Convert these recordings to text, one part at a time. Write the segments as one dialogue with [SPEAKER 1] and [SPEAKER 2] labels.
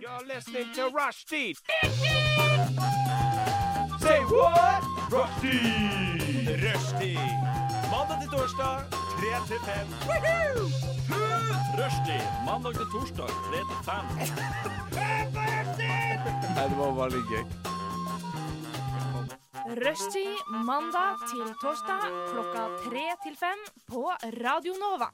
[SPEAKER 1] You're listening to Rushdie. Say what? Rushdie. Rushdie. Mandag til torsdag, 3 til 5. Rushdie. Mandag til torsdag, 3 til 5.
[SPEAKER 2] Rushtid mandag til torsdag klokka tre til fem på Radio Nova.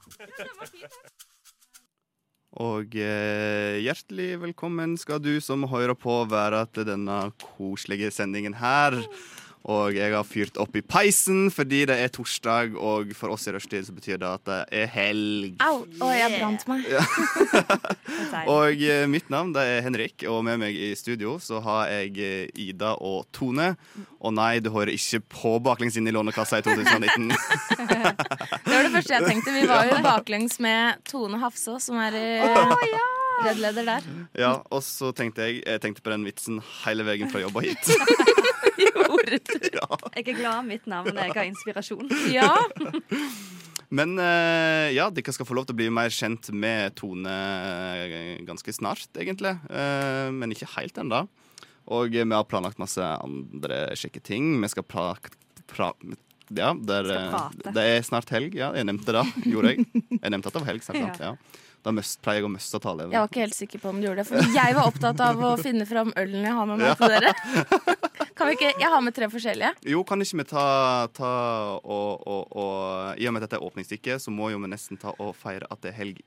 [SPEAKER 3] Og eh, hjertelig velkommen skal du som hører på være til denne koselige sendingen her. Og jeg har fyrt opp i peisen fordi det er torsdag, og for oss i rushtid så betyr det at det er helg.
[SPEAKER 4] Au! Å, jeg brant meg.
[SPEAKER 3] Og eh, mitt navn det er Henrik, og med meg i studio så har jeg eh, Ida og Tone. Og nei, du hører ikke på baklengs inn i Lånekassa i 2019.
[SPEAKER 4] Det var det første jeg tenkte. Vi var jo baklengs med Tone Hafsås, som er eh, redleder der.
[SPEAKER 3] ja, Og så tenkte jeg jeg tenkte på den vitsen hele veien fra jobb og hit.
[SPEAKER 5] Jeg er glad mitt navn jeg har inspirasjon.
[SPEAKER 4] Ja,
[SPEAKER 3] Men eh, ja, dere skal få lov til å bli mer kjent med Tone eh, ganske snart, egentlig. Eh, men ikke helt ennå. Og eh, vi har planlagt masse andre kjekke ting. Vi skal pra... pra ja, det er,
[SPEAKER 5] Skal
[SPEAKER 3] eh,
[SPEAKER 5] prate.
[SPEAKER 3] det er snart helg. Ja, jeg nevnte det. Gjorde jeg? Jeg nevnte at det var helg. snart, sant? Ja. Da møst, pleier jeg å møste tale.
[SPEAKER 4] Jeg var ikke helt sikker på om du gjorde det, for jeg var opptatt av å finne fram ølen jeg har med meg til dere. Kan vi ikke, Jeg har med tre forskjellige.
[SPEAKER 3] Jo, kan ikke vi ta, ta og, og, og I og med at dette er åpningsstykket, så må jo vi nesten ta og feire at det er helg.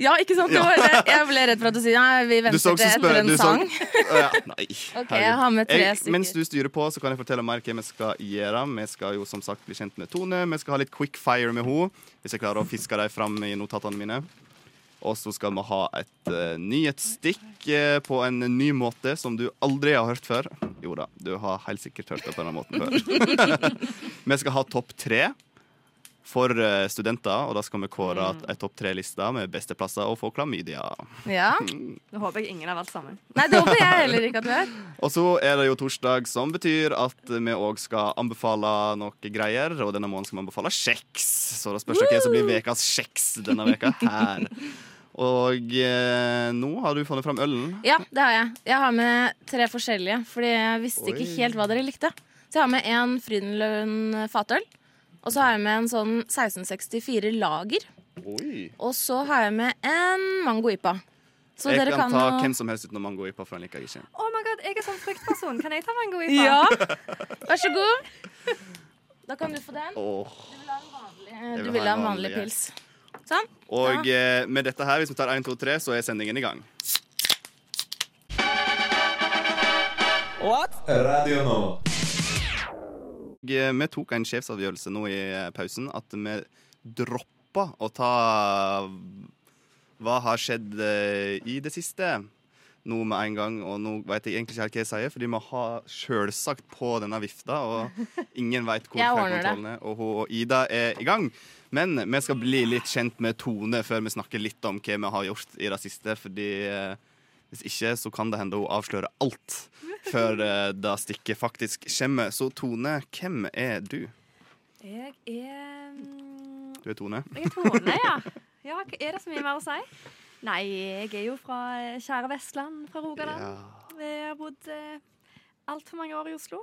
[SPEAKER 4] Ja, ikke sant? Det var det. Jeg ble redd for at du sier nei, vi
[SPEAKER 3] Du så
[SPEAKER 4] venter til
[SPEAKER 3] også spør-
[SPEAKER 4] etter
[SPEAKER 3] du
[SPEAKER 4] en
[SPEAKER 3] så-
[SPEAKER 4] sang.
[SPEAKER 3] Å, ja. Nei.
[SPEAKER 4] Ok,
[SPEAKER 3] herregud.
[SPEAKER 4] jeg har med tre
[SPEAKER 3] Jeg-
[SPEAKER 4] stykker.
[SPEAKER 3] Mens du styrer på, så kan jeg fortelle mer hva vi skal gjøre. Vi skal jo som sagt bli kjent med Tone. Vi skal ha litt quick fire med henne, hvis jeg klarer å fiske dem fram i notatene mine. Og så skal vi ha et eh, nyhetsstikk eh, på en ny måte som du aldri har hørt før. Jo da, du har helt sikkert hørt det på denne måten før. vi skal ha topp tre for eh, studenter, og da skal vi
[SPEAKER 4] Mm.
[SPEAKER 3] kåre ei topp tre-liste med beste plasser å få klamydia.
[SPEAKER 4] Ja.
[SPEAKER 5] Nå håper jeg ingen har vært sammen.
[SPEAKER 4] Nei, det håper jeg heller ikke at vi gjør.
[SPEAKER 3] Og så er det jo torsdag, som betyr at vi òg skal anbefale noe greier. Og denne måneden skal vi anbefale kjeks, så det spørs jo hva som blir ukas kjeks denne veka her. Og eh, nå har du funnet fram ølen.
[SPEAKER 4] Ja, det har jeg. Jeg har med tre forskjellige, fordi jeg visste ikke
[SPEAKER 3] Oi.
[SPEAKER 4] helt hva dere likte. Så jeg har med en Frydenlund fatøl. Og så har jeg med en sånn 1664 lager.
[SPEAKER 3] Oi.
[SPEAKER 4] Og så har jeg med en mango-ipa. Så
[SPEAKER 3] Jeg
[SPEAKER 4] dere
[SPEAKER 3] kan
[SPEAKER 4] kan,
[SPEAKER 3] ta
[SPEAKER 4] jo-
[SPEAKER 3] hvem som helst utenom mango ipa, for den liker jeg ikke.
[SPEAKER 5] Oh my god, jeg er sånn fruktperson. Kan jeg ta mango i
[SPEAKER 4] Ja. Vær så god. Da kan du få den.
[SPEAKER 3] Åh.
[SPEAKER 4] Eh,
[SPEAKER 3] vil
[SPEAKER 4] Du vil
[SPEAKER 3] ha
[SPEAKER 4] ha
[SPEAKER 3] en
[SPEAKER 4] en vanlig
[SPEAKER 3] vanlig, jeg.
[SPEAKER 4] pils. Sånn.
[SPEAKER 3] Og eh, med dette her, hvis vi tar 1, 2, 3, så er sendingen i gang.
[SPEAKER 6] Radio Nova.
[SPEAKER 3] Og, eh, Vi tok en sjefsavgjørelse nå i eh, pausen at vi droppa å ta hva har skjedd eh, i det siste. Nå med en gang, og nå veit jeg egentlig ikke helt hva jeg sier, fordi vi har sjølsagt på denne vifta, og ingen veit hvor
[SPEAKER 4] Jeg ordner det.
[SPEAKER 3] fjernkontrollen er, og hun og Ida er i gang. Men vi skal bli litt kjent med Tone før vi snakker litt om hva vi har gjort i det siste, fordi eh, hvis ikke, så kan det hende hun avslører alt før eh, det stikket faktisk kommer. Så Tone, hvem er du?
[SPEAKER 5] Jeg er mm,
[SPEAKER 3] Du er Tone.
[SPEAKER 5] Jeg er Tone, ja. ja. hva- Er det så mye mer å si? Nei, jeg er jo fra eh, kjære Vestland, fra Rogaland. Jeg har bodd eh, altfor mange år i Oslo.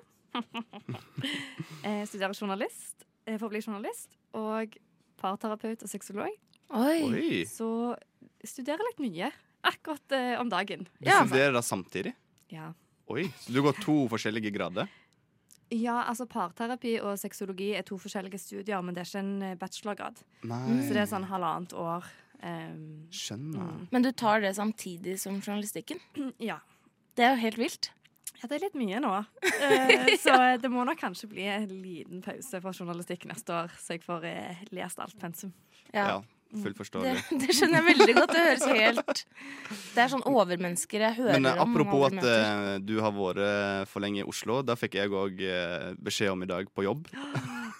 [SPEAKER 5] jeg studerer journalist, eh, for å bli journalist, og parterapeut og sexolog.
[SPEAKER 4] Oi.
[SPEAKER 3] Oi.
[SPEAKER 5] Så studerer litt mye akkurat eh, om dagen.
[SPEAKER 3] Du
[SPEAKER 4] Ja.
[SPEAKER 3] studerer det samtidig?
[SPEAKER 5] Ja.
[SPEAKER 3] Oi, så du går to forskjellige grader?
[SPEAKER 5] Ja, altså Parterapi og sexologi er to forskjellige studier, men det er ikke en eh, bachelorgrad.
[SPEAKER 4] Mm,
[SPEAKER 3] Nei.
[SPEAKER 5] Så det er sånn halvannet år. ehm,
[SPEAKER 3] Skjønner.
[SPEAKER 4] Men du tar det samtidig som journalistikken.
[SPEAKER 5] ja.
[SPEAKER 4] Det er jo helt vilt.
[SPEAKER 5] ja, det er litt mye nå. Eh, så det må nok kanskje bli en liten pause for journalistikk neste år, så jeg får eh, lest alt pensum.
[SPEAKER 3] Ja.
[SPEAKER 4] Ja. Mm.
[SPEAKER 3] Fullt
[SPEAKER 4] Det,
[SPEAKER 3] forståelig.
[SPEAKER 4] det skjønner jeg veldig godt. Det høres helt Det er sånn overmennesker jeg hører
[SPEAKER 3] Men eh,
[SPEAKER 4] om.
[SPEAKER 3] apropos at
[SPEAKER 4] overmennesker.
[SPEAKER 3] eh, du har vært eh, for lenge i Oslo. Det fikk jeg òg beskjed om i dag på jobb.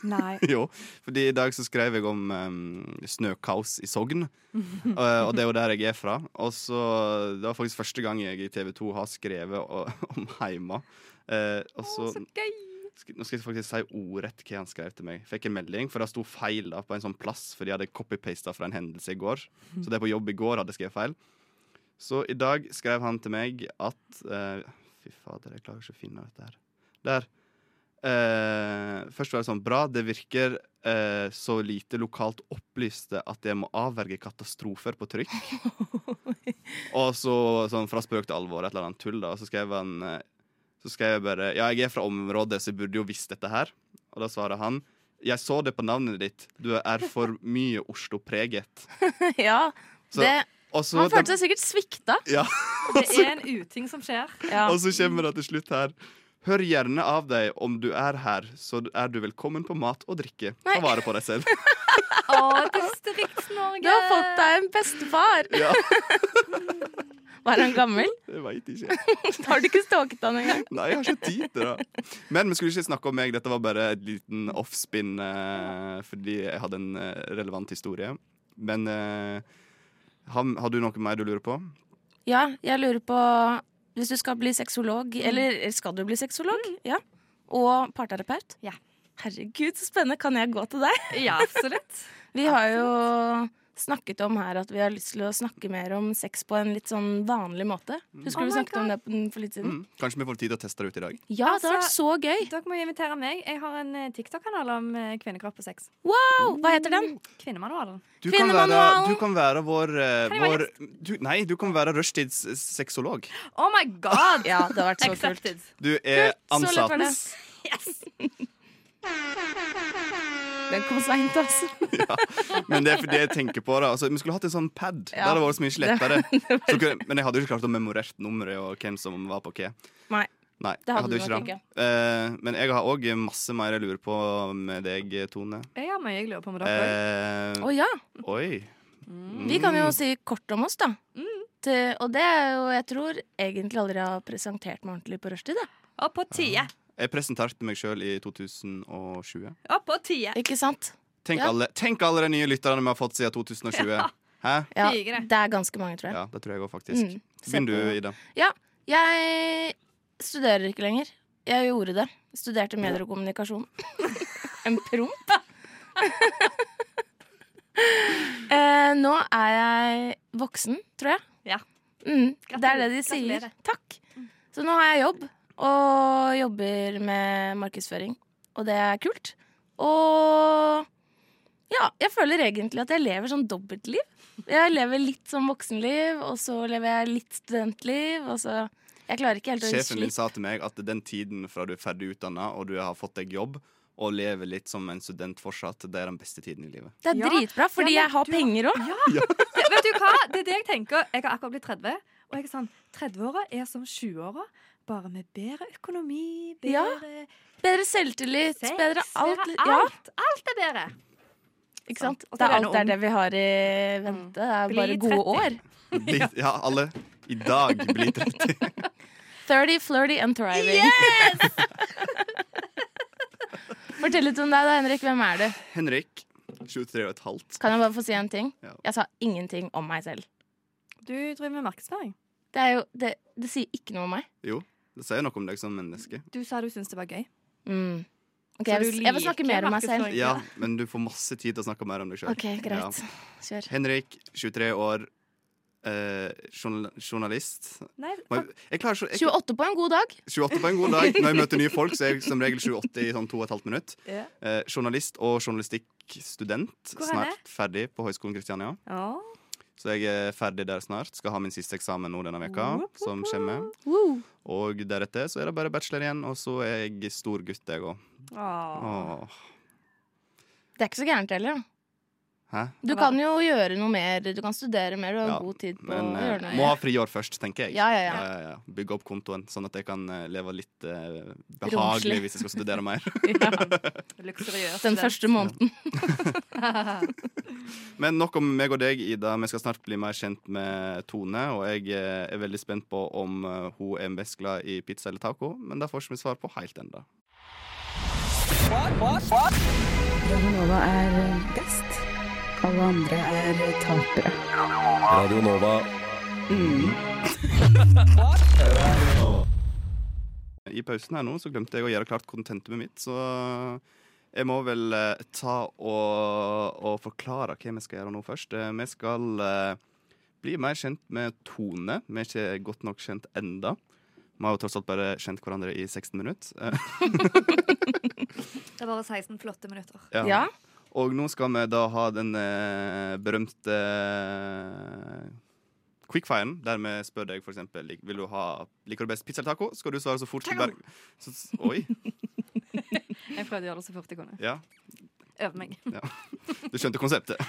[SPEAKER 5] Nei.
[SPEAKER 3] jo, fordi i dag så skrev jeg om eh, snøkaos i Sogn. Eh, og det er jo der jeg er fra. Og så Det var faktisk første gang jeg i TV 2 har skrevet o- om heima. Eh, og så,
[SPEAKER 5] Så gøy!
[SPEAKER 3] sk- nå skal jeg faktisk si ordrett hva han skrev til meg. Fikk en melding, for det sto feil da på en sånn plass. For de hadde copy-pasta fra en hendelse i går. Så det på jobb i går hadde jeg skrevet feil. Så i dag skrev han til meg at eh, Fy fader, jeg klarer ikke å finne dette her. Der. Eh, først var det sånn Bra, det virker eh, så lite lokalt opplyste at jeg må avverge katastrofer på trykk. og så sånn fra spøk til alvor, et eller annet tull, da. Så skrev han eh, Så skrev jeg bare Ja, jeg er fra området, så jeg burde jo visst dette her. Og da svarer han Jeg så det på navnet ditt. Du er for mye Oslo-preget.
[SPEAKER 4] ja,
[SPEAKER 3] eh, Så-
[SPEAKER 4] det,
[SPEAKER 3] Og så-
[SPEAKER 4] han følte seg sikkert svikta.
[SPEAKER 3] ja.
[SPEAKER 5] Det er en uting som skjer.
[SPEAKER 4] Ja.
[SPEAKER 3] Og så kommer det til slutt her. Hør gjerne av deg om du er her, så er du velkommen på mat og drikke. Ta
[SPEAKER 4] Nei.
[SPEAKER 3] vare på deg selv.
[SPEAKER 5] Å, Distrikts-Norge!
[SPEAKER 4] Du har fått deg en bestefar!
[SPEAKER 3] Ja,
[SPEAKER 4] Var han gammel?
[SPEAKER 3] jeg veit ikke.
[SPEAKER 4] Har du ikke stalket han engang?
[SPEAKER 3] Nei, jeg har ikke tid til det. Men vi skulle ikke snakke om meg, dette var bare et liten offspin eh, fordi jeg hadde en eh, relevant historie. Men eh, har, har du noe mer du lurer på?
[SPEAKER 4] Ja, jeg lurer på Hvis du skal bli sexolog, eller skal du bli sexolog? Ja. Og parterapeut?
[SPEAKER 5] Ja.
[SPEAKER 4] Herregud, så spennende. Kan jeg gå til deg?
[SPEAKER 5] Ja, absolutt.
[SPEAKER 4] Vi har jo snakket om her at vi har lyst til å snakke mer om sex på en litt sånn vanlig måte. Husker
[SPEAKER 5] Oh
[SPEAKER 4] du vi
[SPEAKER 5] my
[SPEAKER 4] snakket om det på den for litt siden?
[SPEAKER 3] Mm. Kanskje vi får tid til å teste det ut i dag?
[SPEAKER 4] Ja, det har vært så gøy!
[SPEAKER 5] Dere må invitere meg. Jeg har en eh, TikTok-kanal om eh, kvinnekropp og sex.
[SPEAKER 4] Wow! Hva heter den?
[SPEAKER 5] Kvinnemanualen.
[SPEAKER 3] Du kan være,
[SPEAKER 4] Kvinnemanualen.
[SPEAKER 3] du kan være vår, eh,
[SPEAKER 5] Kan jeg være
[SPEAKER 3] vår du, Nei, du kan være rushtidssexolog.
[SPEAKER 5] Oh my god!
[SPEAKER 4] Ja, det har vært så kult.
[SPEAKER 5] Accepted.
[SPEAKER 3] Du er
[SPEAKER 4] Så lett var
[SPEAKER 3] ansatt.
[SPEAKER 4] det. Den kom seint, altså.
[SPEAKER 3] Men det er fordi jeg tenker på det. Altså, vi skulle hatt en sånn pad. Det
[SPEAKER 4] Ja.
[SPEAKER 3] hadde vært så mye lettere. Så kunne, men jeg hadde jo ikke klart å memorere nummeret og hvem som var på hva.
[SPEAKER 4] Nei.
[SPEAKER 3] Nei,
[SPEAKER 4] Det hadde
[SPEAKER 3] jeg
[SPEAKER 4] du
[SPEAKER 3] hadde
[SPEAKER 4] nok
[SPEAKER 3] jo ikke det. Eh, men jeg har òg masse mer jeg lurer på med deg, Tone.
[SPEAKER 5] Jeg har mye jeg lurer på med dere òg.
[SPEAKER 3] Eh,
[SPEAKER 4] Å ja.
[SPEAKER 3] oi.
[SPEAKER 4] Mm.
[SPEAKER 3] Mm.
[SPEAKER 4] Vi kan jo si kort om oss, da. Til, og det er jo Jeg tror egentlig aldri jeg har presentert meg ordentlig på rushtid. da.
[SPEAKER 5] Og på tide.
[SPEAKER 3] Jeg presenterte meg sjøl i 2020.
[SPEAKER 5] Og på tide.
[SPEAKER 4] Ikke sant?
[SPEAKER 3] Tenk,
[SPEAKER 4] Ja.
[SPEAKER 3] alle, tenk alle de nye lytterne vi har fått siden 2020. Hæ?
[SPEAKER 4] Ja,
[SPEAKER 5] Digre.
[SPEAKER 4] det er ganske mange, tror jeg.
[SPEAKER 3] Ja, det tror jeg òg, faktisk.
[SPEAKER 4] Mm. Se
[SPEAKER 3] Begynn du,
[SPEAKER 4] på-
[SPEAKER 3] Ida.
[SPEAKER 4] Jeg studerer ikke lenger. Jeg gjorde det. Studerte medier og kommunikasjon. en promp. eh, nå er jeg voksen, tror jeg.
[SPEAKER 5] Ja.
[SPEAKER 4] Mm, det er det de
[SPEAKER 5] Gratulerer.
[SPEAKER 4] sier.
[SPEAKER 5] Gratulerer.
[SPEAKER 4] Takk. Så nå har jeg jobb, og jobber med markedsføring. Og det er kult. Og ja, jeg føler egentlig at jeg lever sånn dobbeltliv. Jeg lever litt som voksenliv, og så lever jeg litt studentliv, og så Jeg klarer ikke helt å
[SPEAKER 3] Sjefen min
[SPEAKER 4] slippe
[SPEAKER 3] sa til meg at den tiden fra du er ferdig utdanna og du har fått deg jobb, og lever litt som en student fortsatt, det er den beste tiden i livet.
[SPEAKER 4] Det er
[SPEAKER 5] Ja,
[SPEAKER 4] dritbra, fordi
[SPEAKER 5] ja, men
[SPEAKER 4] jeg har
[SPEAKER 5] du har-
[SPEAKER 4] penger òg.
[SPEAKER 5] Det, vet du hva? Det er det jeg tenker. Jeg har akkurat blitt 30. Og jeg er sånn 30-åra er som 20-åra, bare med bedre økonomi,
[SPEAKER 4] Ja.
[SPEAKER 5] bedre
[SPEAKER 4] Bedre selvtillit,
[SPEAKER 5] sex,
[SPEAKER 4] bedre alt.
[SPEAKER 5] bedre
[SPEAKER 4] Ja,
[SPEAKER 5] alt. Alt er bedre.
[SPEAKER 4] ikke sant?
[SPEAKER 5] Og så
[SPEAKER 4] Det
[SPEAKER 5] er
[SPEAKER 4] er
[SPEAKER 5] det
[SPEAKER 4] alt det,
[SPEAKER 5] ung.
[SPEAKER 4] er det vi har i vente. Det er
[SPEAKER 5] Bli
[SPEAKER 4] bare gode
[SPEAKER 5] 30.
[SPEAKER 4] år.
[SPEAKER 3] Bli, ja, alle i dag blir 30.
[SPEAKER 4] 30, flirty and thriving. Fortell litt om deg, da, Henrik. Hvem er du?
[SPEAKER 3] Henrik, 23 og et halvt.
[SPEAKER 4] Kan jeg bare få si en ting?
[SPEAKER 3] Ja.
[SPEAKER 4] Jeg sa ingenting om meg selv.
[SPEAKER 5] Du driver med markedsføring.
[SPEAKER 4] Det, er jo, det, det sier ikke noe om meg.
[SPEAKER 3] Jo, det sier noe om deg som menneske.
[SPEAKER 5] Du sa du syntes det var gøy.
[SPEAKER 4] Mm. Ok,
[SPEAKER 5] Så
[SPEAKER 4] jeg,
[SPEAKER 5] du
[SPEAKER 4] vil, jeg vil
[SPEAKER 5] liker
[SPEAKER 4] snakke mer om meg selv.
[SPEAKER 5] markedsføring?
[SPEAKER 3] Ja, men du får masse tid til å snakke mer om deg sjøl.
[SPEAKER 4] Ok, greit. Kjør.
[SPEAKER 3] Henrik, 23 år, eh, journal journalist.
[SPEAKER 5] Nei,
[SPEAKER 3] Må Jeg, jeg klarer så, jeg,
[SPEAKER 4] 28 på en god dag.
[SPEAKER 3] 28 på en god dag. Når jeg møter nye folk, så er jeg som regel 28 i sånn to og et halvt minutt.
[SPEAKER 5] Ja.
[SPEAKER 3] Eh, journalist og journalistikkstudent.
[SPEAKER 5] Hvor er
[SPEAKER 3] Snart ferdig på Høgskolen Kristiania.
[SPEAKER 5] Å,
[SPEAKER 3] Så jeg er ferdig der snart. Skal ha min siste eksamen nå denne veka,
[SPEAKER 5] Woop, woop,
[SPEAKER 3] som kommer.
[SPEAKER 4] Woo.
[SPEAKER 3] Og deretter så er det bare bachelor igjen, og så er jeg stor gutt, jeg òg.
[SPEAKER 5] å.
[SPEAKER 4] Det er ikke så gærent heller. da.
[SPEAKER 3] Hæ?
[SPEAKER 4] Du kan jo gjøre noe mer. Du kan studere mer. Du har
[SPEAKER 3] Ja,
[SPEAKER 4] god tid på
[SPEAKER 3] Men
[SPEAKER 4] å gjøre
[SPEAKER 3] eh,
[SPEAKER 4] noe.
[SPEAKER 3] må ha friår først, tenker jeg.
[SPEAKER 4] Ja, ja, ja.
[SPEAKER 3] Ja, ja, ja. Bygge opp kontoen, sånn at jeg kan eh, leve litt eh,
[SPEAKER 4] Romslig.
[SPEAKER 3] behagelig hvis jeg skal studere mer.
[SPEAKER 5] Luksuriøst.
[SPEAKER 4] Den første måneden.
[SPEAKER 3] Men nok om meg og deg, Ida. Vi skal snart bli mer kjent med Tone. Og jeg eh, er veldig spent på om eh, hun er mest glad i pizza eller taco, men det får ikke vi svar på helt ennå.
[SPEAKER 6] Nova er eh, best. Alle andre er eh, tapere.
[SPEAKER 7] Radio Nova.
[SPEAKER 3] I pausen her nå så glemte jeg å gjøre klart kontentumet mitt, så jeg må vel eh, ta og, og forklare hva vi skal gjøre nå først. Eh, Vi skal eh, bli mer kjent med Tone. Vi er ikke godt nok kjent enda. Vi har jo tross alt bare kjent hverandre i 16 minutter. Eh,
[SPEAKER 5] Det er bare 16 flotte minutter.
[SPEAKER 3] Eh,
[SPEAKER 4] Ja.
[SPEAKER 3] Og nå skal vi da ha den eh, berømte eh, quickfiren, der vi spør deg f.eks.: Vil du ha Liker du best pizza eller taco? Skal du svare så fort som bare så, Oi.
[SPEAKER 5] Jeg prøvde å gjøre det så fort jeg kunne.
[SPEAKER 3] Ja.
[SPEAKER 5] Øve meg.
[SPEAKER 3] Du skjønte konseptet.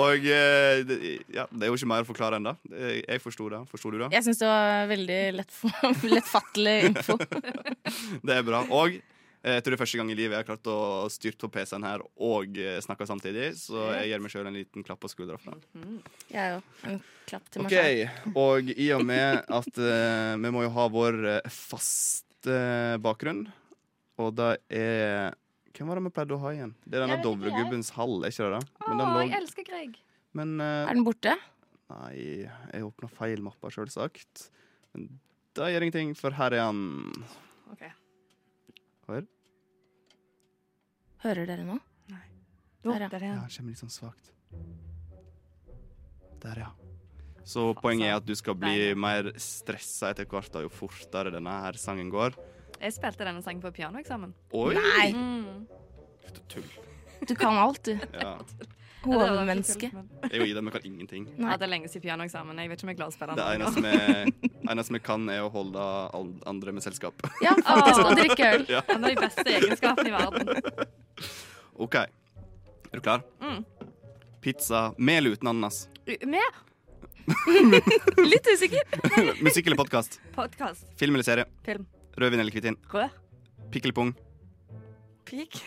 [SPEAKER 3] og eh, det, ja, det er jo ikke mer å forklare ennå. Jeg forsto det. Forsto du det?
[SPEAKER 4] Jeg syns det var veldig lett for- lettfattelig info.
[SPEAKER 3] Det er bra. Og eh, jeg tror det er første gang i livet jeg har klart å styre på PC-en her og eh, snakke samtidig, så jeg gir meg sjøl en liten klapp på skuldra. for det.
[SPEAKER 4] Jeg òg. En klapp til meg
[SPEAKER 3] OK. Og i og med at eh, vi må jo ha vår eh, faste bakgrunn, og det er hvem var det vi pleide å ha igjen? Det er denne
[SPEAKER 4] Jeg vet ikke, jeg.
[SPEAKER 3] Dovregubbens hall, er ikke det det?
[SPEAKER 5] Å,
[SPEAKER 3] Men, den
[SPEAKER 5] jeg
[SPEAKER 3] lå,
[SPEAKER 5] elsker Greg.
[SPEAKER 3] men
[SPEAKER 4] sjøl.
[SPEAKER 3] eh,
[SPEAKER 4] Er den borte?
[SPEAKER 3] Nei, jeg åpna feil mappe, sjølsagt. Men det gjør ingenting, for her er han.
[SPEAKER 5] Ok.
[SPEAKER 4] Hører dere nå?
[SPEAKER 5] Å,
[SPEAKER 4] Der, ja.
[SPEAKER 5] der er
[SPEAKER 3] Ja,
[SPEAKER 5] han.
[SPEAKER 3] han kommer litt sånn svakt. Der, ja. Så poenget er at du skal bli
[SPEAKER 5] Nei.
[SPEAKER 3] mer stressa etter hvert da, jo fortere denne her sangen går.
[SPEAKER 5] Jeg spilte denne sangen på pianoeksamen.
[SPEAKER 3] Oi!
[SPEAKER 4] Nei!
[SPEAKER 5] Mm.
[SPEAKER 3] Slutt å tulle.
[SPEAKER 4] Du kan alt, du.
[SPEAKER 3] Ja.
[SPEAKER 5] Ja, det var ikke
[SPEAKER 4] Hovedmenneske.
[SPEAKER 5] kult, men-
[SPEAKER 3] Jeg og Ida, vi kan ingenting.
[SPEAKER 5] Jeg hadde lenge siden pianoeksamen. Jeg vet ikke om jeg klarer å spille
[SPEAKER 3] Det
[SPEAKER 5] den.
[SPEAKER 3] eneste vi, eneste vi kan, er å holde all- andre med selskap.
[SPEAKER 4] Ja, faktisk.
[SPEAKER 5] Åh.
[SPEAKER 4] Og drikke øl.
[SPEAKER 5] Ja, men Det er de beste egenskapene i verden.
[SPEAKER 3] OK. Er du klar?
[SPEAKER 5] Mm.
[SPEAKER 3] Pizza mel uten ananas.
[SPEAKER 5] Med
[SPEAKER 4] Litt usikker.
[SPEAKER 3] Musikk eller podkast?
[SPEAKER 5] podkast,
[SPEAKER 3] Film eller serie?
[SPEAKER 5] film,
[SPEAKER 3] Rødvin eller hvitvin?
[SPEAKER 5] rød,
[SPEAKER 3] Pikk eller pung?
[SPEAKER 5] pik,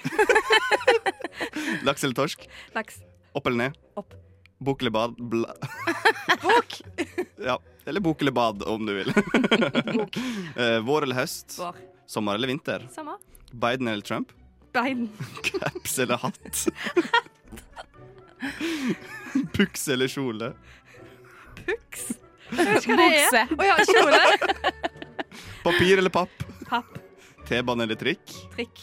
[SPEAKER 3] Laks eller torsk?
[SPEAKER 5] laks,
[SPEAKER 3] Opp eller ned?
[SPEAKER 5] Opp.
[SPEAKER 3] Bok eller bad? Bla.
[SPEAKER 5] bok,
[SPEAKER 3] Ja. Eller bok eller bad, om du vil. Eh, Vår eller høst?
[SPEAKER 5] vår,
[SPEAKER 3] Sommer eller vinter?
[SPEAKER 5] sommer,
[SPEAKER 3] Biden eller Trump?
[SPEAKER 5] bein,
[SPEAKER 3] Caps eller hatt? Puks eller kjole?
[SPEAKER 5] buks. Jeg vet ikke hva det er.
[SPEAKER 4] Bukse.
[SPEAKER 5] Å ja, kjole,
[SPEAKER 3] Papir eller papp?
[SPEAKER 5] papp,
[SPEAKER 3] T-bane eller trikk?
[SPEAKER 5] trikk.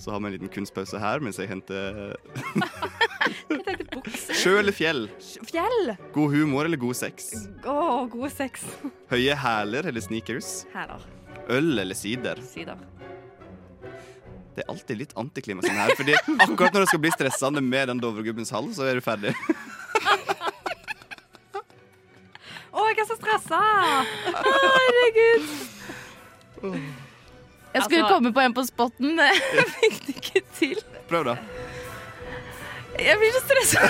[SPEAKER 3] Så har vi en liten kunstpause her mens jeg henter
[SPEAKER 5] Jeg tenkte bukse.
[SPEAKER 3] Sjø eller fjell?
[SPEAKER 5] Fjell.
[SPEAKER 3] God humor eller god sex?
[SPEAKER 5] Å, god sex.
[SPEAKER 3] Høye hæler eller sneakers?
[SPEAKER 5] Hæler,
[SPEAKER 3] Øl eller sider?
[SPEAKER 5] sider.
[SPEAKER 3] Det er alltid litt antiklimaks sånn her, fordi akkurat når det skal bli stressende med den Dovregubbens hall, så er du ferdig.
[SPEAKER 5] Å, jeg er så stressa! Å, herregud.
[SPEAKER 4] Jeg skulle
[SPEAKER 5] Altså-
[SPEAKER 4] komme på en på spotten. Det fikk det ikke til.
[SPEAKER 3] Prøv, da.
[SPEAKER 4] Jeg blir så stressa.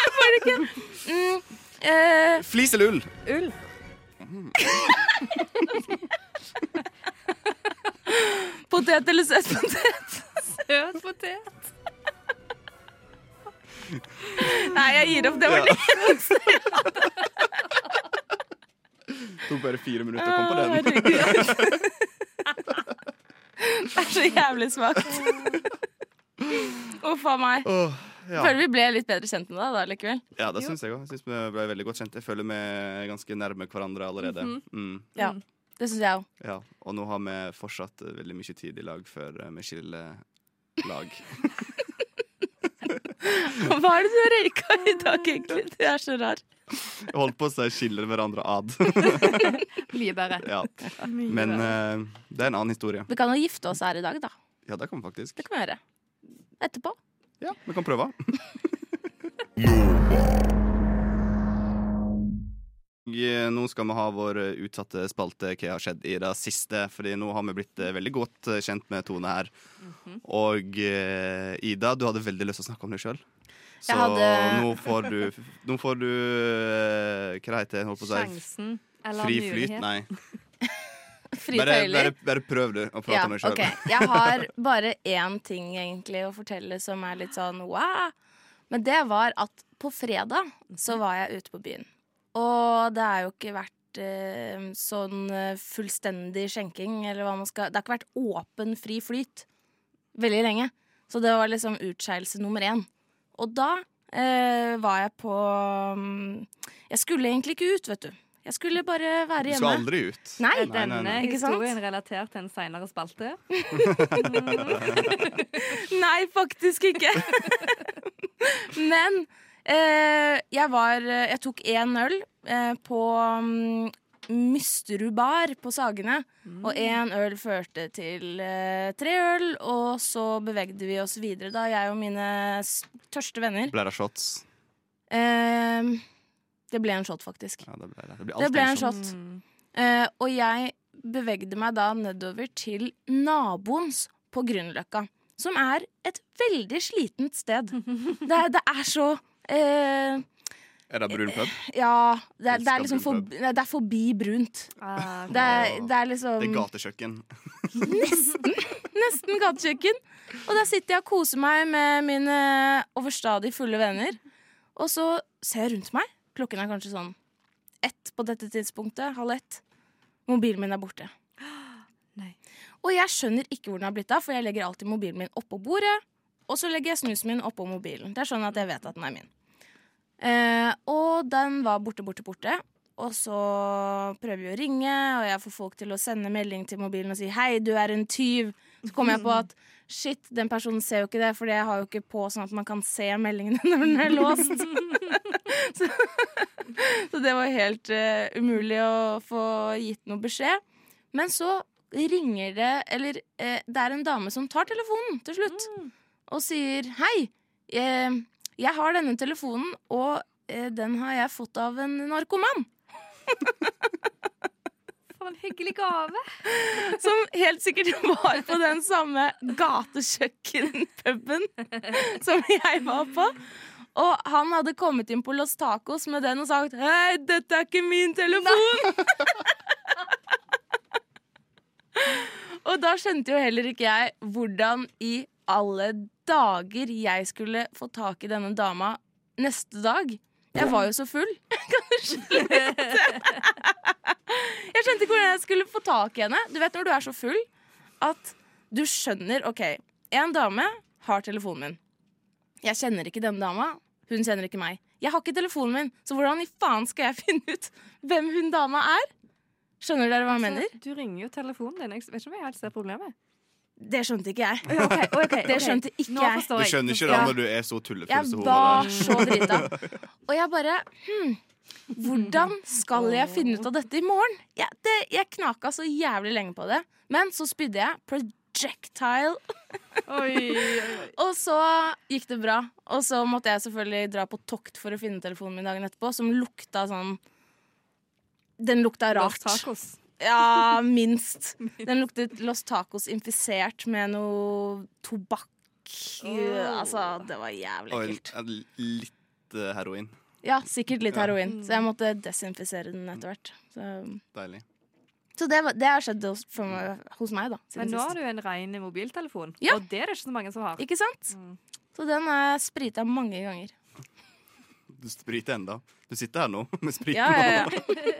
[SPEAKER 4] Jeg får det ikke. Mm, eh,
[SPEAKER 3] Flis eller ull?
[SPEAKER 5] Ull.
[SPEAKER 4] potet eller søtpotet?
[SPEAKER 5] Søt potet.
[SPEAKER 4] Nei, jeg gir opp. Det var det.
[SPEAKER 3] Tok bare fire minutter å komme på den.
[SPEAKER 4] Herregud. Ah, Det er så jævlig svakt. Uff a meg.
[SPEAKER 3] Åh, ja.
[SPEAKER 4] Føler vi ble litt bedre kjent med deg da likevel.
[SPEAKER 3] ja, det syns jeg òg. Jeg syns vi ble veldig godt kjent. Jeg føler vi er ganske nærme hverandre allerede.
[SPEAKER 4] Mhm.
[SPEAKER 3] Mm,
[SPEAKER 4] Ja, det syns jeg òg.
[SPEAKER 3] ja. Og nå har vi fortsatt eh, veldig mye tid i lag før eh, vi skiller lag.
[SPEAKER 4] Hva er det du har røyka i dag, egentlig? Du er så rar.
[SPEAKER 3] Jeg holdt på å si skiller hverandre ad.
[SPEAKER 5] Mye bedre.
[SPEAKER 3] ja. Men eh, det er en annen historie.
[SPEAKER 4] Vi kan jo gifte oss her i dag, da.
[SPEAKER 3] Ja, det kan vi faktisk.
[SPEAKER 4] Det kan vi gjøre. Etterpå.
[SPEAKER 3] Ja, vi kan prøve. Og, eh, Nå skal vi ha vår eh, utsatte spalte Hva har skjedd i det siste? Fordi nå har vi blitt eh, veldig godt eh, kjent med Tone her.
[SPEAKER 4] Mhm.
[SPEAKER 3] Og eh, Ida, du hadde veldig lyst til å snakke om deg sjøl. Så
[SPEAKER 4] Jeg hadde-
[SPEAKER 3] nå får du, nå får du eh, Hva heter det? Holdt på å si
[SPEAKER 5] Sjansen eller
[SPEAKER 3] Fri flyt?
[SPEAKER 5] mulighet.
[SPEAKER 3] Nei.
[SPEAKER 4] Frie
[SPEAKER 3] Bare, bare,
[SPEAKER 4] tøyler.
[SPEAKER 3] bare prøv, du, å prate
[SPEAKER 4] Ja,
[SPEAKER 3] om deg sjøl.
[SPEAKER 4] ok. Jeg har bare én ting egentlig å fortelle som er litt sånn wow. Men det var at på fredag så
[SPEAKER 3] Mhm.
[SPEAKER 4] var jeg ute på byen. Og det har jo ikke vært eh, sånn eh, fullstendig skjenking, eller hva man skal Det har ikke vært åpen fri flyt veldig lenge. Så det var liksom utskeielse nummer én. Og da eh, var jeg på mm, Jeg skulle egentlig ikke ut, vet du. Jeg skulle
[SPEAKER 3] Du
[SPEAKER 4] bare være
[SPEAKER 3] skal
[SPEAKER 4] hjemme.
[SPEAKER 3] aldri ut.
[SPEAKER 4] Nei,
[SPEAKER 3] Nei,
[SPEAKER 5] Er
[SPEAKER 3] nei,
[SPEAKER 5] denne
[SPEAKER 3] nei.
[SPEAKER 4] Ikke sant?
[SPEAKER 5] historien relatert til en seinere spalte? Mm.
[SPEAKER 4] Nei, faktisk ikke. Men Eh, jeg var eh, Jeg tok én øl eh, på mm, Mysterud bar på Sagene. Og én øl førte til eh, tre øl, og så bevegde vi oss videre, da, jeg og mine s- tørste venner.
[SPEAKER 3] Ble det shots?
[SPEAKER 4] Eh, det ble en shot, faktisk.
[SPEAKER 3] Ja, det ble det. Det ble,
[SPEAKER 4] Det
[SPEAKER 3] alltid
[SPEAKER 4] ble en
[SPEAKER 3] shot.
[SPEAKER 4] shot. Eh, og jeg bevegde meg da nedover til naboens på Grünerløkka. Som er et veldig slitent sted. Det, er- det er så eh,
[SPEAKER 3] Er det brun pub?
[SPEAKER 4] Ja, det, er- det, er
[SPEAKER 3] Elsker
[SPEAKER 4] liksom
[SPEAKER 3] brun
[SPEAKER 4] forbi, nei, det er forbi brunt.
[SPEAKER 5] Ah,
[SPEAKER 4] Det er,
[SPEAKER 3] Åh.
[SPEAKER 4] det er liksom
[SPEAKER 3] Det er gatekjøkken.
[SPEAKER 4] nesten gatekjøkken. Og der sitter jeg og koser meg med mine overstadig fulle venner. Og så ser jeg rundt meg. Klokken er kanskje sånn ett på dette tidspunktet. Halv ett. Mobilen min er borte.
[SPEAKER 5] Nei.
[SPEAKER 4] Og jeg skjønner ikke hvor den har blitt av, for jeg legger alltid mobilen min oppå bordet. Og så legger jeg snusen min oppå mobilen. Det er sånn at jeg vet at den er min. Eh, og den var borte, borte, borte. Og så prøver vi å ringe, og jeg får folk til å sende melding til mobilen og si 'hei, du er en tyv'. Så kommer jeg på at shit, den personen ser jo ikke det, for jeg har jo ikke på sånn at man kan se meldingene når den er låst. så, så det var helt eh, umulig å få gitt noe beskjed. Men så ringer det Eller eh, det er en dame som tar telefonen til slutt og sier hei. eh, jeg har denne telefonen, og eh, den har jeg fått av en narkoman.
[SPEAKER 5] For en hyggelig gave.
[SPEAKER 4] Som helt sikkert var på den samme gatekjøkkenpuben som jeg var på. Og han hadde kommet inn på Los Tacos med den og sagt 'Hei, dette er ikke min telefon'. og da skjønte jo heller ikke jeg hvordan i alle dager jeg skulle få tak i denne dama neste dag. Jeg var jo så full. Jeg skjønte ikke hvordan jeg skulle få tak i henne. Du vet når du er så full at du skjønner OK, en dame har telefonen min. Jeg kjenner ikke denne dama. Hun kjenner ikke meg. Jeg har ikke telefonen min, så hvordan i faen skal jeg finne ut hvem hun dama er? Skjønner dere hva jeg mener?
[SPEAKER 5] Du ringer jo telefonen din. Jeg vet ikke om jeg helt ser problemet.
[SPEAKER 4] Det skjønte ikke jeg.
[SPEAKER 5] Ja, ok, ok, ok.
[SPEAKER 4] Det skjønte ikke
[SPEAKER 5] Nå
[SPEAKER 4] jeg.
[SPEAKER 5] forstår
[SPEAKER 3] Du
[SPEAKER 5] jeg.
[SPEAKER 3] skjønner ikke det
[SPEAKER 4] Ja.
[SPEAKER 3] når du er så tullefull som
[SPEAKER 4] Jeg
[SPEAKER 3] hun
[SPEAKER 4] var
[SPEAKER 3] var.
[SPEAKER 4] så drita. Og jeg bare hmm, Hvordan skal jeg finne ut av dette i morgen? Jeg, det, jeg knaka så jævlig lenge på det. Men så spydde jeg projectile
[SPEAKER 5] Oi, oi, oi.
[SPEAKER 4] Og så gikk det bra. Og så måtte jeg selvfølgelig dra på tokt for å finne telefonen min dagen etterpå, som lukta sånn Den lukta
[SPEAKER 5] Rart.
[SPEAKER 4] rart.
[SPEAKER 5] Tacos.
[SPEAKER 4] Ja, minst. Den luktet Los Tacos infisert med noe tobakk. Altså, det var jævlig
[SPEAKER 3] Og en,
[SPEAKER 4] ekkelt.
[SPEAKER 3] en, litt eh, heroin.
[SPEAKER 4] Ja, sikkert litt
[SPEAKER 3] Ja.
[SPEAKER 4] heroin. Så jeg måtte desinfisere den etter hvert. Så,
[SPEAKER 3] Deilig.
[SPEAKER 4] Mm. så det, var, det har skjedd hos, for meg, hos meg, da.
[SPEAKER 5] Men
[SPEAKER 4] Siden
[SPEAKER 5] nå har
[SPEAKER 4] sist.
[SPEAKER 5] du en ren mobiltelefon,
[SPEAKER 4] Ja.
[SPEAKER 5] og det er det ikke så mange som har.
[SPEAKER 4] Ikke sant?
[SPEAKER 5] Mm.
[SPEAKER 4] Så den er sprita mange ganger.
[SPEAKER 3] Du spriter enda. Du sitter her nå med sprit.
[SPEAKER 4] Ja, ja, ja.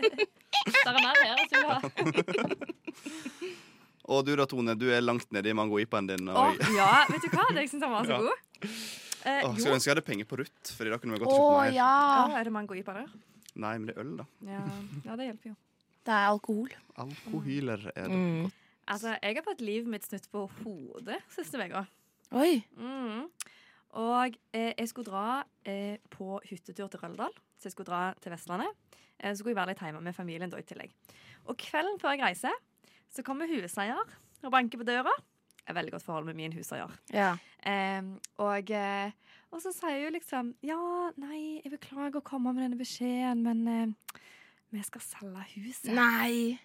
[SPEAKER 5] Det er mer her som vil ha.
[SPEAKER 3] Og du da, Tone, du er langt nede i mangoipaen din. Og,
[SPEAKER 5] Å, ja, vet du hva? Det jeg syns han var så
[SPEAKER 3] Ja.
[SPEAKER 5] god. Eh,
[SPEAKER 3] Åh, skulle
[SPEAKER 5] jo.
[SPEAKER 3] ønske jeg hadde penger på Ruth, for i dag kunne vi
[SPEAKER 4] Å
[SPEAKER 3] godt kjøpt mer.
[SPEAKER 4] ja.
[SPEAKER 5] Ah, er det mango i parer?
[SPEAKER 3] Nei, men det er øl, da.
[SPEAKER 5] Ja. ja, det hjelper jo.
[SPEAKER 4] Det er alkohol.
[SPEAKER 3] Alkohyler er det.
[SPEAKER 4] Mm.
[SPEAKER 5] Altså, jeg har fått livet mitt snudd på hodet siste uka.
[SPEAKER 4] Oi.
[SPEAKER 5] Mm. Og eh, jeg skulle dra eh, på hyttetur til Røldal, så jeg skulle dra til Vestlandet. Eh, så skulle jeg være litt hjemme med familien da i tillegg. Og kvelden før jeg reiser, så kommer huseier og banker på døra. Jeg har veldig godt forhold med min huseier.
[SPEAKER 4] Ja.
[SPEAKER 5] Eh, og, eh, og så sier hun liksom Ja, nei, jeg beklager å komme med denne beskjeden, men eh, vi skal selge huset.
[SPEAKER 4] Nei.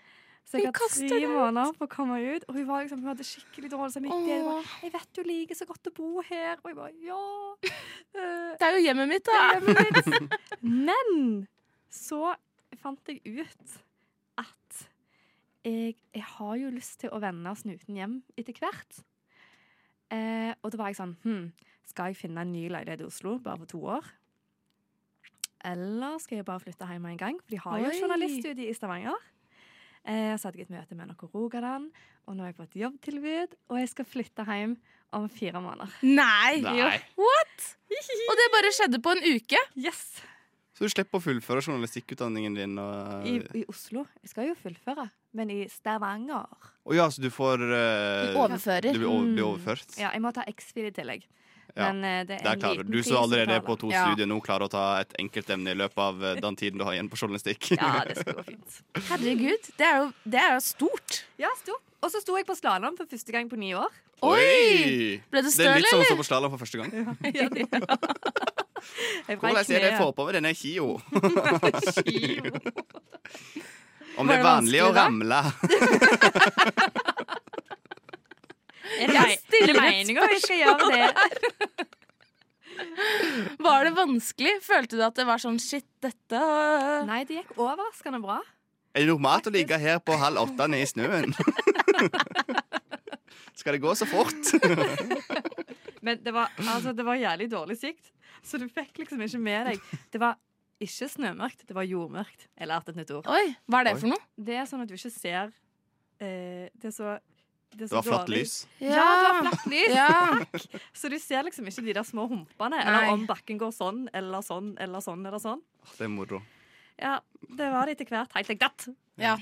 [SPEAKER 5] så jeg
[SPEAKER 4] hun
[SPEAKER 5] har
[SPEAKER 4] kaster
[SPEAKER 5] tre
[SPEAKER 4] det ut.
[SPEAKER 5] måneder på å komme ut. Og hun, var liksom, hun hadde skikkelig dårlig samvittighet. Hun var,
[SPEAKER 4] Åh,
[SPEAKER 5] jeg vet du liker så godt å bo her. Og jeg bare ja. eh,
[SPEAKER 4] det er jo hjemmet mitt,
[SPEAKER 5] det
[SPEAKER 4] da.
[SPEAKER 5] er hjemmet mitt. Men så fant jeg ut at jeg, jeg har jo lyst til å vende snuten hjem etter hvert. Eh, og da var jeg sånn hm, Skal jeg finne en ny leilighet i Oslo bare for to år? Eller skal jeg bare flytte hjem med en gang? For de har jo
[SPEAKER 4] Oi.
[SPEAKER 5] et journaliststudie i Stavanger. Eh, så hadde jeg et møte med NRK Rogaland, og nå har jeg fått jobbtilbud. Og jeg skal flytte hjem om fire måneder.
[SPEAKER 4] Nei.
[SPEAKER 3] Nei.
[SPEAKER 4] What? Og det bare skjedde på en uke?
[SPEAKER 5] Yes!
[SPEAKER 3] Så du slipper å fullføre journalistikkutdanningen din. Og,
[SPEAKER 5] I, I Oslo. Jeg skal jo fullføre, men i Stavanger.
[SPEAKER 3] Å ja, så du får eh,
[SPEAKER 4] Overfører.
[SPEAKER 3] Du blir, over, blir
[SPEAKER 5] Mm.
[SPEAKER 3] overført?
[SPEAKER 5] Ja, jeg må ta X-fil i tillegg.
[SPEAKER 3] Ja,
[SPEAKER 5] Men eh, det
[SPEAKER 3] Der
[SPEAKER 5] er en
[SPEAKER 3] klarer
[SPEAKER 5] liten
[SPEAKER 3] du. Du som
[SPEAKER 5] pris å
[SPEAKER 3] allerede er
[SPEAKER 5] betale.
[SPEAKER 3] på to
[SPEAKER 5] ja.
[SPEAKER 3] studier nå, klarer å ta et enkeltemne i løpet av eh, den tiden du har igjen på journalistikk.
[SPEAKER 5] Ja, det skal gå fint.
[SPEAKER 4] Herregud, det er jo, det er jo stort.
[SPEAKER 5] Ja, sto. Og så sto jeg på slalåm for første gang på ni år.
[SPEAKER 4] Oi! Ble
[SPEAKER 3] Det
[SPEAKER 4] du
[SPEAKER 3] er
[SPEAKER 4] støl,
[SPEAKER 3] litt som å
[SPEAKER 4] eller?
[SPEAKER 3] stå på slalåm for første gang.
[SPEAKER 5] Jeg
[SPEAKER 3] Hvordan
[SPEAKER 5] brant
[SPEAKER 3] er det jeg
[SPEAKER 5] kneet.
[SPEAKER 3] får på meg denne kio?
[SPEAKER 5] Kjiv.
[SPEAKER 3] Om
[SPEAKER 4] Var
[SPEAKER 3] det er
[SPEAKER 4] det
[SPEAKER 3] vanlig å
[SPEAKER 4] vanskelig da?
[SPEAKER 3] ramle?
[SPEAKER 5] Er det,
[SPEAKER 4] Jeg stiller
[SPEAKER 5] er det
[SPEAKER 4] et
[SPEAKER 5] meninga vi skal gjøre det?
[SPEAKER 4] Var det vanskelig? Følte du at det var sånn shit, dette øh,
[SPEAKER 5] Nei, det gikk overraskende bra.
[SPEAKER 3] Er det normalt å ligge her på halv åtte nede i snøen? Skal det gå så fort?
[SPEAKER 5] Men det var, altså, det var jævlig dårlig sikt, så du fikk liksom ikke med deg. Det var ikke snømørkt, det var jordmørkt. Jeg lærte et nytt ord.
[SPEAKER 4] Oi, hva er det
[SPEAKER 3] Oi.
[SPEAKER 4] for noe?
[SPEAKER 5] Det er sånn at du ikke ser eh, Det er så Det, er
[SPEAKER 3] Det
[SPEAKER 5] så
[SPEAKER 3] var flatt
[SPEAKER 5] dårlig.
[SPEAKER 3] lys.
[SPEAKER 5] Ja, det var flatt lys.
[SPEAKER 4] Ja.
[SPEAKER 5] Så du ser liksom ikke de der små humpene,
[SPEAKER 4] Nei.
[SPEAKER 5] eller om bakken går sånn eller sånn eller sånn. eller sånn.
[SPEAKER 3] Åh, Det er moro.
[SPEAKER 5] Ja, Det var det etter hvert. Helt like datt.
[SPEAKER 4] Ja.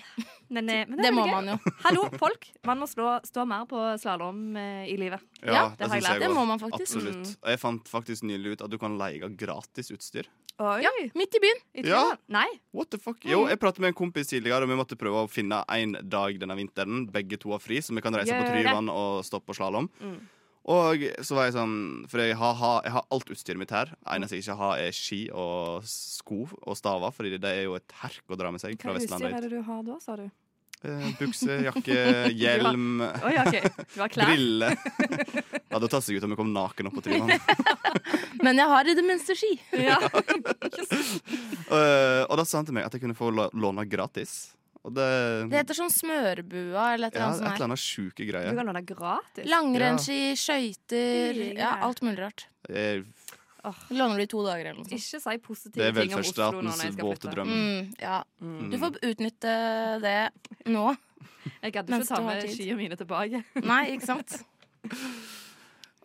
[SPEAKER 5] Men, eh, men det,
[SPEAKER 4] Det
[SPEAKER 5] er
[SPEAKER 4] må
[SPEAKER 5] veldig gøy.
[SPEAKER 4] man jo.
[SPEAKER 5] Hallo, folk. Man må slå, stå mer på slalåm eh, i livet.
[SPEAKER 4] Ja,
[SPEAKER 5] det har jeg
[SPEAKER 3] syns
[SPEAKER 5] lært.
[SPEAKER 4] Det
[SPEAKER 3] også.
[SPEAKER 4] må man faktisk. Mm.
[SPEAKER 3] Absolutt. Og jeg fant faktisk nylig ut at du kan leie gratis utstyr.
[SPEAKER 5] Oi.
[SPEAKER 4] Ja, midt i byen.
[SPEAKER 5] I
[SPEAKER 3] Ja.
[SPEAKER 5] Thailand? Nei.
[SPEAKER 3] What the fuck? Jo, jeg pratet med en kompis tidligere, og vi måtte prøve å finne en dag denne vinteren, begge to har fri, så vi kan reise på
[SPEAKER 5] Gjør det.
[SPEAKER 3] Tryvann og stoppe på slalåm.
[SPEAKER 5] Mm.
[SPEAKER 3] Og så var jeg sånn, for jeg har, ha- jeg har alt utstyret mitt her. Eneste jeg ikke har, er ski og sko og staver, fordi det er jo et herk å dra med seg fra
[SPEAKER 5] Hva utstyr
[SPEAKER 3] Vestlandet
[SPEAKER 5] er
[SPEAKER 3] ut.
[SPEAKER 5] det du har da, sa du?
[SPEAKER 3] Eh, Bukse, jakke, hjelm,
[SPEAKER 5] Oi, ok, Du har klær?
[SPEAKER 3] briller. Ja, det tatt seg ut om jeg kom naken opp på Tryvann.
[SPEAKER 4] Men jeg har i det minste ski.
[SPEAKER 5] Ja.
[SPEAKER 3] Eh, og da sa han til meg at jeg kunne få la- låne gratis. Og det,
[SPEAKER 4] Det heter sånn Smørbua eller et
[SPEAKER 3] ja, et
[SPEAKER 4] eller
[SPEAKER 3] eller
[SPEAKER 4] annet sånt.
[SPEAKER 3] annet sjuke
[SPEAKER 5] Du
[SPEAKER 3] greier.
[SPEAKER 5] kan låne gratis.
[SPEAKER 4] her. Langrennsski, skøyter,
[SPEAKER 5] Fy,
[SPEAKER 4] ja,
[SPEAKER 5] ja.
[SPEAKER 4] alt mulig rart.
[SPEAKER 3] Jeg
[SPEAKER 4] Låner du i to dager eller noe sånt.
[SPEAKER 5] Ikke si
[SPEAKER 3] Det
[SPEAKER 5] positive
[SPEAKER 3] er
[SPEAKER 5] ting om Oslo nå når jeg
[SPEAKER 3] velferdsstatens
[SPEAKER 5] skal
[SPEAKER 3] våte
[SPEAKER 5] flytte.
[SPEAKER 3] drøm.
[SPEAKER 4] Mm, ja.
[SPEAKER 5] Mm.
[SPEAKER 4] Du får utnytte det nå.
[SPEAKER 5] Jeg gadd ikke
[SPEAKER 4] Mens
[SPEAKER 5] ta
[SPEAKER 4] du har
[SPEAKER 5] med
[SPEAKER 4] tid.
[SPEAKER 5] skiene mine tilbake.
[SPEAKER 4] Nei, ikke sant?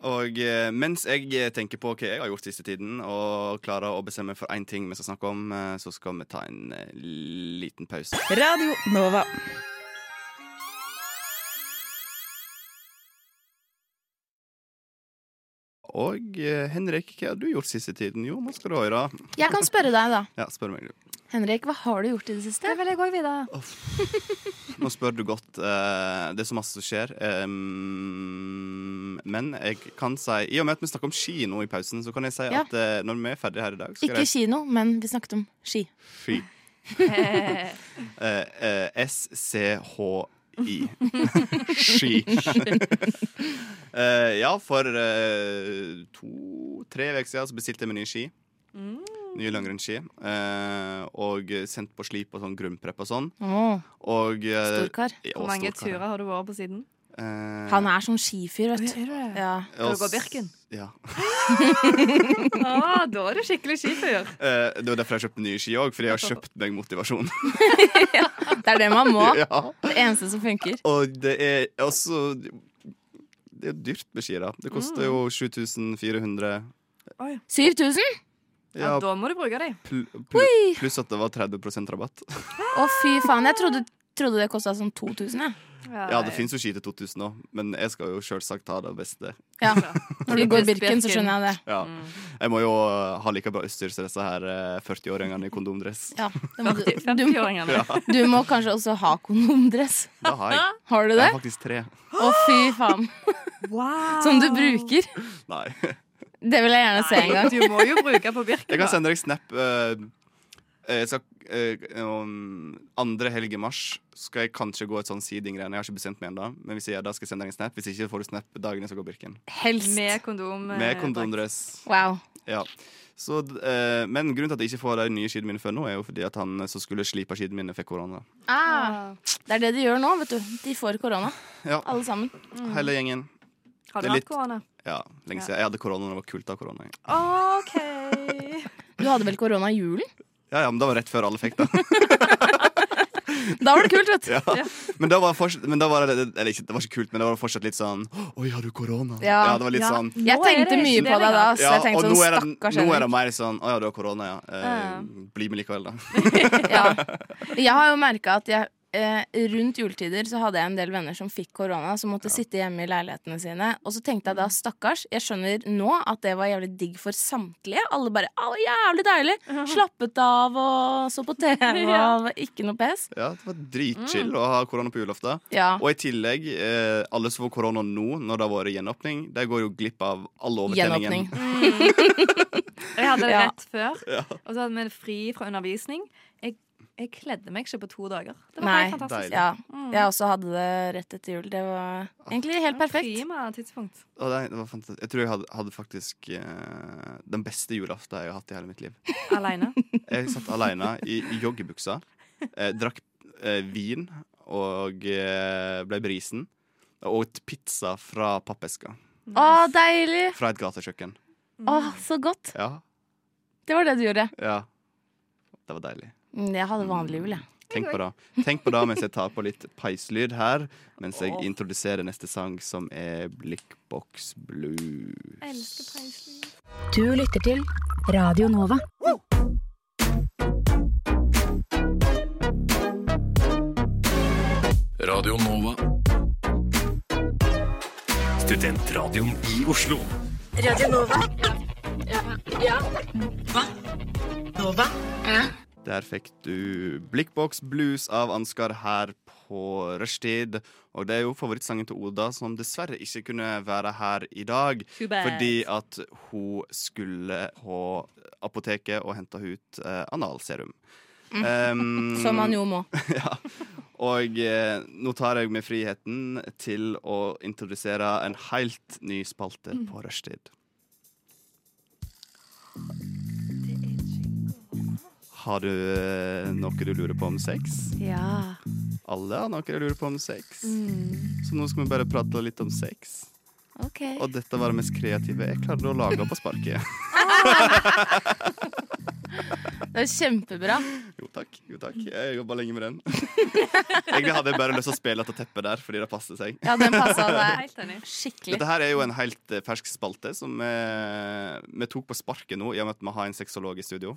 [SPEAKER 3] Og eh, mens jeg eh, tenker på hva jeg har gjort siste tiden, og klarer å bestemme for én ting vi skal snakke om, eh, så skal vi ta en eh, liten pause.
[SPEAKER 6] Radio Nova.
[SPEAKER 3] Og eh, Henrik, hva har du gjort siste tiden? Jo, nå skal du høre.
[SPEAKER 4] Jeg kan spørre deg, da.
[SPEAKER 3] Ja, spør meg, du.
[SPEAKER 4] Henrik, hva har du gjort i det siste?
[SPEAKER 5] vil jeg òg, Vida.
[SPEAKER 3] Nå spør du godt. eh, det er så masse som skjer. Eh, men jeg kan si I og med at vi snakker om kino i pausen, så kan jeg si
[SPEAKER 4] Ja.
[SPEAKER 3] at eh, når vi er ferdige her i dag, skal
[SPEAKER 4] Ikke kino, men vi snakket om ski.
[SPEAKER 3] jeg Fy. Eh, eh, S-C-H-I. Ski. Eh, ja, for eh, to-tre uker siden så bestilte jeg meg nye ski.
[SPEAKER 4] Mm.
[SPEAKER 3] Nye langrennsski. eh, og sendt på slip og sånn grunnprepp og sånn.
[SPEAKER 4] Åh,
[SPEAKER 3] Og eh,
[SPEAKER 4] Storkar.
[SPEAKER 3] ja, og
[SPEAKER 5] Hvor mange
[SPEAKER 3] storkar, ja.
[SPEAKER 5] turer har du vært på siden?
[SPEAKER 3] Eh,
[SPEAKER 4] Han er sånn skifyr, vet du.
[SPEAKER 5] det?
[SPEAKER 4] Ja.
[SPEAKER 5] Skal du
[SPEAKER 3] og
[SPEAKER 5] gå
[SPEAKER 3] s-
[SPEAKER 5] Birken?
[SPEAKER 3] Ja.
[SPEAKER 5] Ah, da er du skikkelig skifyr.
[SPEAKER 3] Eh, det var derfor jeg kjøpte nye ski òg, fordi jeg har kjøpt meg motivasjon.
[SPEAKER 4] Det er det man må.
[SPEAKER 3] ja.
[SPEAKER 4] Det eneste som funker.
[SPEAKER 3] Og det er også Det er jo dyrt med ski, da. Det koster jo 7400
[SPEAKER 4] 7000?
[SPEAKER 5] Ja,
[SPEAKER 3] ja,
[SPEAKER 5] da må du bruke dem.
[SPEAKER 3] pl pl Pluss at det var 30 rabatt.
[SPEAKER 4] Å, fy faen. Jeg trodde, trodde det kosta sånn 2000, jeg.
[SPEAKER 3] Ja, det fins jo ski til 2000 òg, men jeg skal jo selvsagt ta det beste.
[SPEAKER 4] Ja.
[SPEAKER 5] Bra.
[SPEAKER 4] Når du går Birken, så skjønner jeg det.
[SPEAKER 3] Ja. Jeg må jo eh, ha like bra utstyr som disse her eh, 40-åringene i kondomdress.
[SPEAKER 4] Ja, det må du. Du,
[SPEAKER 5] 50-åringene.
[SPEAKER 4] du må kanskje også ha kondomdress.
[SPEAKER 3] Det har jeg.
[SPEAKER 4] Har du
[SPEAKER 3] Jeg
[SPEAKER 4] det?
[SPEAKER 3] har faktisk tre.
[SPEAKER 4] Å, fy faen.
[SPEAKER 5] Wow.
[SPEAKER 4] Som du bruker.
[SPEAKER 3] Nei.
[SPEAKER 4] Det vil jeg gjerne se en gang.
[SPEAKER 5] Du må jo bruke på Birken.
[SPEAKER 3] Jeg
[SPEAKER 5] da.
[SPEAKER 3] kan sende deg snap. eh, eh, jeg skal, eh, om andre helg i mars skal jeg kanskje gå et sånn seeding-greier. Jeg har ikke bestemt meg ennå, men hvis jeg gjør det, skal jeg sende deg en snap. Hvis ikke får du snap dagen jeg skal gå Birken.
[SPEAKER 4] Helst.
[SPEAKER 5] Med kondom. eh,
[SPEAKER 3] Med kondomdress.
[SPEAKER 4] Wow.
[SPEAKER 3] Ja. Så, d- eh, men grunnen til at jeg ikke får de nye skiene mine før nå, er jo fordi at han eh, som skulle slipe skiene mine, fikk korona.
[SPEAKER 4] Ah, det er det de gjør nå, vet du. De får korona,
[SPEAKER 3] Ja,
[SPEAKER 4] alle sammen.
[SPEAKER 3] hele gjengen.
[SPEAKER 5] bak. Har
[SPEAKER 3] det
[SPEAKER 5] du
[SPEAKER 3] er litt-
[SPEAKER 5] hatt korona?
[SPEAKER 3] Ja, lenge
[SPEAKER 5] Ja.
[SPEAKER 3] siden. Jeg hadde korona da det var kult å ha korona. jeg.
[SPEAKER 5] OK.
[SPEAKER 4] Du hadde vel korona i julen?
[SPEAKER 3] Ja, ja, men det var rett før alle fikk det.
[SPEAKER 4] Da var det kult, vet du.
[SPEAKER 3] Ja. Men da var, fortsatt, men da var det Eller ikke, det var ikke kult, men det var fortsatt litt sånn Oi, har du korona?
[SPEAKER 4] Ja.
[SPEAKER 3] det var litt
[SPEAKER 5] Ja.
[SPEAKER 3] sånn
[SPEAKER 4] Jeg
[SPEAKER 5] Nå er
[SPEAKER 4] tenkte
[SPEAKER 5] det
[SPEAKER 4] mye
[SPEAKER 5] ikke det
[SPEAKER 4] på det da.
[SPEAKER 5] lenger.
[SPEAKER 4] Så
[SPEAKER 3] ja,
[SPEAKER 4] jeg
[SPEAKER 3] og
[SPEAKER 4] tenkte
[SPEAKER 3] nå er,
[SPEAKER 4] sånn,
[SPEAKER 3] det,
[SPEAKER 4] stakkars
[SPEAKER 3] nå er det
[SPEAKER 4] Henrik.
[SPEAKER 3] mer sånn Å ja, du har korona, ja. Eh,
[SPEAKER 5] Ja.
[SPEAKER 3] Bli med likevel, da.
[SPEAKER 4] Ja. Jeg har jo merka at jeg eh, rundt juletider så hadde jeg en del venner som fikk korona, som måtte sitte hjemme i leilighetene sine. Og så tenkte jeg da, stakkars, jeg skjønner nå at det var jævlig digg for samtlige. Alle bare Å, jævlig deilig!
[SPEAKER 5] Mm.
[SPEAKER 4] Slappet av og så på TV og ikke noe pes.
[SPEAKER 3] Ja, det var dritchill
[SPEAKER 4] Mm.
[SPEAKER 3] å ha korona på julaften.
[SPEAKER 4] Ja.
[SPEAKER 3] Og i tillegg, eh, alle som får korona nå, når det har vært gjenåpning, de går jo glipp av all overtenningen.
[SPEAKER 4] Gjenåpning.
[SPEAKER 5] Jeg hadde det
[SPEAKER 4] Ja.
[SPEAKER 5] rett før, og så hadde vi fri fra undervisning. Jeg, jeg kledde meg ikke på to dager. Det var
[SPEAKER 4] Nei.
[SPEAKER 5] helt fantastisk.
[SPEAKER 3] Deilig.
[SPEAKER 4] Ja. Jeg også hadde det rett etter jul. Det var egentlig helt perfekt.
[SPEAKER 5] Prima tidspunkt.
[SPEAKER 3] Og det, det var fantastisk. Jeg tror jeg hadde, hadde faktisk eh, den beste julaften jeg har hatt i hele mitt liv.
[SPEAKER 5] Aleine.
[SPEAKER 3] Jeg satt alene i i joggebuksa, eh, drakk eh, vin og eh, ble brisen. Og åt pizza fra pappeska.
[SPEAKER 4] Å, deilig!
[SPEAKER 3] Fra et gatekjøkken.
[SPEAKER 4] Å, så godt.
[SPEAKER 3] Ja,
[SPEAKER 4] Det var det du gjorde.
[SPEAKER 3] ja. Det var deilig.
[SPEAKER 4] Mm, Jeg hadde vanlig jul, jeg.
[SPEAKER 3] Tenk på det. Tenk på det mens jeg tar på litt peislyd her, mens jeg introduserer neste sang, som er Blikkboks Blues.
[SPEAKER 5] Elsker peislyd.
[SPEAKER 7] Du lytter til Radio Nova.
[SPEAKER 8] Radio Nova.
[SPEAKER 1] Studentradioen i Oslo.
[SPEAKER 3] Der fikk du Blikkboks Blues av Ansgar her på rushtid. Og det er jo favorittsangen til Oda, som dessverre ikke kunne være her i dag.
[SPEAKER 5] Too bad.
[SPEAKER 3] Fordi at hun skulle på apoteket og hente ut eh, analserum. Um,
[SPEAKER 4] Som man jo må.
[SPEAKER 3] ja. Og eh, nå tar jeg meg friheten til å introdusere en helt ny spalte på rushtid. Har du eh, noe du lurer på om sex?
[SPEAKER 5] Ja.
[SPEAKER 3] Alle har noe de lurer på om sex. Så nå skal vi bare prate litt om sex.
[SPEAKER 5] OK.
[SPEAKER 3] Og dette var det mest kreative jeg klarte å lage på sparket.
[SPEAKER 4] Det er kjempebra.
[SPEAKER 3] Jo takk. jo takk Jeg jobba lenge med den. Egentlig hadde jeg bare lyst til å spille etter teppet der, fordi det passer seg.
[SPEAKER 4] Ja, den passa deg
[SPEAKER 5] Helt enig.
[SPEAKER 4] skikkelig.
[SPEAKER 3] Dette her er jo en helt eh, fersk spalte som eh, vi tok på sparket nå, i og med at vi har en sexolog i studio.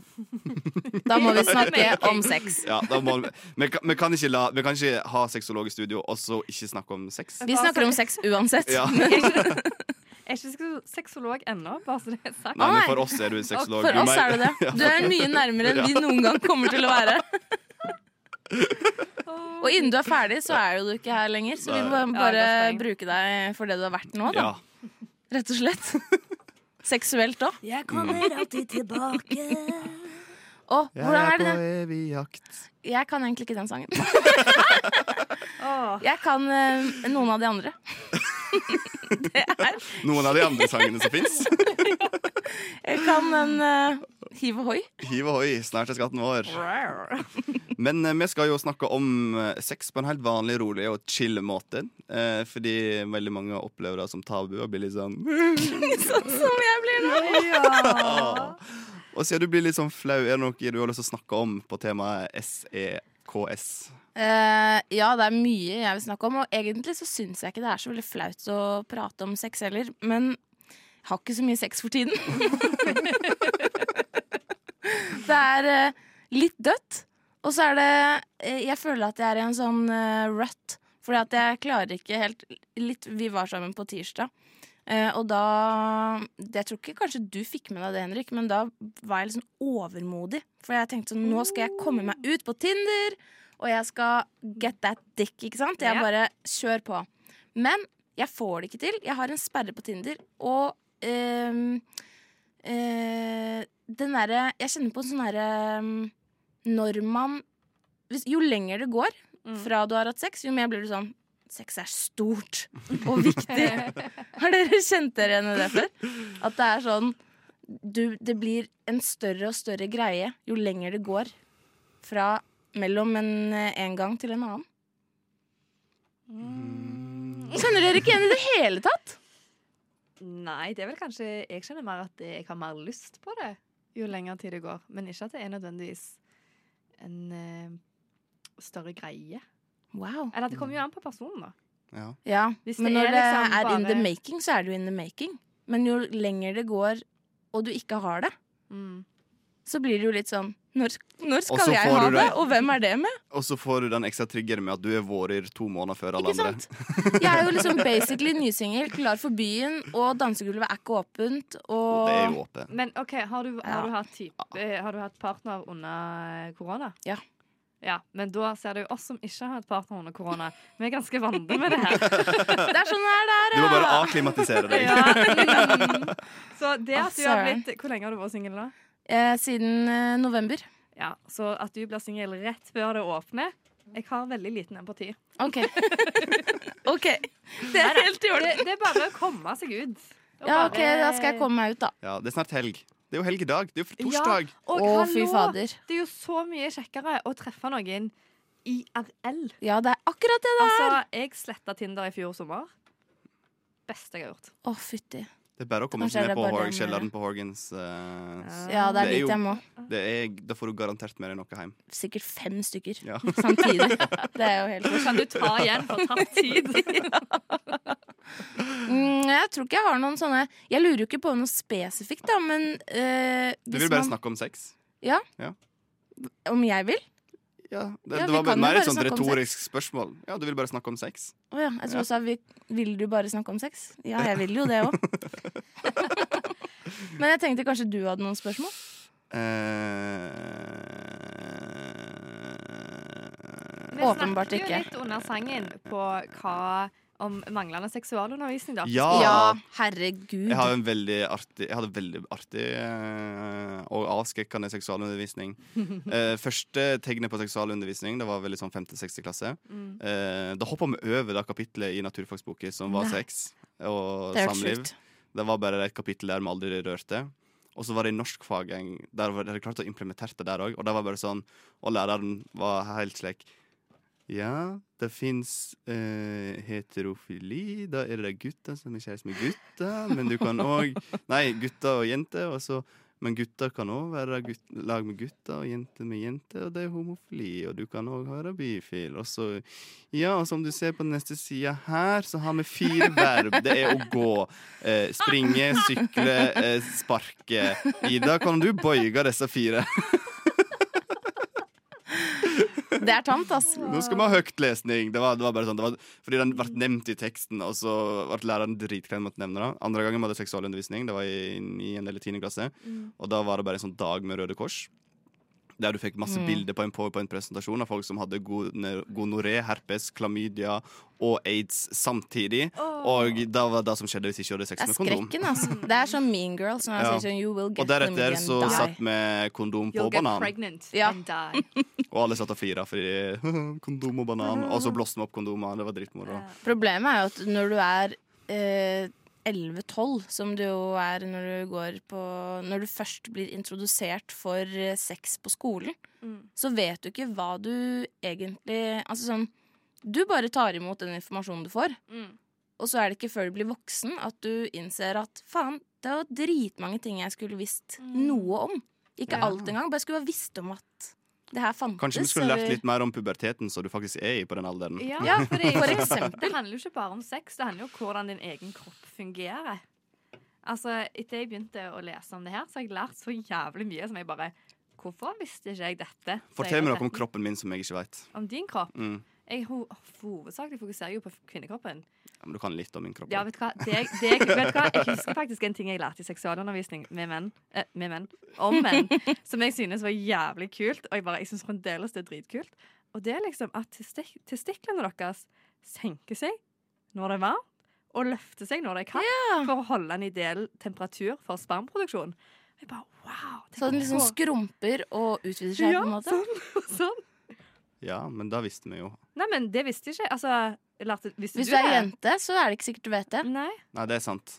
[SPEAKER 4] Da må vi snakke om sex.
[SPEAKER 3] Ja, da må, vi, vi, kan, vi, kan ikke la, vi kan ikke ha sexolog i studio og så ikke snakke om sex.
[SPEAKER 4] Vi snakker om sex uansett.
[SPEAKER 3] Ja.
[SPEAKER 5] Jeg er ikke sexolog ennå, bare så det er sagt.
[SPEAKER 3] Nei, men For oss er du en sexolog.
[SPEAKER 4] For
[SPEAKER 3] Du
[SPEAKER 4] oss
[SPEAKER 3] mer-
[SPEAKER 4] er du det. Du er mye nærmere enn vi noen gang kommer til å være. Og innen du er ferdig, så er jo du ikke her lenger. Så vi må
[SPEAKER 3] Nei.
[SPEAKER 4] bare
[SPEAKER 5] Ja, godt poeng.
[SPEAKER 4] bruke deg for det du har vært nå, da.
[SPEAKER 3] Ja.
[SPEAKER 4] Rett og slett. Seksuelt òg.
[SPEAKER 7] Jeg kommer alltid tilbake.
[SPEAKER 4] Og hvordan
[SPEAKER 3] Jeg
[SPEAKER 4] er
[SPEAKER 3] er
[SPEAKER 4] det
[SPEAKER 3] på
[SPEAKER 4] den?
[SPEAKER 3] evig jakt.
[SPEAKER 4] Jeg kan egentlig ikke den sangen.
[SPEAKER 5] Åh.
[SPEAKER 4] Jeg kan eh, noen av de andre. Det er
[SPEAKER 3] Noen av de andre sangene som fins.
[SPEAKER 4] Jeg kan en eh, hiv og hoi.
[SPEAKER 3] Hiv ohoi, snart er skatten vår. Men eh, vi skal jo snakke om eh, sex på en helt vanlig, rolig og chill måte. Eh, fordi veldig mange opplever det som tabu og blir litt sånn
[SPEAKER 4] Sånn som jeg blir nå.
[SPEAKER 5] Ja.
[SPEAKER 3] Og siden du blir litt sånn flau, er det noe du har lyst til å snakke om på temaet E SEKS?
[SPEAKER 4] Eh, ja, det er mye jeg vil snakke om, og egentlig så syns jeg ikke det er så veldig flaut å prate om sex heller, men jeg har ikke så mye sex for tiden. det er eh, litt dødt, og så er det eh, Jeg føler at jeg er i en sånn eh, rut, fordi at jeg klarer ikke helt litt, Vi var sammen på tirsdag. eh, og da Jeg tror ikke kanskje du fikk med deg det, Henrik, men da var jeg litt sånn overmodig. For jeg tenkte sånn Nå skal jeg komme meg ut på Tinder, og jeg skal get that dick, ikke sant? Jeg
[SPEAKER 5] Ja.
[SPEAKER 4] bare kjør på. Men jeg får det ikke til. Jeg har en sperre på Tinder, og ehm, eh, den derre Jeg kjenner på en sånn derre ehm, Når man hvis, Jo lenger det går fra du har hatt sex, jo mer blir du sånn Sex er stort og viktig. har dere kjent dere igjen i det før? At det er sånn du, Det blir en større og større greie jo lenger det går fra mellom en, eh, en gang til en annen.
[SPEAKER 5] Mm.
[SPEAKER 4] Kjenner dere ikke igjen i det hele tatt?
[SPEAKER 5] Nei, det er vel kanskje Jeg kjenner mer at jeg har mer lyst på det jo lenger tid det går. Men ikke at det er nødvendigvis en eh, større greie.
[SPEAKER 4] Wow.
[SPEAKER 5] Eller det kommer jo an på personen, da.
[SPEAKER 3] Ja.
[SPEAKER 4] Ja,
[SPEAKER 5] Hvis
[SPEAKER 4] men
[SPEAKER 5] det
[SPEAKER 4] når
[SPEAKER 5] er
[SPEAKER 4] det
[SPEAKER 5] liksom
[SPEAKER 4] er in the
[SPEAKER 5] bare-
[SPEAKER 4] making,
[SPEAKER 5] Mm.
[SPEAKER 4] så er det jo in the making. Men jo lenger det går, og du ikke har det, så blir det jo litt sånn Når, når
[SPEAKER 3] Og så
[SPEAKER 4] skal jeg
[SPEAKER 3] får
[SPEAKER 4] ha
[SPEAKER 3] du
[SPEAKER 4] det,
[SPEAKER 3] det-
[SPEAKER 4] og hvem er det med?
[SPEAKER 3] Og så får du den ekstra triggeren med at du er vårer to måneder før alle
[SPEAKER 4] Ikke
[SPEAKER 3] andre.
[SPEAKER 4] sant? Jeg er jo liksom basically nysingel, klar for byen, og dansegulvet er ikke åpent. Og
[SPEAKER 3] Det er jo åpent.
[SPEAKER 5] Men ok, har du, har
[SPEAKER 4] Ja.
[SPEAKER 5] du, hatt, type, eh, har du hatt partner under eh, korona?
[SPEAKER 4] Ja.
[SPEAKER 5] Ja, Men da ser det jo oss som ikke har hatt partner under korona. Vi er ganske vante med det her.
[SPEAKER 4] det er sånn det er der,
[SPEAKER 3] Du må bare akklimatisere deg.
[SPEAKER 5] Ja. Mm. Så det
[SPEAKER 4] Å,
[SPEAKER 5] at du har
[SPEAKER 4] søren.
[SPEAKER 5] blitt Hvor lenge har du vært singel nå?
[SPEAKER 4] Eh, siden eh, november.
[SPEAKER 5] Ja, Så at du blir singel rett før det åpner Jeg har veldig liten empati.
[SPEAKER 4] OK. ok, Det er helt i
[SPEAKER 5] Det,
[SPEAKER 4] orden.
[SPEAKER 5] det er bare å komme seg ut. Og
[SPEAKER 4] Ja,
[SPEAKER 5] bare-
[SPEAKER 4] OK, da skal jeg komme meg ut, da.
[SPEAKER 3] Ja, det er snart helg. Det er jo helg i dag. Det er jo torsdag.
[SPEAKER 5] Og
[SPEAKER 4] Å, fy
[SPEAKER 5] hallo,
[SPEAKER 4] fader.
[SPEAKER 5] Det er jo så mye kjekkere å treffe noen IRL.
[SPEAKER 4] Ja, det er akkurat det det er.
[SPEAKER 5] Altså, jeg sletta Tinder i fjor sommer. Beste jeg har gjort.
[SPEAKER 4] Å, fytti.
[SPEAKER 3] Det er bare å komme
[SPEAKER 4] Kanskje
[SPEAKER 3] seg
[SPEAKER 4] er
[SPEAKER 3] ned
[SPEAKER 4] det
[SPEAKER 3] på
[SPEAKER 4] bare
[SPEAKER 3] Hor-
[SPEAKER 4] det med-
[SPEAKER 3] kjelleren på Horgans. eh,
[SPEAKER 4] Ja,
[SPEAKER 3] Det er
[SPEAKER 4] det er dit
[SPEAKER 3] jo-
[SPEAKER 4] jeg må.
[SPEAKER 3] det er, da får du garantert med deg noe hjem.
[SPEAKER 4] Sikkert fem stykker
[SPEAKER 3] Ja.
[SPEAKER 4] samtidig. Det er jo helt
[SPEAKER 5] Kan du ta igjen for tatt tid?
[SPEAKER 4] Mm, jeg tror ikke jeg har noen sånne Jeg lurer jo ikke på noe spesifikt, da, men eh,
[SPEAKER 3] Du
[SPEAKER 4] hvis
[SPEAKER 3] vil bare
[SPEAKER 4] man-
[SPEAKER 3] snakke om sex?
[SPEAKER 4] Om jeg vil?
[SPEAKER 3] Ja, det,
[SPEAKER 4] Ja,
[SPEAKER 3] det
[SPEAKER 4] vi
[SPEAKER 3] var
[SPEAKER 4] kan jo
[SPEAKER 3] mer
[SPEAKER 4] bare
[SPEAKER 3] et sånt
[SPEAKER 4] snakke om
[SPEAKER 3] retorisk spørsmål. Ja, du vil bare snakke om sex?
[SPEAKER 4] Å ja. Jeg tror også jeg vil, vil du bare snakke om sex? Ja, jeg vil jo det òg. men jeg tenkte kanskje du hadde noen spørsmål?
[SPEAKER 3] Eh,
[SPEAKER 4] Åpenbart ikke.
[SPEAKER 5] Vi snakket jo litt under sangen på hva om manglende seksualundervisning. da.
[SPEAKER 3] Ja.
[SPEAKER 4] Ja,
[SPEAKER 3] Ah.
[SPEAKER 4] herregud.
[SPEAKER 3] Jeg har en veldig artig Jeg hadde en veldig artig eh, og avskrekkende seksualundervisning. Eh, første tegnet på seksualundervisning Det var vel i sånn 5.-6. klasse.
[SPEAKER 4] Mm.
[SPEAKER 3] Eh, da hoppa vi over det kapitlet i naturfagsboka som var
[SPEAKER 4] Nei.
[SPEAKER 3] sex og
[SPEAKER 4] Det er helt
[SPEAKER 3] samliv.
[SPEAKER 4] sjukt.
[SPEAKER 3] Det var bare et kapittel der vi aldri rørte. Og så var det i norskfag en- der var det klart å implementere det der òg. Og det var bare sånn Og læreren var helt slik Ja, det fins eh, heterofili. Da er det gutter som er kjæreste med gutter. Men du kan òg Nei, gutter og jenter. Og så men gutter kan òg være gutt, lag med gutter og jenter med jenter, og det er homofili. Og du kan òg være bifil. Og så Ja, og som du ser på neste side her, så har vi fire verb. Det er å gå, eh, springe, sykle, eh, sparke. Ida, kan du bøye disse fire?
[SPEAKER 4] Det er tamt, ass.
[SPEAKER 3] Nå skal vi ha høytlesning. Det var, det var bare sånn, det var, fordi den ble nevnt i teksten, og så ble læreren dritklein med å nevne det. Andre gangen vi hadde seksualundervisning, det var i niende eller tiende klasse, og da var det bare en sånn dag med Røde Kors. Der du fikk masse bilder på en PowerPoint-presentasjon av folk som hadde gone- gonoré, herpes, klamydia og aids samtidig. Og det var det som skjedde hvis ikke du hadde
[SPEAKER 4] Det
[SPEAKER 3] sex
[SPEAKER 4] er
[SPEAKER 3] med kondom.
[SPEAKER 4] skrekken, altså. Det er sånn Mean Girls når han
[SPEAKER 3] Ja.
[SPEAKER 4] sier sånn You will get
[SPEAKER 3] Og
[SPEAKER 4] them
[SPEAKER 3] deretter
[SPEAKER 4] again.
[SPEAKER 3] så
[SPEAKER 4] die.
[SPEAKER 3] satt vi kondom på
[SPEAKER 5] You'll get
[SPEAKER 3] banan.
[SPEAKER 5] pregnant
[SPEAKER 4] Ja.
[SPEAKER 5] and die.
[SPEAKER 3] Og alle satt og fira fordi kondom og banan. Og så blåste vi opp kondomer. Det var dritmoro.
[SPEAKER 4] Problemet er jo at når du er eh, 11-12, som du jo er når du går på Når du først blir introdusert for eh, sex på skolen,
[SPEAKER 5] Mm.
[SPEAKER 4] så vet du ikke hva du egentlig Altså sånn Du bare tar imot den informasjonen du får,
[SPEAKER 5] Mm.
[SPEAKER 4] og så er det ikke før du blir voksen at du innser at faen, det var dritmange ting jeg skulle visst noe om. Ikke
[SPEAKER 3] Mm. Ja.
[SPEAKER 4] alt engang, bare jeg skulle ha visst om at det her fantes.
[SPEAKER 3] Kanskje vi skulle lært
[SPEAKER 4] eller-
[SPEAKER 3] litt mer om puberteten, så du faktisk er i på den alderen.
[SPEAKER 5] Ja,
[SPEAKER 4] Ja,
[SPEAKER 5] for det, er
[SPEAKER 4] for
[SPEAKER 5] jo-
[SPEAKER 4] eksempel.
[SPEAKER 5] det handler jo ikke bare om sex, det handler jo om hvordan din egen kropp fungerer. Altså, Etter jeg begynte å lese om det her, så har jeg lært så jævlig mye som jeg bare Hvorfor visste ikke jeg dette? Så
[SPEAKER 3] Fortell
[SPEAKER 5] jeg
[SPEAKER 3] meg
[SPEAKER 5] har
[SPEAKER 3] noe om
[SPEAKER 5] sett-
[SPEAKER 3] kroppen min som jeg ikke veit.
[SPEAKER 5] Om din kropp?
[SPEAKER 3] Mm.
[SPEAKER 5] Jeg ho hovedsakelig fokuserer jo på kvinnekroppen.
[SPEAKER 3] Ja, men du kan litt om min kropp.
[SPEAKER 5] Ja, vet du hva? Det, det, vet du hva? Jeg husker faktisk en ting jeg lærte i seksualundervisning med menn, eh, med menn om menn, som jeg synes var jævlig kult. Og jeg, bare, jeg synes fremdeles det er dritkult. Og det er liksom at testik testiklene deres senker seg når det er varmt, og løfter seg når det er kaldt, for å holde en ideell temperatur for spermproduksjon. Og Jeg bare, wow! tenk
[SPEAKER 4] Så den liksom
[SPEAKER 5] på-
[SPEAKER 4] skrumper og utvider seg
[SPEAKER 5] Ja,
[SPEAKER 4] på en måte?
[SPEAKER 5] sånn, sånn.
[SPEAKER 3] Ja, men da visste vi jo.
[SPEAKER 5] Nei, men det visste jeg ikke. Altså, lærte, visste
[SPEAKER 4] Hvis
[SPEAKER 5] du
[SPEAKER 4] du er
[SPEAKER 5] det?
[SPEAKER 4] jente, så er det ikke sikkert du vet det.
[SPEAKER 5] Nei.
[SPEAKER 3] Nei, det er sant.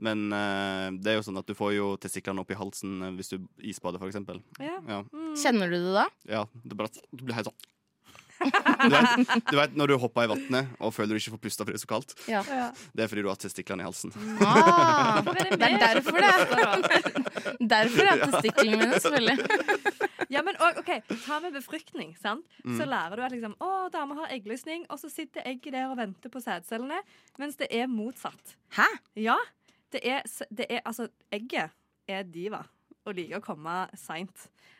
[SPEAKER 3] Men eh, det er jo sånn at du får jo testiklene opp i halsen eh, hvis du isbader, for eksempel.
[SPEAKER 5] Ja.
[SPEAKER 3] Ja,
[SPEAKER 5] Mm.
[SPEAKER 4] Kjenner du det da?
[SPEAKER 3] ja det er bare at du blir helt sånn. Du vet, du vet når du hopper i vannet og føler du ikke får pusta fordi det er så kaldt?
[SPEAKER 4] Ja.
[SPEAKER 5] Ja.
[SPEAKER 3] Det er fordi du har testiklene i halsen.
[SPEAKER 4] Ah,
[SPEAKER 5] Hvorfor er det
[SPEAKER 4] det er
[SPEAKER 5] meg som
[SPEAKER 4] derfor det.
[SPEAKER 5] får det?
[SPEAKER 4] Derfor er testiklene mine, selvfølgelig.
[SPEAKER 5] Ja, men og, ok, Ta med befruktning. sant? Så
[SPEAKER 3] Mm.
[SPEAKER 5] lærer du at liksom, å, damer har eggløsning, og så sitter egget der og venter på sædcellene. Mens det er motsatt.
[SPEAKER 4] Hæ?
[SPEAKER 5] Ja, det er, s- det er Altså, egget er diva. Og og liker å komme seint.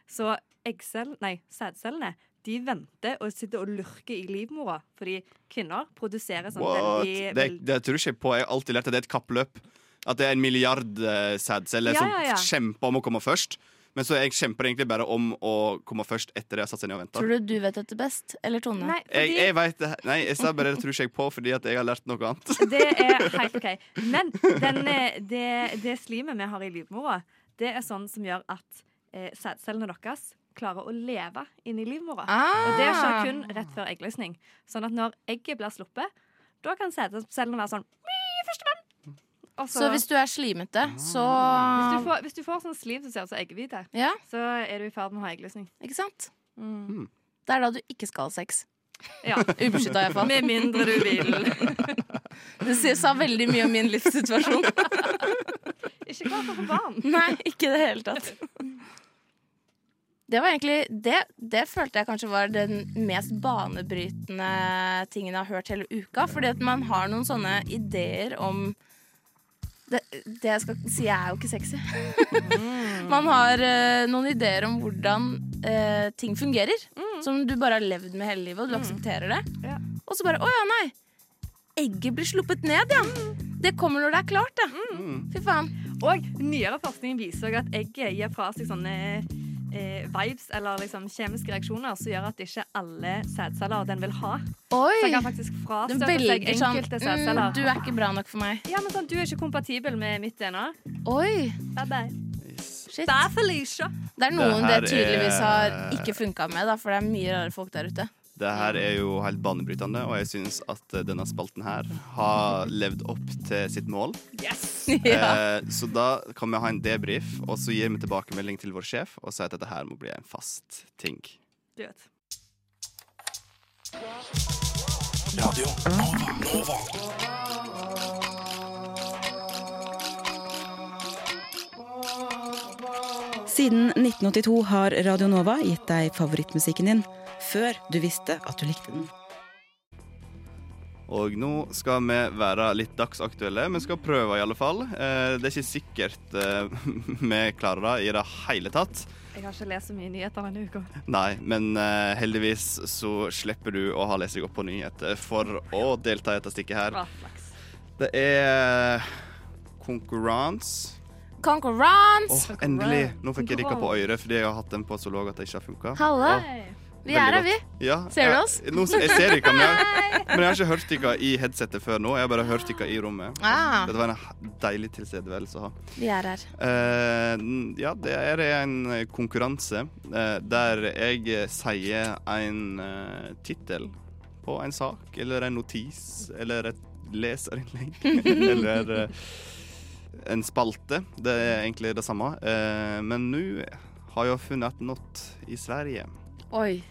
[SPEAKER 5] Så eggcell, nei, sædcellene de venter og sitter og lurker i livmora, fordi kvinner produserer sånn
[SPEAKER 3] What?
[SPEAKER 5] veldig
[SPEAKER 3] Det, det tror ikke jeg på. Jeg har alltid lært at det er et kappløp. At det er en milliard eh, sædceller
[SPEAKER 5] Ja, ja, ja.
[SPEAKER 3] som kjemper om å komme først. Men så jeg kjemper egentlig bare om å komme først etter det jeg har satt seg ned og venta.
[SPEAKER 4] Tror du du vet dette best? Eller Tone?
[SPEAKER 5] Nei,
[SPEAKER 3] Jeg,
[SPEAKER 5] fordi-
[SPEAKER 3] jeg vet, det- nei, jeg sa bare det tror ikke jeg på fordi at jeg har lært noe annet.
[SPEAKER 5] Det er helt OK. Men den, eh, det, det slimet vi har i livmora, det er sånn som gjør at eh, sædcellene deres klarer å leve inni livmora.
[SPEAKER 4] Ah.
[SPEAKER 5] Og det skjer kun rett før eggløsning. Sånn at når egget blir sluppet, da kan sædcellene være sånn «Mi, Førstemann! Og
[SPEAKER 4] Så hvis du er slimete, så
[SPEAKER 5] hvis du får, hvis du får sånn slim som ser ut som eggehvite,
[SPEAKER 4] Ja,
[SPEAKER 5] så er du i ferd med å ha eggløsning.
[SPEAKER 4] ikke sant?
[SPEAKER 5] Mm.
[SPEAKER 4] Det er da du ikke skal ha sex.
[SPEAKER 5] Ja.
[SPEAKER 4] Ubeskytta, iallfall.
[SPEAKER 5] Med mindre du vil.
[SPEAKER 4] Det sier- sa veldig mye om min livssituasjon.
[SPEAKER 5] Ikke klar for å få barn.
[SPEAKER 4] Nei, ikke i det hele tatt. Det var egentlig det, det følte jeg kanskje var den mest banebrytende tingen jeg har hørt hele uka. Fordi at man har noen sånne ideer om Det, det jeg skal si, er jo ikke sexy. man har eh, noen ideer om hvordan eh, ting fungerer. Som du bare har levd med hele livet, og du aksepterer det.
[SPEAKER 5] Ja.
[SPEAKER 4] Og så bare Å ja, nei. Egget blir sluppet ned, ja. Det kommer når det er klart, ja. Fy faen.
[SPEAKER 5] Og nyere forskning viser også at egget gir fra seg sånne eh, vibes, eller liksom kjemiske reaksjoner, som gjør at ikke alle sædceller den vil ha.
[SPEAKER 4] Oi.
[SPEAKER 5] Så den kan faktisk
[SPEAKER 4] Den
[SPEAKER 5] frastøte seg
[SPEAKER 4] velger sånn
[SPEAKER 5] enkelte sædceller.
[SPEAKER 4] mm, Du er ikke bra nok for meg.
[SPEAKER 5] Ja, men sånn, du er ikke kompatibel med mitt DNA.
[SPEAKER 4] Oi,
[SPEAKER 5] Bye bye.
[SPEAKER 4] shit.
[SPEAKER 5] Bye, Felicia.
[SPEAKER 4] Det er noen det,
[SPEAKER 3] Det her
[SPEAKER 4] tydeligvis
[SPEAKER 3] er-
[SPEAKER 4] har ikke funka med, da, for det er mye rare folk der ute.
[SPEAKER 3] Det her er jo helt banebrytende, og jeg syns at eh, denne spalten her har levd opp til sitt mål.
[SPEAKER 4] ja.
[SPEAKER 3] Eh, så da kan vi ha en debrief, og så gir vi tilbakemelding til vår sjef og sier at dette her må bli en fast ting.
[SPEAKER 5] Du vet.
[SPEAKER 6] Siden 1982 har Radio Nova gitt deg favorittmusikken din før du visste at du likte den.
[SPEAKER 3] Og nå skal vi være litt dagsaktuelle. Vi skal prøve, i alle fall. Eh, det er ikke sikkert eh, vi klarer det i det hele tatt.
[SPEAKER 5] Jeg har ikke lest så mye nyheter denne uka.
[SPEAKER 3] Nei, men eh, heldigvis så slipper du å ha lest deg opp på nyheter for å delta i dette stikket her.
[SPEAKER 5] Bra flaks.
[SPEAKER 3] Det er konkurranse.
[SPEAKER 4] Konkurranse!
[SPEAKER 3] Åh, endelig! Nå fikk jeg rikka på øret fordi jeg har hatt den på så lav at det ikke har funka.
[SPEAKER 4] Halla.
[SPEAKER 5] Hei.
[SPEAKER 4] Vi er her, vi.
[SPEAKER 3] Ja,
[SPEAKER 4] Ser du
[SPEAKER 3] jeg-
[SPEAKER 4] oss?
[SPEAKER 3] Nå, jeg ser dere, men jeg, men jeg har ikke hørt dere i headsetet før nå. Jeg har bare hørt dere i rommet.
[SPEAKER 4] Ah,
[SPEAKER 3] Dette var en deilig tilstedeværelse å ha.
[SPEAKER 4] vi er her.
[SPEAKER 3] Eh, n- ja, det er en konkurranse eh, der jeg eh, sier en uh, tittel på en sak, eller en notis, eller et leserinnlegg, eller eh, en spalte. Det er egentlig det samme. Eh, men nå har jeg funnet noe i Sverige.
[SPEAKER 4] Oi.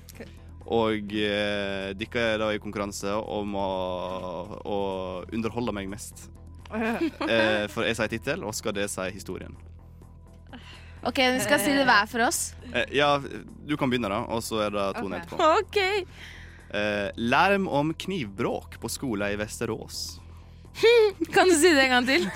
[SPEAKER 3] Og uh, dere er da i konkurranse om å, å underholde meg mest. Eh, for jeg sier tittel, og skal det si historien.
[SPEAKER 4] OK, vi skal si det hver for oss.
[SPEAKER 3] Eh, ja, du kan begynne, da, og så er det Tone
[SPEAKER 5] Ok.
[SPEAKER 3] etterpå.
[SPEAKER 4] OK.
[SPEAKER 3] Eh, larm om knivbråk på skolen i Västerås.
[SPEAKER 4] Kan du si det en gang til?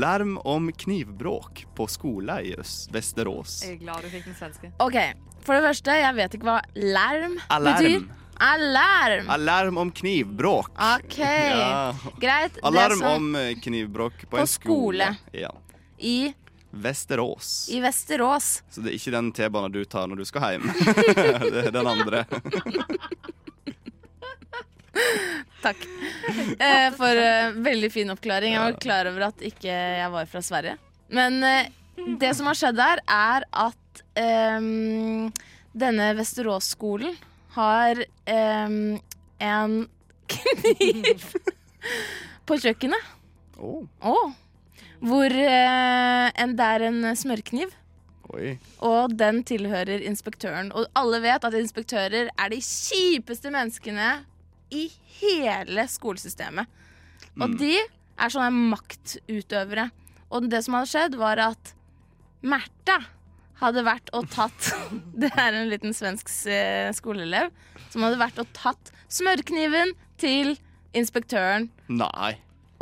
[SPEAKER 3] Larm om knivbråk på skolen i Øst Västerås.
[SPEAKER 5] Jeg er glad du fikk den svenske.
[SPEAKER 4] OK. For det første, jeg vet ikke hva larm betyr.
[SPEAKER 3] Alarm.
[SPEAKER 4] Alarm.
[SPEAKER 3] Alarm om knivbråk.
[SPEAKER 4] OK.
[SPEAKER 3] Ja.
[SPEAKER 4] Greit. det
[SPEAKER 3] Alarm
[SPEAKER 4] som-
[SPEAKER 3] om eh, knivbråk på,
[SPEAKER 4] På
[SPEAKER 3] en skole.
[SPEAKER 4] skole.
[SPEAKER 3] Ja.
[SPEAKER 4] i,
[SPEAKER 3] Västerås.
[SPEAKER 4] I Vesterås.
[SPEAKER 3] Så det er ikke den T-banen du tar når du skal hjem. det er den andre.
[SPEAKER 4] Takk eh, for eh, veldig fin oppklaring. Jeg var klar over at ikke jeg var fra Sverige. Men eh, det som har skjedd der, er at ehm, denne Vesterås-skolen har ehm, en kniv på kjøkkenet.
[SPEAKER 3] Å,
[SPEAKER 4] Å. hvor eh, en, det er en smørkniv.
[SPEAKER 3] oi.
[SPEAKER 4] Og den tilhører inspektøren. Og alle vet at inspektører er de kjipeste menneskene i hele skolesystemet. Og de er sånne maktutøvere. Og det som hadde skjedd, var at Märtha hadde vært og tatt Det er en liten svensk eh, skoleelev som hadde vært og tatt smørkniven til inspektøren
[SPEAKER 3] Nei.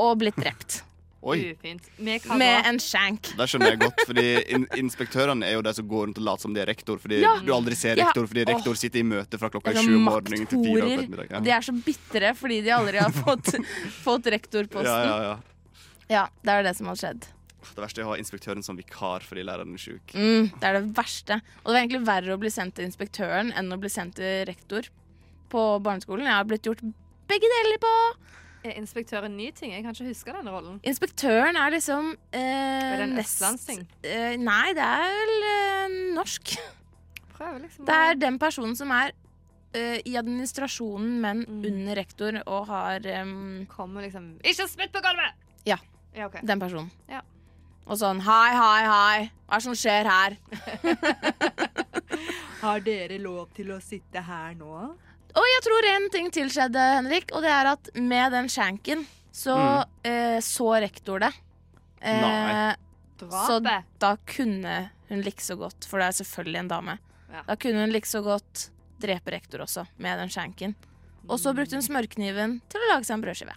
[SPEAKER 4] og blitt drept.
[SPEAKER 3] Å, Oi,
[SPEAKER 5] Ufint. Med hva
[SPEAKER 4] Med
[SPEAKER 5] da?
[SPEAKER 4] en shank.
[SPEAKER 3] det skjønner jeg godt, fordi in inspektørene er jo de som går rundt og later som de er rektor, fordi
[SPEAKER 4] Ja.
[SPEAKER 3] du aldri ser
[SPEAKER 4] Ja.
[SPEAKER 3] rektor, fordi rektor
[SPEAKER 4] Åh.
[SPEAKER 3] sitter i møte fra klokka
[SPEAKER 4] Det er
[SPEAKER 3] sju
[SPEAKER 4] sånn
[SPEAKER 3] om morgenen til fire på
[SPEAKER 4] makthorer.
[SPEAKER 3] ettermiddagen.
[SPEAKER 4] De er så bitre fordi de aldri har fått, fått rektorposten.
[SPEAKER 3] Ja,
[SPEAKER 4] Ja,
[SPEAKER 3] ja, ja.
[SPEAKER 4] det er det som har skjedd.
[SPEAKER 3] Det verste er å ha inspektøren som vikar fordi læreren er sjuk.
[SPEAKER 4] Mm, det er det verste. Og det var egentlig verre å bli sendt til inspektøren enn å bli sendt til rektor på barneskolen. Jeg har blitt gjort begge deler på.
[SPEAKER 5] Er inspektøren ny ting? Jeg kan ikke huske den rollen.
[SPEAKER 4] Inspektøren er liksom eh,
[SPEAKER 5] Er det en
[SPEAKER 4] nest-
[SPEAKER 5] østlandsting?
[SPEAKER 4] Eh, nei, det er vel eh, norsk.
[SPEAKER 5] Prøver liksom
[SPEAKER 4] Det
[SPEAKER 5] å-
[SPEAKER 4] er den personen som er eh, i administrasjonen, men under rektor, og har em,
[SPEAKER 5] Kommer liksom Ikke spytt på gulvet!
[SPEAKER 4] Ja.
[SPEAKER 5] Ja, ok.
[SPEAKER 4] Den personen.
[SPEAKER 5] Ja.
[SPEAKER 4] Og sånn hei, hei, hei. Hva er det som skjer her?
[SPEAKER 5] Har dere lov til å sitte her nå?
[SPEAKER 4] Og jeg tror en ting til skjedde, Henrik, og det er at med den skjenken så eh, så rektor det. Eh,
[SPEAKER 3] Nei.
[SPEAKER 4] Så-
[SPEAKER 5] Drapet?
[SPEAKER 4] da kunne hun like så godt, for det er selvfølgelig en dame,
[SPEAKER 5] Ja.
[SPEAKER 4] da kunne hun like så godt drepe rektor også med den skjenken. Og så brukte hun
[SPEAKER 5] Mm.
[SPEAKER 4] smørkniven til å lage seg en brødskive.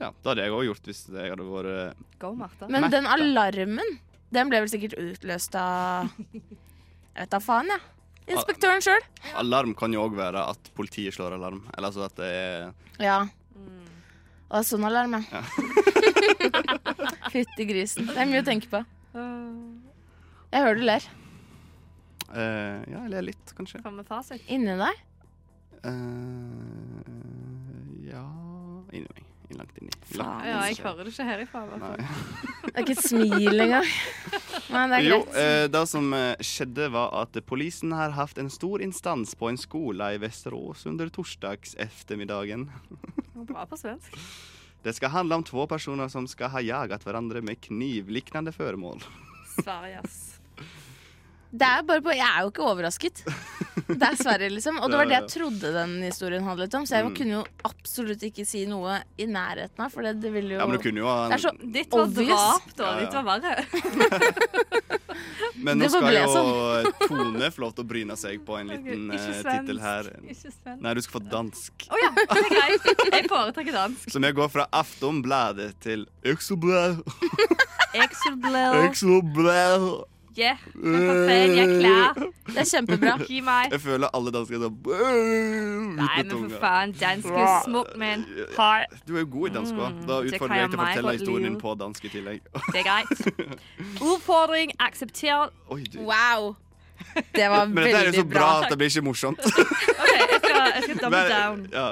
[SPEAKER 3] Ja, det hadde jeg òg gjort hvis jeg hadde vært eh,
[SPEAKER 5] Go, Martha.
[SPEAKER 4] Men
[SPEAKER 3] Merk
[SPEAKER 4] den
[SPEAKER 3] det.
[SPEAKER 4] alarmen, den ble vel sikkert utløst av Jeg vet da faen, jeg. Ja. Inspektøren sjøl.
[SPEAKER 3] Alarm kan jo òg være at politiet slår alarm. Eller altså at det er
[SPEAKER 4] Ja. Mm. Og det er sånn alarm, ja. Fytti grisen. Det er mye å tenke på.
[SPEAKER 5] Øh,
[SPEAKER 4] Jeg hører du ler.
[SPEAKER 3] eh, Ja, eller litt, kanskje.
[SPEAKER 5] Kom med fasit.
[SPEAKER 4] Inni deg.
[SPEAKER 3] Eh, ja Inni meg. Inn- Langt inni. Langt.
[SPEAKER 5] Ja, jeg hører det ikke herifra. i hvert fall.
[SPEAKER 3] Nei.
[SPEAKER 4] Det er ikke et smil engang. Men det er
[SPEAKER 3] Jo,
[SPEAKER 4] greit.
[SPEAKER 3] eh, det som eh, skjedde, var at polisen har hatt en stor instans på en skole i Vesterås under torsdags ettermiddagen.
[SPEAKER 5] Bra på svensk.
[SPEAKER 3] Det skal handle om to personer som skal ha jaget hverandre med knivliknende føremål.
[SPEAKER 5] Sverige, ass.
[SPEAKER 4] Det er bare på, jeg er jo ikke overrasket. Dessverre, liksom. Og det var det jeg trodde den historien handlet om,
[SPEAKER 3] Mm.
[SPEAKER 4] så jeg kunne jo absolutt ikke si noe i nærheten av, for det, det ville jo
[SPEAKER 3] Ja, men du kunne jo ha
[SPEAKER 4] Det er så
[SPEAKER 5] Ditt var
[SPEAKER 4] Obvious.
[SPEAKER 5] drap, da.
[SPEAKER 3] Ja, ja.
[SPEAKER 5] Ditt var verre.
[SPEAKER 3] Men nå
[SPEAKER 4] Det altså.
[SPEAKER 3] skal
[SPEAKER 4] får bli
[SPEAKER 3] jo Tone få lov til å bryne seg på en liten
[SPEAKER 5] Ok, ikke
[SPEAKER 3] eh,
[SPEAKER 5] svensk.
[SPEAKER 3] tittel her.
[SPEAKER 5] Ikke svensk.
[SPEAKER 3] Nei, du skal få dansk.
[SPEAKER 5] Å ja, det er greit. Jeg foretrekker dansk.
[SPEAKER 3] Så vi går fra Aftonbladet til Exoblad.
[SPEAKER 5] Exoblow.
[SPEAKER 3] Exoblad.
[SPEAKER 5] Yeah. Jeg får feil. Jeg er klar.
[SPEAKER 4] Det er kjempebra.
[SPEAKER 5] Gi meg.
[SPEAKER 3] Jeg føler alle dansker sånn ut
[SPEAKER 5] Nei,
[SPEAKER 3] med
[SPEAKER 5] men for
[SPEAKER 3] tunga.
[SPEAKER 5] faen. Dansk er smukt, men Hei.
[SPEAKER 3] Du er jo god i dansk òg. Da
[SPEAKER 5] det kan
[SPEAKER 3] utfordrer jeg deg
[SPEAKER 5] jeg
[SPEAKER 3] til å
[SPEAKER 5] meg
[SPEAKER 3] fortelle
[SPEAKER 5] godt
[SPEAKER 3] historien din
[SPEAKER 5] lide.
[SPEAKER 3] på dansk i tillegg.
[SPEAKER 5] Det er greit. Utfordring akseptert.
[SPEAKER 3] Oi, du.
[SPEAKER 4] Wow! Det var
[SPEAKER 3] Men dette er jo
[SPEAKER 4] veldig
[SPEAKER 3] så bra
[SPEAKER 4] bra.
[SPEAKER 3] at det blir ikke morsomt.
[SPEAKER 5] OK, jeg skal, jeg skal double down.
[SPEAKER 3] Men, ja.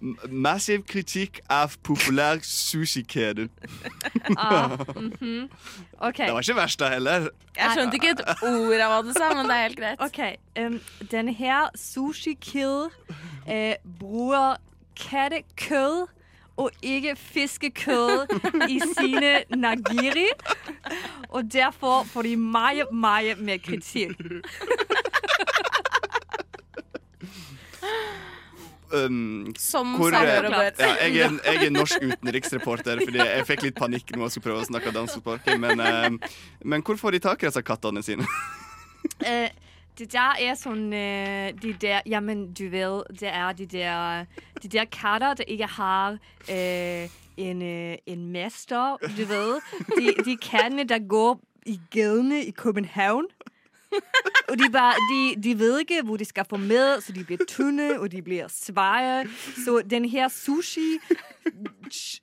[SPEAKER 3] M- Massiv kritikk av populær sushikjede.
[SPEAKER 5] Ah, mhm. OK.
[SPEAKER 3] Det var ikke verst, da heller.
[SPEAKER 4] Jeg skjønte ikke et ord av hva du sa, men det er helt greit.
[SPEAKER 5] OK. Um, denne her, Sushi Kill, eh, bruker kattekull og ikke fiskekull i sine nagiri. Og derfor får de mye, mye mer kritikk.
[SPEAKER 3] Um,
[SPEAKER 4] Som
[SPEAKER 3] Hvor,
[SPEAKER 4] sa
[SPEAKER 3] eh,
[SPEAKER 4] Hør og Bør.
[SPEAKER 3] ja, jeg, er, jeg er norsk utenriksreporter, fordi jeg fikk litt panikk når jeg skulle prøve å snakke dansk. på sparket, Men, eh, men hvor får de tak i disse kattene sine?
[SPEAKER 5] Eh, det der er sånn eh, De der Jamen, du vil Det er de der De der katter der ikke har eh, en, eh, en mester, du ved. De, de kattene der går i gadene i København. Og de, bare, de, de ved ikke hvor de skal få med, så de blir tynne, og de blir sveie. Så den her sushi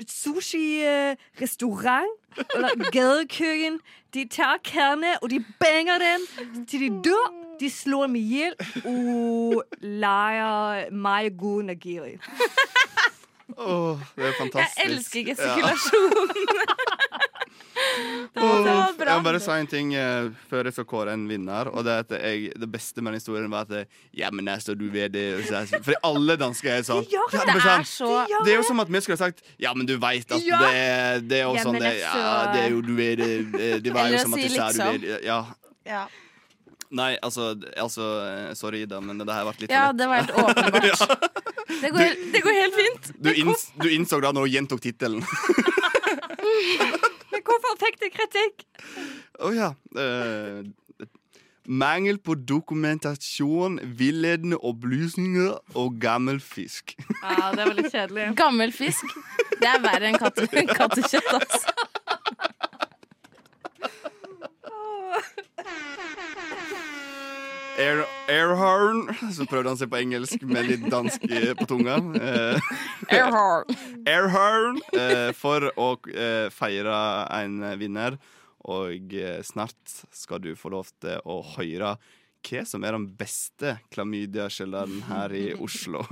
[SPEAKER 5] sushi-restaurant, eller gadekøkken. De tager kerne, og de banger dem til de dør. De slår dem ihjel og leger meget god nagiri.
[SPEAKER 3] Åh, det er fantastisk.
[SPEAKER 4] Jeg elsker gestikulasjon.
[SPEAKER 3] Ja. Åh,
[SPEAKER 4] var bra.
[SPEAKER 3] Jeg må bare si en ting eh, før jeg skal kåre en vinner. Og Det er at jeg, det beste med den historien var at det, Ja, men jeg står du ved det. og så er jeg- For alle dansker er sånn.
[SPEAKER 5] De gjør
[SPEAKER 3] Ja,
[SPEAKER 5] det.
[SPEAKER 3] men sånn.
[SPEAKER 4] Det er så-
[SPEAKER 3] det er jo som at vi skulle ha sagt Ja, men du veit at
[SPEAKER 5] Ja.
[SPEAKER 3] det, er- det er jo
[SPEAKER 5] Ja,
[SPEAKER 3] sånn
[SPEAKER 5] men
[SPEAKER 3] det,
[SPEAKER 5] altså-
[SPEAKER 3] ja, det er jo du ved det. eh, Det var jo
[SPEAKER 4] Eller å
[SPEAKER 3] som at
[SPEAKER 4] si
[SPEAKER 3] du sa du
[SPEAKER 4] liksom.
[SPEAKER 3] ved det. Ja.
[SPEAKER 4] Ja.
[SPEAKER 3] Nei, altså, d- altså eh, Sorry, da, men det her ble litt
[SPEAKER 4] ja,
[SPEAKER 3] for lett.
[SPEAKER 4] det var helt åpenbart. Det går, helt- det går helt fint.
[SPEAKER 3] Du, inns, du innså da når hun gjentok tittelen.
[SPEAKER 5] Men hvorfor fikk de kritikk?
[SPEAKER 3] Å ja. eh, mangel på dokumentasjon, villedende opplysninger og gammel fisk.
[SPEAKER 5] Ja, Det var litt kjedelig.
[SPEAKER 4] Gammel fisk. Det er verre enn katte, kattekjøtt, altså.
[SPEAKER 3] Air, airhorn. Så prøvde han seg på engelsk med litt dansk i- på tunga. Eh,
[SPEAKER 4] Erhard.
[SPEAKER 3] airhorn eh, for å eh, feire en vinner. Og eh, snart skal du få lov til å høre hva som er den beste klamydiakjelleren her i Oslo.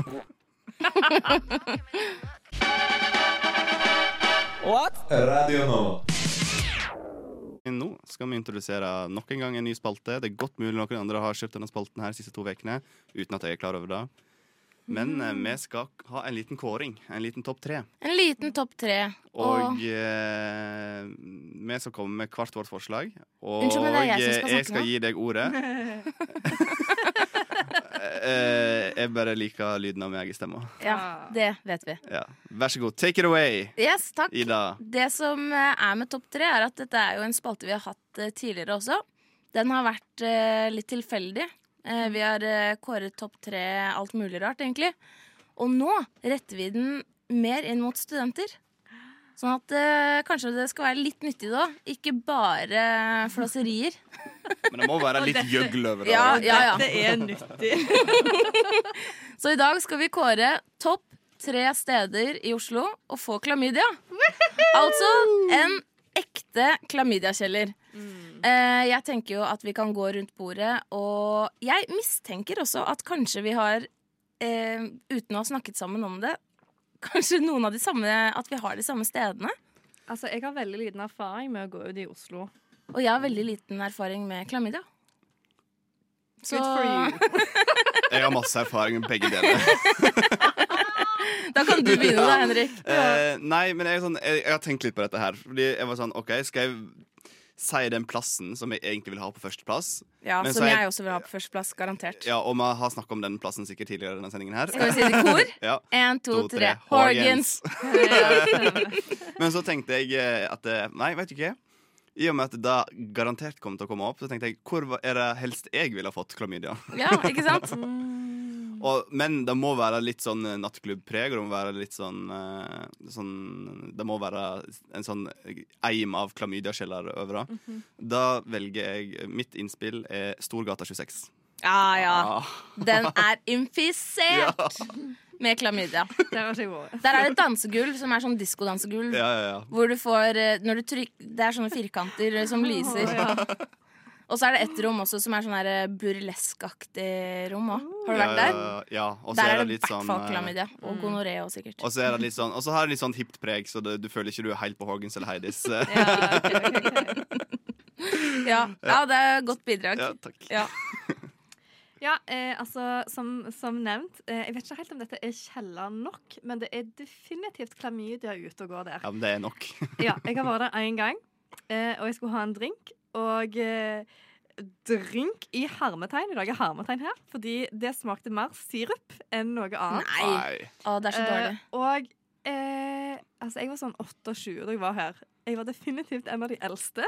[SPEAKER 1] Radio Nova.
[SPEAKER 3] Nå skal vi introdusere nok en gang en ny spalte. Det er godt mulig noen andre har kjøpt denne spalten her de siste to ukene uten at jeg er klar over det. Men eh, vi skal ha en liten kåring. En liten topp tre.
[SPEAKER 4] En liten topp tre.
[SPEAKER 3] Og eh, vi skal komme med hvert vårt forslag. Og
[SPEAKER 4] Unnskyld, men det er jeg som skal
[SPEAKER 3] eh, jeg
[SPEAKER 4] snakke nå.
[SPEAKER 3] skal gi deg ordet. Eh, jeg bare liker lyden av meg i stemma.
[SPEAKER 4] Ja, det vet vi.
[SPEAKER 3] Ja. Vær så god. Take it away,
[SPEAKER 4] Yes, takk.
[SPEAKER 3] Ida.
[SPEAKER 4] Det som eh, er med Topp tre, er at dette er jo en spalte vi har hatt eh, tidligere også. Den har vært eh, litt tilfeldig. Eh, vi har eh, kåret topp tre alt mulig rart, egentlig. Og nå retter vi den mer inn mot studenter. Sånn at eh, kanskje det skal være litt nyttig da. Ikke bare eh, flåserier.
[SPEAKER 3] Men det må være litt gjøgl over det.
[SPEAKER 4] Ja, ja, ja.
[SPEAKER 8] Det er nyttig.
[SPEAKER 4] Så i dag skal vi kåre topp tre steder i Oslo å få klamydia. Altså en ekte klamydiakjeller. Eh, jeg tenker jo at vi kan gå rundt bordet, og jeg mistenker også at kanskje vi har, eh, uten å ha snakket sammen om det, kanskje noen av de samme At vi har de samme stedene.
[SPEAKER 5] Altså, jeg har veldig liten erfaring med å gå ut i Oslo.
[SPEAKER 4] Og jeg har veldig liten erfaring med klamydia. Så
[SPEAKER 5] Good for you.
[SPEAKER 3] Jeg har masse erfaring med begge deler.
[SPEAKER 4] da kan du begynne, da, Henrik.
[SPEAKER 3] Eh, nei, men jeg, er sånn, jeg, jeg har tenkt litt på dette her. Fordi jeg var sånn, ok, Skal jeg si den plassen som jeg egentlig vil ha på førsteplass?
[SPEAKER 4] Ja,
[SPEAKER 3] Men
[SPEAKER 4] Som
[SPEAKER 3] så er-
[SPEAKER 4] jeg også vil ha på førsteplass. Garantert.
[SPEAKER 3] Ja, Og vi har snakket om den plassen sikkert tidligere. i denne sendingen her
[SPEAKER 4] Skal vi si det i kor?
[SPEAKER 3] Ja,
[SPEAKER 4] En, to,
[SPEAKER 3] to,
[SPEAKER 4] tre.
[SPEAKER 3] tre.
[SPEAKER 4] Horgens.
[SPEAKER 3] Men så tenkte jeg eh, at eh, Nei, vet du hva? I og med at det garantert kommer til å komme opp, så tenkte jeg hvor var- er det helst jeg ville ha fått klamydia?
[SPEAKER 4] Ja, ikke sant?
[SPEAKER 3] Og, men det må være litt sånn eh, nattklubbpreg, og det må være litt sånn, eh, sånn Det må være en sånn eim av klamydiakjeller over det.
[SPEAKER 4] Mhm.
[SPEAKER 3] Da velger jeg eh, Mitt innspill er Storgata 26.
[SPEAKER 4] Ja, ja.
[SPEAKER 3] Ah,
[SPEAKER 4] Den er infisert
[SPEAKER 3] ja,
[SPEAKER 4] med klamydia.
[SPEAKER 5] Der har ikke jeg vært.
[SPEAKER 4] Der er det et dansegulv som er sånn diskodansegulv.
[SPEAKER 3] ja, ja, ja.
[SPEAKER 4] Hvor du får eh, når du tryk, Det er sånne firkanter som lyser. Og så er det ett rom også som er sånn der, eh, burleskaktig rom òg. Har du vært der?
[SPEAKER 3] Ja, Ja, og så
[SPEAKER 4] Der
[SPEAKER 3] er
[SPEAKER 4] er
[SPEAKER 3] det
[SPEAKER 4] det i
[SPEAKER 3] litt
[SPEAKER 4] hvert
[SPEAKER 3] sånn
[SPEAKER 4] fall
[SPEAKER 3] eh,
[SPEAKER 4] klamydia. Og gonoré òg, sikkert.
[SPEAKER 3] Og så er det litt sånn Og så har det litt sånn hipt preg, så det, du føler ikke du er helt på Horgans eller Heidis. eh.
[SPEAKER 5] Ja, ok, ok, ok.
[SPEAKER 4] Ja, ja det er et godt bidrag.
[SPEAKER 3] Ja, takk.
[SPEAKER 4] Ja.
[SPEAKER 5] ja eh, altså, som, som nevnt, eh, jeg vet ikke helt om dette er kjeller nok, men det er definitivt klamydia ute og går der.
[SPEAKER 3] Ja, men det er nok.
[SPEAKER 5] Ja, jeg har vært der én gang, eh, og jeg skulle ha en drink. Og eh, drink i hermetegn. I dag er hermetegn her, fordi det smakte mer sirup enn noe annet.
[SPEAKER 4] Nei! Å, det er så dårlig.
[SPEAKER 5] Eh, og eh, altså, jeg var sånn 28 da jeg var her. Jeg var definitivt en av de eldste.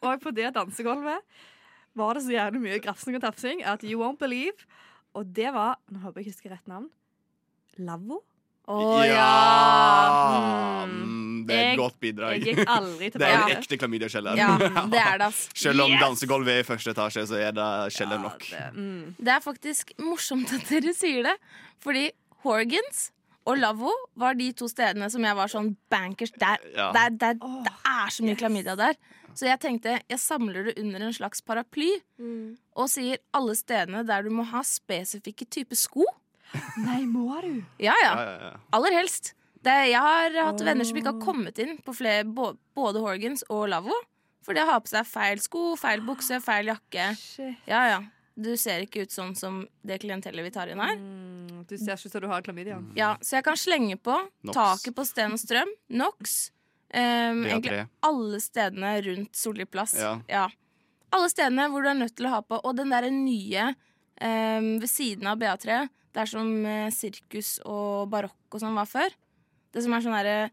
[SPEAKER 5] og på det dansegulvet var det så jævlig mye grafsing og tafsing at you won't believe. Og det var Nå håper jeg ikke husker rett navn. Lavvo.
[SPEAKER 4] Å Hmm.
[SPEAKER 3] Ja!
[SPEAKER 5] ja.
[SPEAKER 3] Mm, Det er
[SPEAKER 5] Jeg-
[SPEAKER 3] et godt bidrag.
[SPEAKER 5] Jeg gikk aldri
[SPEAKER 3] Det er
[SPEAKER 5] tilbake.
[SPEAKER 3] en ekte klamydiakjeller.
[SPEAKER 4] ja. Det er det, ass.
[SPEAKER 3] Selv om dansegulvet er i første etasje, så er det kjeller nok.
[SPEAKER 5] Ja, det- mm.
[SPEAKER 4] Det er faktisk morsomt at dere sier det, fordi Horgans og Lavvo var de to stedene som jeg var sånn bankers der.
[SPEAKER 3] Ja.
[SPEAKER 4] Der, der,
[SPEAKER 5] Åh,
[SPEAKER 4] det er så mye klamydia der. Så jeg tenkte jeg samler det under en slags paraply og sier alle stedene der du må ha spesifikke typer sko.
[SPEAKER 5] Nei, må du?
[SPEAKER 4] Ja, ja.
[SPEAKER 3] Ja, ja, ja.
[SPEAKER 4] Aller helst. Det, jeg har hatt venner som ikke har kommet inn på flere, bå- både Horgans og Lavvo. For det har på seg feil sko, feil bukse, feil jakke.
[SPEAKER 5] Shit.
[SPEAKER 4] Ja, ja. Du ser ikke ut sånn som det klientellet vi tar inn her.
[SPEAKER 5] Mm, du ser ikke ut som du har klamydia.
[SPEAKER 3] Mm.
[SPEAKER 4] Ja, så jeg kan slenge på
[SPEAKER 3] Nox.
[SPEAKER 4] taket på Sten og Strøm, Nox. ehm,
[SPEAKER 3] Det er
[SPEAKER 4] egentlig
[SPEAKER 3] tre.
[SPEAKER 4] alle stedene rundt Solli plass.
[SPEAKER 3] Ja.
[SPEAKER 4] Alle stedene hvor du er nødt til å ha på. Og den derre nye ehm, ved siden av BA3, der som eh, sirkus og barokk og sånn var før. Det som er sånn derre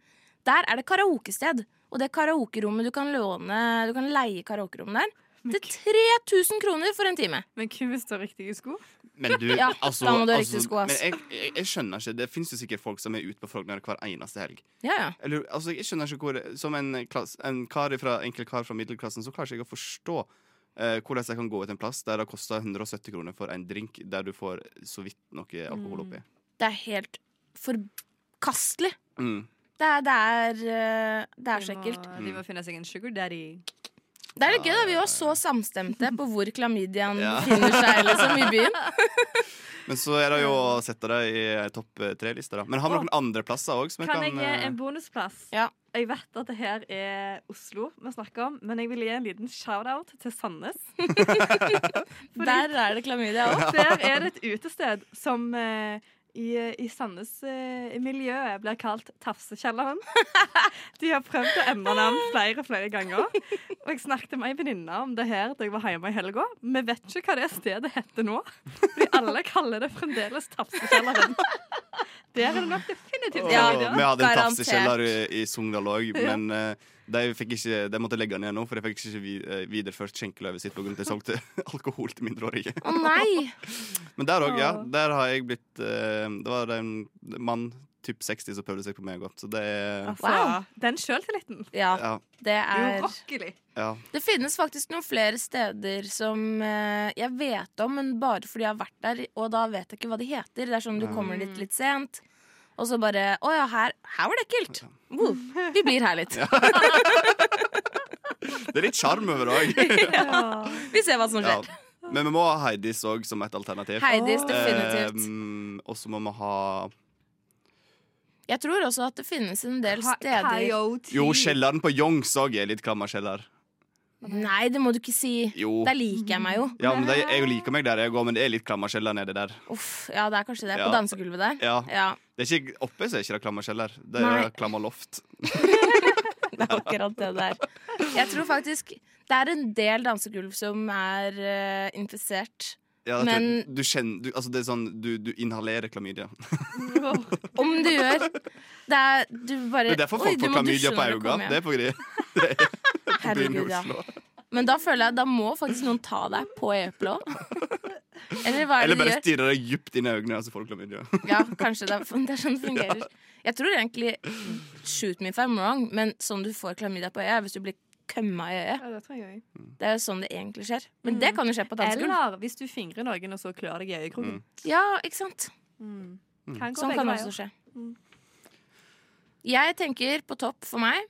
[SPEAKER 4] Der er det karaokested. Og det karaokerommet du kan låne Du kan leie karaokerommet der. Til 3000 kroner for en time.
[SPEAKER 5] Men kun hvis du har riktige sko.
[SPEAKER 3] Men du,
[SPEAKER 4] Ja,
[SPEAKER 3] altså,
[SPEAKER 4] da må du ha
[SPEAKER 3] altså
[SPEAKER 4] riktig sko, ass.
[SPEAKER 3] Men jeg, jeg, jeg skjønner ikke. Det fins jo sikkert folk som er ute på Frogner hver eneste helg.
[SPEAKER 4] Ja, ja.
[SPEAKER 3] Eller, altså, jeg skjønner ikke hvor Som en, klass, en kar fra, enkel kar fra middelklassen, så klarer ikke jeg å forstå Eh, hvordan jeg kan gå ut en plass der det koster 170 kroner for en drink der du får så vidt noe alkohol oppi.
[SPEAKER 4] Det er helt forkastelig.
[SPEAKER 3] Mm.
[SPEAKER 4] Det er, det er, eh, det er
[SPEAKER 5] De
[SPEAKER 4] så
[SPEAKER 5] må-
[SPEAKER 4] ekkelt.
[SPEAKER 5] De må finne seg en sugar daddy.
[SPEAKER 4] Det er litt gøy, da. Vi var så samstemte på hvor klamydiaen
[SPEAKER 3] Ja.
[SPEAKER 4] finner seg liksom, i byen.
[SPEAKER 3] Men så er det jo å sette det i eh, topp eh, tre-lista, da. Men har vi noen andre plasser òg som jeg
[SPEAKER 5] Kan
[SPEAKER 3] kan,
[SPEAKER 5] jeg gi
[SPEAKER 3] eh,
[SPEAKER 5] en bonusplass?
[SPEAKER 4] Ja.
[SPEAKER 5] Jeg vet at det her er Oslo vi snakker om, men jeg vil gi en liten shout-out til Sandnes.
[SPEAKER 4] Der er det klamydia òg.
[SPEAKER 5] Der er det et utested som eh, i, i Sandnes-miljøet blir kalt Tafsekjelleren. De har prøvd å endre navn flere flere ganger. Og jeg snakket med ei venninne om det her da jeg var hjemme i helga. Vi vet ikke hva det stedet heter nå, fordi alle kaller det fremdeles Tafsekjelleren. Der er det nok definitivt
[SPEAKER 3] Åh,
[SPEAKER 4] Ja,
[SPEAKER 3] vi hadde en
[SPEAKER 4] garantert.
[SPEAKER 3] tapsekjeller i, i Sogndal òg, men eh, de, fikk ikke, de måtte legge ned nå, for de fikk ikke vi, eh, videreført skjenkeløyvet sitt pga. at de solgte alkohol til mindreårige.
[SPEAKER 4] Å nei!
[SPEAKER 3] Men der òg, ja.
[SPEAKER 5] Åh.
[SPEAKER 3] Der har jeg blitt eh, Det var en mann typ 60 som prøvde seg på meg òg, så det er
[SPEAKER 5] Altså,
[SPEAKER 4] Wow.
[SPEAKER 5] Den sjøltilliten.
[SPEAKER 4] Ja,
[SPEAKER 3] Ja.
[SPEAKER 4] det er
[SPEAKER 5] Urokkelig.
[SPEAKER 3] ja.
[SPEAKER 4] Det finnes faktisk noen flere steder som eh, jeg vet om, men bare fordi jeg har vært der, og da vet jeg ikke hva de heter. Det er sånn du kommer
[SPEAKER 3] Mm.
[SPEAKER 4] dit litt sent, og så bare Å ja, her, her var det ekkelt. Wow, vi blir her litt.
[SPEAKER 3] Det er litt sjarm over det òg.
[SPEAKER 4] Vi ser hva som
[SPEAKER 3] Ja.
[SPEAKER 4] skjer.
[SPEAKER 3] Men vi må ha Heidis òg som et alternativ.
[SPEAKER 4] Heidis,
[SPEAKER 5] Åh.
[SPEAKER 4] definitivt.
[SPEAKER 3] Eh, og så må vi ha
[SPEAKER 4] Jeg tror også at det finnes en del
[SPEAKER 5] Ka-
[SPEAKER 4] steder
[SPEAKER 5] Coyote.
[SPEAKER 3] Jo, kjelleren på Youngs òg er litt kammerkjeller.
[SPEAKER 4] Nei, det må du ikke si.
[SPEAKER 3] Jo.
[SPEAKER 4] Der liker jeg meg jo.
[SPEAKER 3] Ja, men de, jeg liker meg der jeg går, men det er litt kammerkjeller nedi der.
[SPEAKER 4] Uff, ja, det er kanskje det.
[SPEAKER 3] Ja.
[SPEAKER 4] På dansegulvet der.
[SPEAKER 3] Ja.
[SPEAKER 4] Ja,
[SPEAKER 3] Det er ikke, oppe så er ikke det klammerkjeller. Det
[SPEAKER 4] Nei.
[SPEAKER 3] er klammerloft.
[SPEAKER 4] det er akkurat det der. Jeg tror faktisk det er en del dansegulv som er eh, infisert.
[SPEAKER 3] Ja, det tror jeg-
[SPEAKER 4] Men-
[SPEAKER 3] du kjenner, du, altså det er sånn, du, du inhalerer klamydia.
[SPEAKER 4] Om du gjør. Det er du bare
[SPEAKER 3] Det er derfor
[SPEAKER 4] Oi,
[SPEAKER 3] folk
[SPEAKER 4] du
[SPEAKER 3] får
[SPEAKER 4] må dusje
[SPEAKER 3] klamydia på
[SPEAKER 4] når du kommer
[SPEAKER 3] øynene. Det er på grunn
[SPEAKER 4] hjem.
[SPEAKER 3] av byen i
[SPEAKER 4] Herregud, ja.
[SPEAKER 3] Oslo.
[SPEAKER 4] Men da føler jeg da må faktisk noen ta deg på eplet òg. Eller hva er
[SPEAKER 3] Eller
[SPEAKER 4] det de
[SPEAKER 3] bare
[SPEAKER 4] gjør?
[SPEAKER 3] stirrer deg dypt inn i øynene, og så får du klamydia.
[SPEAKER 4] Ja, kanskje det er, det er sånn det fungerer. Jeg tror egentlig Shoot me if I'm wrong, men sånn du får klamydia på øyet, er hvis du blir kømma i øyet.
[SPEAKER 5] Ja, det tror jeg også.
[SPEAKER 4] Det er jo sånn det egentlig skjer. Men det kan jo skje på dansegulv.
[SPEAKER 5] Mm. Eller hvis du fingrer noen og så klør deg i øyekroken.
[SPEAKER 4] Ja, ikke sant?
[SPEAKER 5] Mm. Kan gå
[SPEAKER 4] Sånn
[SPEAKER 5] begge
[SPEAKER 4] kan
[SPEAKER 5] veier. Mm.
[SPEAKER 4] også skje. Jeg tenker på topp for meg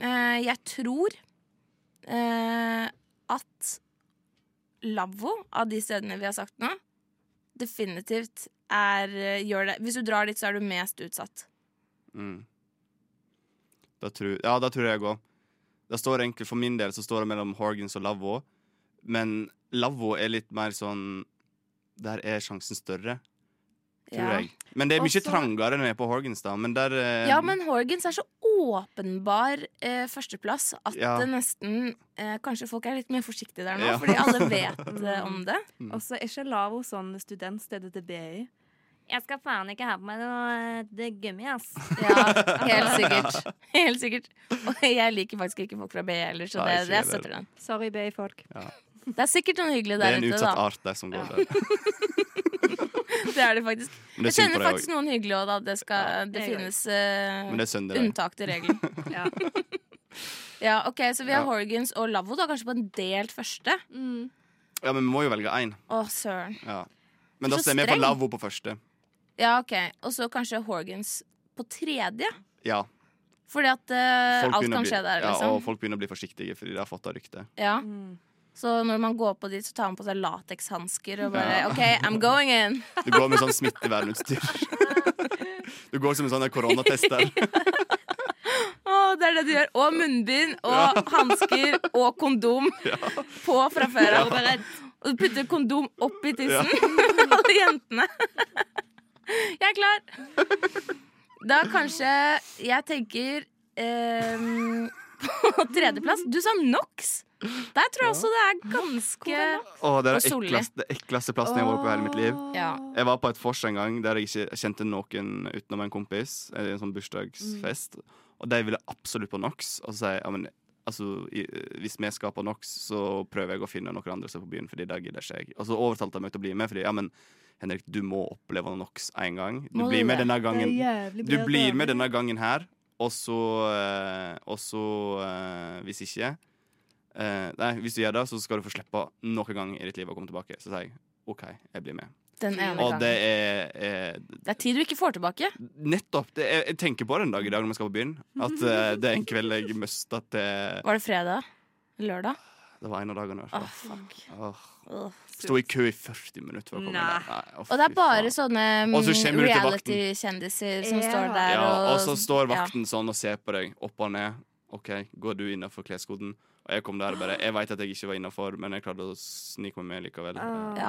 [SPEAKER 4] eh, Jeg tror eh, at lavvo, av de stedene vi har sagt nå, definitivt er eh, gjør det. Hvis du drar dit, så er du mest utsatt.
[SPEAKER 3] Mm. Da tror, ja, da tror jeg jeg òg. Det står egentlig, For min del så står det mellom Horgans og Lavvo. Men Lavvo er litt mer sånn Der er sjansen større, tror
[SPEAKER 4] Ja.
[SPEAKER 3] jeg. Men det er mye
[SPEAKER 5] Også-
[SPEAKER 3] trangere enn det er på Horgans, da. Men der eh,
[SPEAKER 4] Ja, men Horgans er så åpenbar eh, førsteplass at
[SPEAKER 3] Ja.
[SPEAKER 4] det nesten eh, Kanskje folk er litt mer forsiktige der nå,
[SPEAKER 3] Ja.
[SPEAKER 4] fordi alle vet eh, om det.
[SPEAKER 5] Og så er ikke Lavo sånn studentstedet til BI.
[SPEAKER 8] Jeg skal faen ikke ha på meg noe eh, gummi, ass.
[SPEAKER 4] Ja, helt sikkert. Helt sikkert. Og jeg liker faktisk ikke folk fra BI heller, så
[SPEAKER 3] Nei,
[SPEAKER 4] det,
[SPEAKER 3] ikke
[SPEAKER 4] det
[SPEAKER 3] heller.
[SPEAKER 4] støtter den.
[SPEAKER 5] Sorry, BI-folk.
[SPEAKER 4] Det er sikkert noen hyggelige
[SPEAKER 3] det er
[SPEAKER 4] der
[SPEAKER 3] en
[SPEAKER 4] ute,
[SPEAKER 3] utsatt
[SPEAKER 4] da.
[SPEAKER 3] art, de som går der.
[SPEAKER 4] Det er det faktisk.
[SPEAKER 3] Men det er
[SPEAKER 4] Jeg
[SPEAKER 3] synd på
[SPEAKER 4] kjenner
[SPEAKER 3] deg
[SPEAKER 4] faktisk
[SPEAKER 3] òg.
[SPEAKER 4] noen hyggelige òg, da. Det, skal, det
[SPEAKER 5] jeg
[SPEAKER 4] finnes eh,
[SPEAKER 3] Men det er synd i deg.
[SPEAKER 4] unntak til regelen.
[SPEAKER 5] Ja.
[SPEAKER 4] Ja, ok, Så vi
[SPEAKER 3] Ja.
[SPEAKER 4] har Horgans og Lavvo, da, kanskje på en delt første?
[SPEAKER 3] Ja, men vi må jo velge én.
[SPEAKER 4] Å, søren.
[SPEAKER 3] Ja. Men
[SPEAKER 4] Så
[SPEAKER 3] da stemmer jeg på
[SPEAKER 4] streng.
[SPEAKER 3] lavvo på første.
[SPEAKER 4] Ja, ok. Og så kanskje Horgans på tredje?
[SPEAKER 3] Ja,
[SPEAKER 4] Fordi at eh,
[SPEAKER 3] folk begynner
[SPEAKER 4] alt
[SPEAKER 3] å
[SPEAKER 4] kan
[SPEAKER 3] bli-
[SPEAKER 4] skje der,
[SPEAKER 3] Ja, og
[SPEAKER 4] liksom.
[SPEAKER 3] folk begynner å bli forsiktige fordi de har fått av ryktet.
[SPEAKER 4] Ja. Så når man går på dit, så tar man på seg latekshansker og bare
[SPEAKER 3] Ja.
[SPEAKER 4] OK, I'm going in.
[SPEAKER 3] Du går med sånn smittevernutstyr. Du går som en sånn koronatester.
[SPEAKER 4] Åh, det er det du gjør. Og munnbind og hansker og kondom på fra før av. Og du putter kondom opp i tissen. Alle jentene. Jeg er klar. Da kanskje jeg tenker ehm, på tredjeplass. Du sa NOx. Der tror jeg også det er ganske
[SPEAKER 3] Åh, det er
[SPEAKER 4] Og
[SPEAKER 3] den
[SPEAKER 4] Solli.
[SPEAKER 3] ekleste, ekleste plassen jeg har vært på i hele mitt liv.
[SPEAKER 4] Ja.
[SPEAKER 3] Jeg var på et vors en gang der jeg ikke kjente noen utenom en kompis. eh, En sånn bursdagsfest.
[SPEAKER 4] Mm.
[SPEAKER 3] Og de ville absolutt på NOx. Og så sier jeg ja, men altså, i, hvis vi skal på NOx, så prøver jeg å finne noen andre som er på byen, fordi det gidder ikke jeg. Og så overtalte de meg til å bli med, fordi ja, men Henrik, du må oppleve NOx en gang. Du
[SPEAKER 4] Må du
[SPEAKER 3] blir med
[SPEAKER 4] det?
[SPEAKER 3] denne gangen.
[SPEAKER 5] jævlig
[SPEAKER 3] Du blir med denne gangen her, og så eh, Og så eh, Hvis ikke Eh, nei, hvis du gjør det, så skal du få slippe noen gang i ditt liv å komme tilbake. Så sier jeg OK, jeg blir med.
[SPEAKER 4] Den ene
[SPEAKER 3] Og
[SPEAKER 4] gangen.
[SPEAKER 3] det
[SPEAKER 4] Det...
[SPEAKER 3] er, er
[SPEAKER 4] er tid du ikke får tilbake.
[SPEAKER 3] Nettopp. Det er, jeg tenker på det en dag i dag når vi skal på byen. At eh, det er en kveld jeg mista til
[SPEAKER 4] Var det fredag? Lørdag?
[SPEAKER 3] Det var en av dagene. i hvert
[SPEAKER 4] Åh,
[SPEAKER 3] fall.
[SPEAKER 4] fuck.
[SPEAKER 3] Åh.
[SPEAKER 4] Åh.
[SPEAKER 3] Sto i kø i 40 minutter for å komme
[SPEAKER 8] Nei.
[SPEAKER 3] inn. Nei, å,
[SPEAKER 4] Og
[SPEAKER 3] fy
[SPEAKER 4] det er bare sånn
[SPEAKER 3] faen.
[SPEAKER 4] sånne
[SPEAKER 3] Og så kommer
[SPEAKER 4] mm,
[SPEAKER 3] du til vakten.
[SPEAKER 4] reality-kjendiser som
[SPEAKER 5] Ja.
[SPEAKER 4] står der
[SPEAKER 3] ja,
[SPEAKER 4] og
[SPEAKER 3] Og så står vakten sånn og ser på deg opp og ned. OK, går du innafor kleskoden? Og jeg kom der og bare Jeg veit at jeg ikke var innafor, men jeg klarte å snike meg med likevel.
[SPEAKER 4] Ja.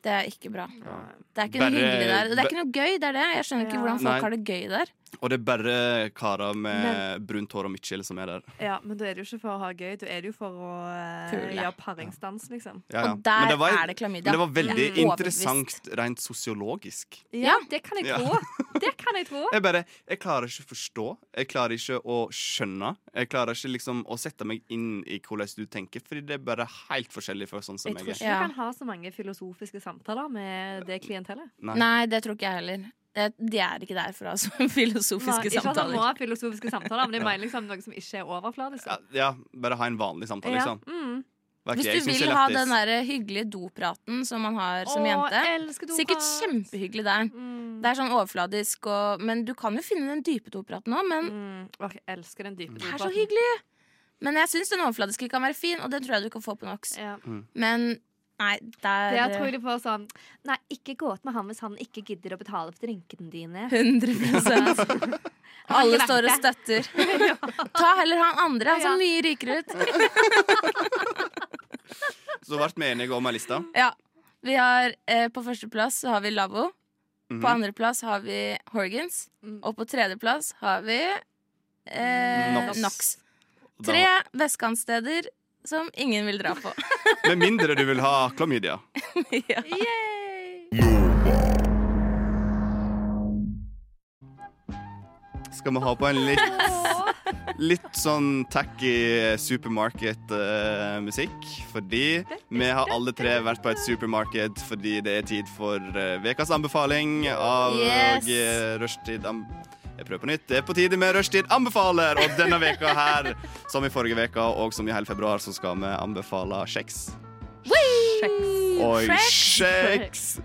[SPEAKER 4] Det er ikke bra.
[SPEAKER 3] Ja.
[SPEAKER 4] Det er ikke noe
[SPEAKER 3] Bare-
[SPEAKER 4] hyggelig der. Og Det er ikke noe gøy, det er det. Jeg skjønner ikke
[SPEAKER 5] Ja.
[SPEAKER 4] hvordan folk
[SPEAKER 3] Nei.
[SPEAKER 4] har det gøy der.
[SPEAKER 3] Og det er bare karer med brunt hår og midtskill som er der.
[SPEAKER 5] Ja, men da er det jo ikke for å ha gøy, da er det jo for å eh,
[SPEAKER 4] Pule.
[SPEAKER 5] gjøre paringsdans, liksom.
[SPEAKER 3] Ja, ja.
[SPEAKER 4] Og der
[SPEAKER 3] Men var,
[SPEAKER 4] er det klamydia.
[SPEAKER 3] Men det var veldig
[SPEAKER 4] Ja.
[SPEAKER 3] interessant rent sosiologisk.
[SPEAKER 5] Ja, det kan jeg
[SPEAKER 3] Ja.
[SPEAKER 5] tro. Det kan jeg tro.
[SPEAKER 3] Jeg bare, jeg klarer ikke å forstå. Jeg klarer ikke å skjønne. Jeg klarer ikke liksom å sette meg inn i hvordan du tenker, fordi det er bare helt forskjellig fra sånn som
[SPEAKER 5] Jeg tror
[SPEAKER 3] jeg
[SPEAKER 5] ikke
[SPEAKER 3] er.
[SPEAKER 5] du
[SPEAKER 4] Ja.
[SPEAKER 5] kan ha så mange filosofiske samtaler med det klientellet.
[SPEAKER 3] Nei.
[SPEAKER 4] Nei, det tror ikke jeg heller. Det- De er ikke der for å ha sånne filosofiske
[SPEAKER 5] Ikke at man må
[SPEAKER 4] samtaler.
[SPEAKER 5] ha filosofiske samtaler, men jeg mener liksom noe som ikke er overfladisk.
[SPEAKER 3] Ja, ja, bare ha en vanlig samtale, liksom.
[SPEAKER 5] Ja. Mm.
[SPEAKER 3] Vær ikke- jeg
[SPEAKER 4] Hvis du
[SPEAKER 3] synes det
[SPEAKER 4] vil
[SPEAKER 3] er
[SPEAKER 4] ha
[SPEAKER 3] lættis.
[SPEAKER 4] den der hyggelige dopraten som man har som
[SPEAKER 5] Å,
[SPEAKER 4] jente
[SPEAKER 5] elsker doprat.
[SPEAKER 4] Sikkert kjempehyggelig der.
[SPEAKER 5] Mm.
[SPEAKER 4] Det er sånn overfladisk og Men du kan jo finne den dype dopraten òg, men
[SPEAKER 5] Mm. Åh, jeg elsker den dype
[SPEAKER 4] det er så
[SPEAKER 5] dopraten.
[SPEAKER 4] hyggelig! Men jeg syns den overfladiske kan være fin, og den tror jeg du kan få på NOX.
[SPEAKER 5] Ja.
[SPEAKER 4] Men nei, der eh,
[SPEAKER 5] Der tror jeg de får sånn Nei, ikke gå ut med han hvis han ikke gidder å betale for drinkene dine.
[SPEAKER 4] 100 Alle står og støtter. Ta heller han andre, han
[SPEAKER 5] Ja.
[SPEAKER 4] ser mye rikere ut.
[SPEAKER 3] Så ble vi enige om ei liste.
[SPEAKER 4] Ja. Vi har, eh, på førsteplass så har vi Lavvo.
[SPEAKER 3] Mhm.
[SPEAKER 4] På andreplass har vi Horgans.
[SPEAKER 5] Mm.
[SPEAKER 4] Og på tredjeplass har vi eh,
[SPEAKER 3] Nox.
[SPEAKER 4] Nox.
[SPEAKER 3] Og da-
[SPEAKER 4] Tre vestkantsteder som ingen vil dra på.
[SPEAKER 3] Med mindre du vil ha klamydia.
[SPEAKER 4] ja.
[SPEAKER 3] Skal vi ha på en litt Litt sånn tacky supermarket-musikk. fordi vi har alle tre vært på et supermarked fordi det er tid for eh, ukas anbefaling av
[SPEAKER 4] Yes.
[SPEAKER 3] eh, rushtid am jeg prøver på nytt. Det er på tide med Rushtid anbefaler! Og denne veka her, som i forrige veka og som i hele februar, så skal vi anbefale kjeks. Oi, kjeks!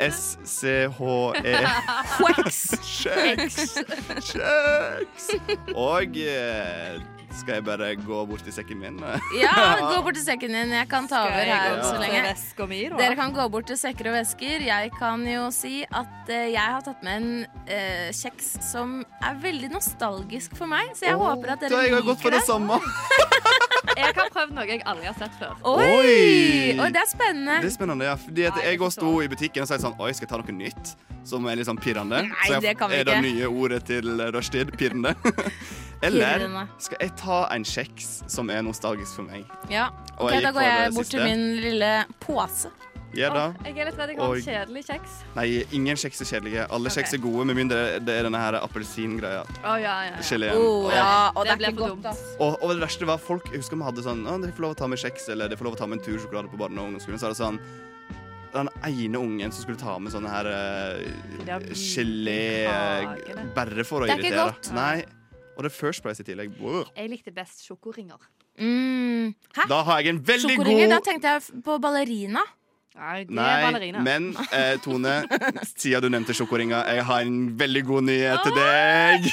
[SPEAKER 3] S-C-H-E.
[SPEAKER 4] Quacks.
[SPEAKER 3] Kjeks! Kjeks! Og eh, skal jeg bare gå bort til sekken min?
[SPEAKER 4] Ja, gå bort til sekken din. Jeg kan ta over
[SPEAKER 3] gå
[SPEAKER 4] her så
[SPEAKER 3] til
[SPEAKER 4] lenge.
[SPEAKER 5] Veska mi, da.
[SPEAKER 4] Dere kan gå bort til sekker og vesker. Jeg kan jo si at eh, jeg har tatt med en eh, kjeks som er veldig nostalgisk for meg, så jeg håper at
[SPEAKER 3] Da
[SPEAKER 4] dere
[SPEAKER 3] har jeg gått
[SPEAKER 4] liker
[SPEAKER 3] for
[SPEAKER 4] det.
[SPEAKER 3] det samme.
[SPEAKER 5] Jeg har prøvd noe jeg aldri har sett før.
[SPEAKER 4] Oi!
[SPEAKER 3] Oi!
[SPEAKER 4] Oi, det er spennende.
[SPEAKER 3] Det er spennende, ja. Fordi at jeg også sto i butikken og sa sånn Oi, skal jeg ta noe nytt? Som er litt sånn pirrende.
[SPEAKER 4] Nei,
[SPEAKER 3] Så jeg-
[SPEAKER 4] det kan vi
[SPEAKER 3] er det
[SPEAKER 4] ikke.
[SPEAKER 3] nye ordet til rushtid. Pirrende. Eller
[SPEAKER 4] Pirrende.
[SPEAKER 3] skal jeg ta en kjeks som er nostalgisk for meg?
[SPEAKER 4] Ja.
[SPEAKER 3] Og
[SPEAKER 4] Ok,
[SPEAKER 3] jeg gikk
[SPEAKER 4] da
[SPEAKER 3] for
[SPEAKER 4] går jeg
[SPEAKER 3] det
[SPEAKER 4] bort til
[SPEAKER 3] siste.
[SPEAKER 4] min lille pose.
[SPEAKER 3] Ja da.
[SPEAKER 5] Åh, Jeg er litt redd jeg har
[SPEAKER 3] Oi.
[SPEAKER 5] en kjedelig kjeks.
[SPEAKER 3] Nei, ingen kjeks er kjedelige. Alle
[SPEAKER 5] Ok.
[SPEAKER 3] kjeks er gode, med mindre det er denne her appelsingreia.
[SPEAKER 5] Å, ja, ja, ja.
[SPEAKER 3] Geleen.
[SPEAKER 4] Oh, ja. Og
[SPEAKER 5] Det
[SPEAKER 4] det er
[SPEAKER 5] ble
[SPEAKER 4] ikke
[SPEAKER 5] for
[SPEAKER 4] godt,
[SPEAKER 5] dumt.
[SPEAKER 4] ass.
[SPEAKER 3] Og, og det verste var folk Jeg husker vi hadde sånn «Å, 'Dere får lov å ta med kjeks', eller 'Dere får lov å ta med en tur sjokolade på barne- og ungdomsskolen'. Så er det sånn Den ene ungen som skulle ta med sånne her uh,
[SPEAKER 5] Det er
[SPEAKER 3] gelé
[SPEAKER 5] kakene.
[SPEAKER 3] Bare for å
[SPEAKER 4] Det er ikke
[SPEAKER 3] irritere.
[SPEAKER 4] godt.
[SPEAKER 3] Nei. Og det er First Price i tillegg. Wow.
[SPEAKER 5] Jeg likte best sjokoringer.
[SPEAKER 4] Mm. Hæ?
[SPEAKER 3] Da har jeg en veldig
[SPEAKER 4] Sjokoringer? Da
[SPEAKER 3] god
[SPEAKER 4] tenkte jeg f- på ballerina.
[SPEAKER 5] Nei, det er
[SPEAKER 3] Nei,
[SPEAKER 5] ballerina.
[SPEAKER 3] men eh, Tone, siden du nevnte sjokoringer, jeg har en veldig god nyhet til deg.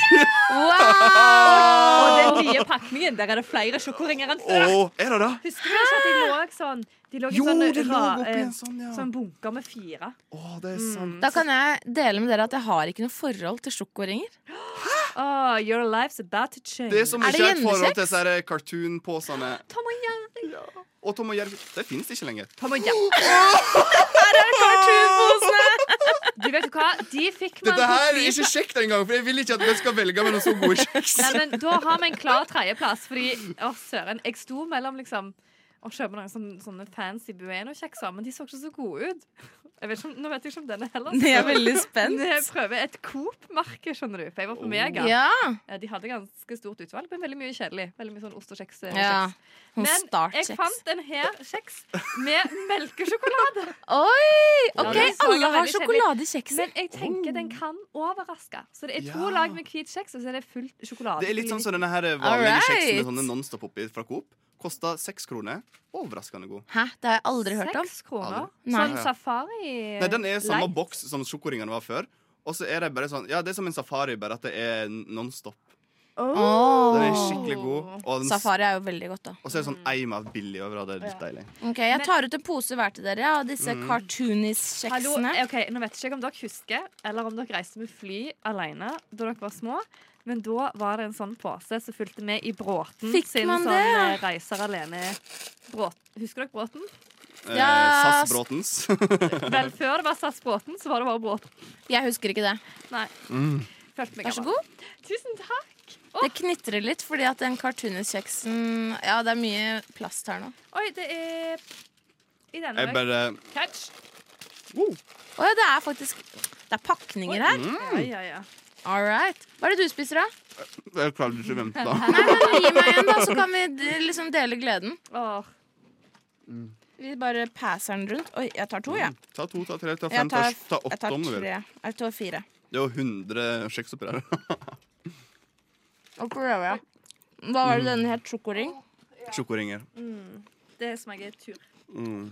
[SPEAKER 5] Og den nye pakningen, der er det flere sjokoringer enn før.
[SPEAKER 3] Å, er det det?
[SPEAKER 5] Husker du ikke at de lå sånn De lå i
[SPEAKER 3] Jo,
[SPEAKER 5] sånne
[SPEAKER 3] det lå
[SPEAKER 5] ra-
[SPEAKER 3] oppi
[SPEAKER 5] eh,
[SPEAKER 3] en sånn, ja.
[SPEAKER 5] sånn bunker med fire.
[SPEAKER 3] Å, det er sant.
[SPEAKER 4] Da kan jeg dele med dere at jeg har ikke noe forhold til sjokoringer.
[SPEAKER 5] Oh, your life's about to change.
[SPEAKER 3] Det er som
[SPEAKER 4] Er det
[SPEAKER 3] ikke er et forhold
[SPEAKER 4] hjemmekjeks?
[SPEAKER 3] til disse her cartoon-posene.
[SPEAKER 5] Tom og Jerry.
[SPEAKER 3] Og Tom og Jerv Det finnes ikke lenger.
[SPEAKER 5] Tom og Jerry. Du vet jo hva, de fikk man
[SPEAKER 3] Dette
[SPEAKER 5] på
[SPEAKER 3] her er
[SPEAKER 5] flyplass-
[SPEAKER 3] ikke kjekt engang, for jeg vil ikke at vi skal velge mellom så gode kjeks.
[SPEAKER 5] Nei, men Da har vi en klar tredjeplass, fordi å søren, jeg sto mellom liksom å kjøpe noen sånne, sånne fancy Bueno-kjekser, men de så ikke så gode ut. Jeg vet ikke, om- nå vet jeg ikke om denne heller.
[SPEAKER 4] Jeg er veldig
[SPEAKER 5] Men Jeg
[SPEAKER 4] spent.
[SPEAKER 5] prøver et Coop-merke, skjønner du. For
[SPEAKER 3] Oh.
[SPEAKER 5] jeg var på Mega.
[SPEAKER 4] Ja.
[SPEAKER 5] Eh, De hadde ganske stort utvalg, men veldig mye kjedelig. Veldig mye sånn ost og kjeks. eh,
[SPEAKER 4] ja.
[SPEAKER 5] kjeks.
[SPEAKER 4] Noen
[SPEAKER 5] Men jeg
[SPEAKER 4] startkjeks.
[SPEAKER 5] fant en her kjeks med melkesjokolade.
[SPEAKER 4] Oi! OK,
[SPEAKER 5] Ja, det så
[SPEAKER 4] alle har
[SPEAKER 5] veldig
[SPEAKER 4] sjokoladekjekser.
[SPEAKER 5] Men jeg tenker den kan overraske. Så det er to
[SPEAKER 3] Oh. Ja.
[SPEAKER 5] lag med hvit kjeks, og så er det fullt sjokolade.
[SPEAKER 3] Det er litt sånn som denne her vanlige
[SPEAKER 4] Alright.
[SPEAKER 3] kjeksen med sånne Nonstop oppi fra Coop. Kosta seks kroner. Overraskende god.
[SPEAKER 4] Hæ? Det har jeg aldri hørt om.
[SPEAKER 5] Seks kroner?
[SPEAKER 4] Aldri.
[SPEAKER 5] Sånn
[SPEAKER 3] Nei.
[SPEAKER 5] safari
[SPEAKER 3] Nei, Den er i samme
[SPEAKER 5] light.
[SPEAKER 3] boks som sjokoringene var før. Og så er det bare sånn Ja, det er som en safari, bare at det er nonstop.
[SPEAKER 4] Åh.
[SPEAKER 3] Den er skikkelig god. Og, den,
[SPEAKER 4] Safari er jo veldig godt, da.
[SPEAKER 3] og så er det sånn eim av billig over, og det er litt deilig.
[SPEAKER 4] Ok, Jeg tar ut en pose hver til dere, ja, og disse
[SPEAKER 3] Mm.
[SPEAKER 5] Hallo, eh,
[SPEAKER 4] cartoonies-kjeksene.
[SPEAKER 5] ok, Nå vet jeg ikke om dere husker, eller om dere reiste med fly alene da dere var små. Men da var det en sånn pose som fulgte med i Bråten
[SPEAKER 4] Fikk
[SPEAKER 5] sin
[SPEAKER 4] man
[SPEAKER 5] sånn
[SPEAKER 4] det?
[SPEAKER 5] eh, reiser alene. Bråt. Husker dere Bråten?
[SPEAKER 3] Eh,
[SPEAKER 4] Ja,
[SPEAKER 3] SAS Bråtens.
[SPEAKER 5] Vel, før det var SAS Bråten, så var det bare Bråten.
[SPEAKER 4] Jeg husker ikke det.
[SPEAKER 5] Nei.
[SPEAKER 3] Mm.
[SPEAKER 5] Følte meg
[SPEAKER 4] Vær så
[SPEAKER 5] gammel.
[SPEAKER 4] god.
[SPEAKER 5] Tusen takk.
[SPEAKER 4] Det knitrer litt, fordi at den cartoonies-kjeksen Ja, det er mye plast her nå.
[SPEAKER 5] Oi, det er i denne
[SPEAKER 3] Jeg bare
[SPEAKER 5] Catch.
[SPEAKER 4] Å ja, det er faktisk Det er pakninger her.
[SPEAKER 3] Mm.
[SPEAKER 5] Ja, ja, ja.
[SPEAKER 4] All right. Hva er det du spiser, da?
[SPEAKER 3] Jeg klarte ikke å vente.
[SPEAKER 4] Nei, men Gi meg en, da, så kan vi d- liksom dele gleden.
[SPEAKER 5] Åh.
[SPEAKER 4] Vi bare passer den rundt. Oi, jeg tar to, jeg.
[SPEAKER 3] Ta to, ta tre, ta
[SPEAKER 4] Jeg
[SPEAKER 3] Mm. fem, ta,
[SPEAKER 4] tar-
[SPEAKER 3] ta
[SPEAKER 4] Jeg
[SPEAKER 3] åtte
[SPEAKER 4] tar
[SPEAKER 3] om du vil.
[SPEAKER 4] tre. Jeg tar fire.
[SPEAKER 3] Det er jo 100 kjeks oppi der.
[SPEAKER 4] Og prøver jeg. Hva var det denne het? Sjokoring?
[SPEAKER 3] Sjokoringer.
[SPEAKER 5] Det smaker tur.
[SPEAKER 3] Mm.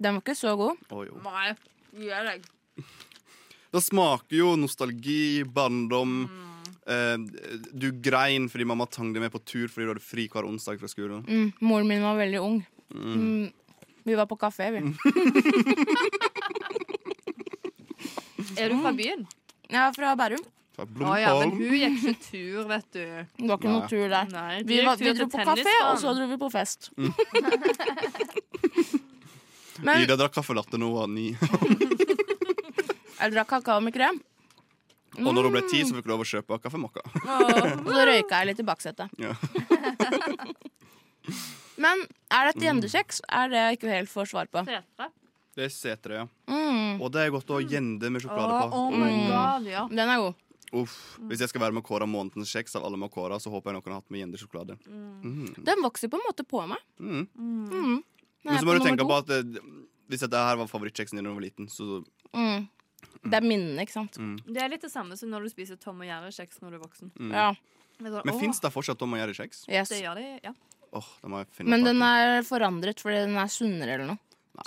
[SPEAKER 4] Den var ikke så god.
[SPEAKER 3] Å, jo.
[SPEAKER 5] Nei, gjør deg.
[SPEAKER 3] Det smaker jo nostalgi, barndom. Eh, du grein fordi mamma tang deg med på tur fordi du hadde fri hver onsdag fra skolen.
[SPEAKER 4] Mm, moren min var veldig ung. Mm. Vi var på kafé,
[SPEAKER 3] Mm.
[SPEAKER 4] vi.
[SPEAKER 5] Er du fra byen?
[SPEAKER 4] Jeg var fra Bærum.
[SPEAKER 3] Fra
[SPEAKER 5] Mm. Å ja, men
[SPEAKER 3] Blomkål.
[SPEAKER 5] hun gikk ikke tur, vet du.
[SPEAKER 4] Det var ikke
[SPEAKER 3] Nei.
[SPEAKER 4] noe tur der.
[SPEAKER 5] Nei,
[SPEAKER 4] Vi, var, vi
[SPEAKER 5] tur
[SPEAKER 4] dro
[SPEAKER 5] til
[SPEAKER 4] på kafé,
[SPEAKER 5] tennisbanen.
[SPEAKER 4] og så dro vi på fest.
[SPEAKER 3] Mm.
[SPEAKER 4] Men
[SPEAKER 3] Ida drakk kaffe latte da hun var ni.
[SPEAKER 4] Mm. jeg drakk kakao med krem,
[SPEAKER 3] Og når hun ble ti, så fikk hun lov å kjøpe kaffe mokka.
[SPEAKER 4] Mm. og så røyka jeg litt i baksetet.
[SPEAKER 3] Ja.
[SPEAKER 4] Men er dette
[SPEAKER 3] Mm.
[SPEAKER 4] gjendekjeks? Er det jeg ikke helt får svar på.
[SPEAKER 5] Setre.
[SPEAKER 3] Det er setre, ja.
[SPEAKER 4] Mm,
[SPEAKER 3] Og det er godt å gjende med sjokolade på. Mm.
[SPEAKER 5] oh my god, ja.
[SPEAKER 4] den er god.
[SPEAKER 3] Uff. Hvis jeg skal være med å kåre månedens kjeks av alle med å kåre, så håper jeg noen har hatt med gjendesjokolade.
[SPEAKER 4] Den vokser på en måte på meg.
[SPEAKER 3] Mm.
[SPEAKER 4] Mm. Den
[SPEAKER 3] Men
[SPEAKER 4] er
[SPEAKER 3] så må
[SPEAKER 4] på
[SPEAKER 3] du
[SPEAKER 4] nummer
[SPEAKER 3] tenke
[SPEAKER 4] to.
[SPEAKER 3] på at eh, hvis dette her var favorittkjeksen din da du var liten, så
[SPEAKER 4] Mm. Det er minnene, ikke sant?
[SPEAKER 5] Det er litt det samme som når du spiser Tom og Jerry-kjeks når du er voksen.
[SPEAKER 4] Ja,
[SPEAKER 3] Mm. Men fins det fortsatt Tom og Jerry-kjeks?
[SPEAKER 4] yes.
[SPEAKER 5] Det gjør de, ja.
[SPEAKER 3] Åh, det må jeg finne
[SPEAKER 4] Men
[SPEAKER 3] tak i.
[SPEAKER 4] den er forandret fordi den er sunnere eller noe.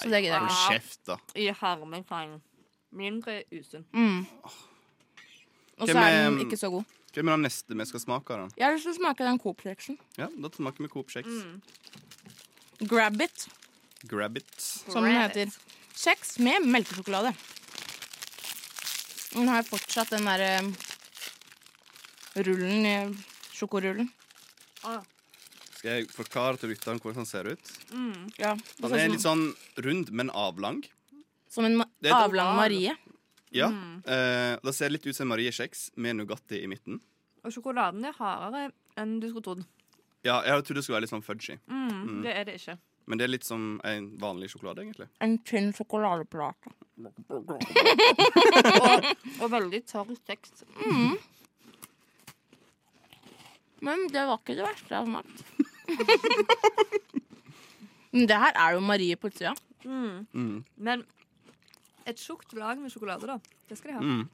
[SPEAKER 4] så det gidder jeg
[SPEAKER 3] hold
[SPEAKER 5] ikke.
[SPEAKER 3] kjeft, da.
[SPEAKER 5] I hermetegn. Mindre usunn.
[SPEAKER 4] Mm. Og så
[SPEAKER 3] Hvem
[SPEAKER 4] er
[SPEAKER 3] er-
[SPEAKER 4] den ikke så god.
[SPEAKER 3] Hvem er den neste vi skal smake? da?
[SPEAKER 4] Jeg har lyst til å smake den Coop-kjeksen.
[SPEAKER 3] Ja, Da smaker vi Coop kjeks.
[SPEAKER 4] Mm. Grab it,
[SPEAKER 3] Grab it.
[SPEAKER 4] som den heter. Kjeks med melkesjokolade. Den har fortsatt den derre rullen i sjokorullen.
[SPEAKER 3] Skal jeg forklare til lytteren hvordan den ser ut?
[SPEAKER 4] Ja, det
[SPEAKER 3] Den
[SPEAKER 4] ser
[SPEAKER 3] er
[SPEAKER 4] ut
[SPEAKER 3] litt sånn rund, men avlang.
[SPEAKER 4] som, som en ma-
[SPEAKER 3] Det er et
[SPEAKER 4] avlang
[SPEAKER 3] oval.
[SPEAKER 4] Marie.
[SPEAKER 3] Ja.
[SPEAKER 4] Mm.
[SPEAKER 3] Eh, det ser litt ut som en Marie kjeks med Nugatti i midten.
[SPEAKER 5] Og sjokoladen er hardere enn du skulle trodd.
[SPEAKER 3] Ja, jeg hadde trodd det skulle være litt sånn fudgy,
[SPEAKER 4] Mm.
[SPEAKER 5] Det er det ikke.
[SPEAKER 3] men det er litt som en vanlig sjokolade, egentlig.
[SPEAKER 4] En tynn sjokoladeplate.
[SPEAKER 5] Og veldig tørr tekst.
[SPEAKER 4] Men det var ikke det verste jeg har smakt. Men det her er jo Marie på utsida.
[SPEAKER 5] Men et tjukt lag med sjokolade, da. Det skal de ha.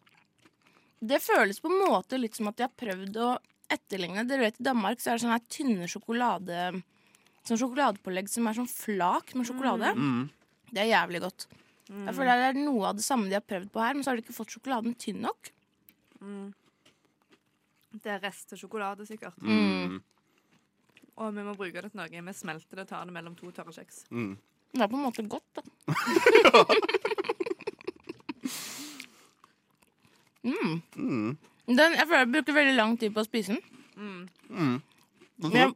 [SPEAKER 4] Det føles på en måte litt som at de har prøvd å etterligne. Dere vet, I Danmark så er det sånne her tynne sjokolade Sånn sjokoladepålegg som er sånn flak med sjokolade. Det er jævlig godt. Jeg føler det er noe av det samme de har prøvd på her, men så har de ikke fått sjokoladen tynn nok.
[SPEAKER 5] Det er restesjokolade, sikkert. Og vi må bruke det til noe. Vi smelter det og tar det mellom to tørre kjeks.
[SPEAKER 4] Det er på en måte godt, da. mm. Den, jeg føler jeg bruker veldig lang tid på å spise den. Men jeg,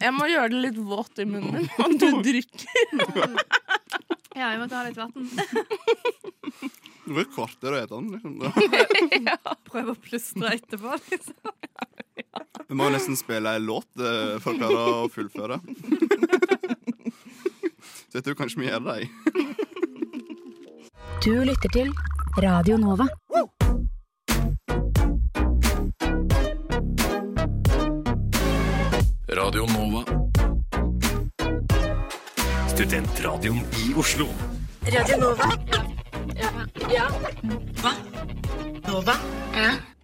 [SPEAKER 4] jeg må gjøre det litt våt i munnen min, og du drikker.
[SPEAKER 5] Ja, jeg må ta litt vann.
[SPEAKER 3] Det blir kortere å spise den. liksom.
[SPEAKER 5] Prøve å plystre etterpå, liksom.
[SPEAKER 3] Vi må jo nesten spille en låt eh, for å klare å fullføre. Så jeg tror kanskje vi gjør det. jeg.
[SPEAKER 7] Du lytter til Radio Nova.
[SPEAKER 9] Radio Nova.
[SPEAKER 1] Studentradioen i Oslo.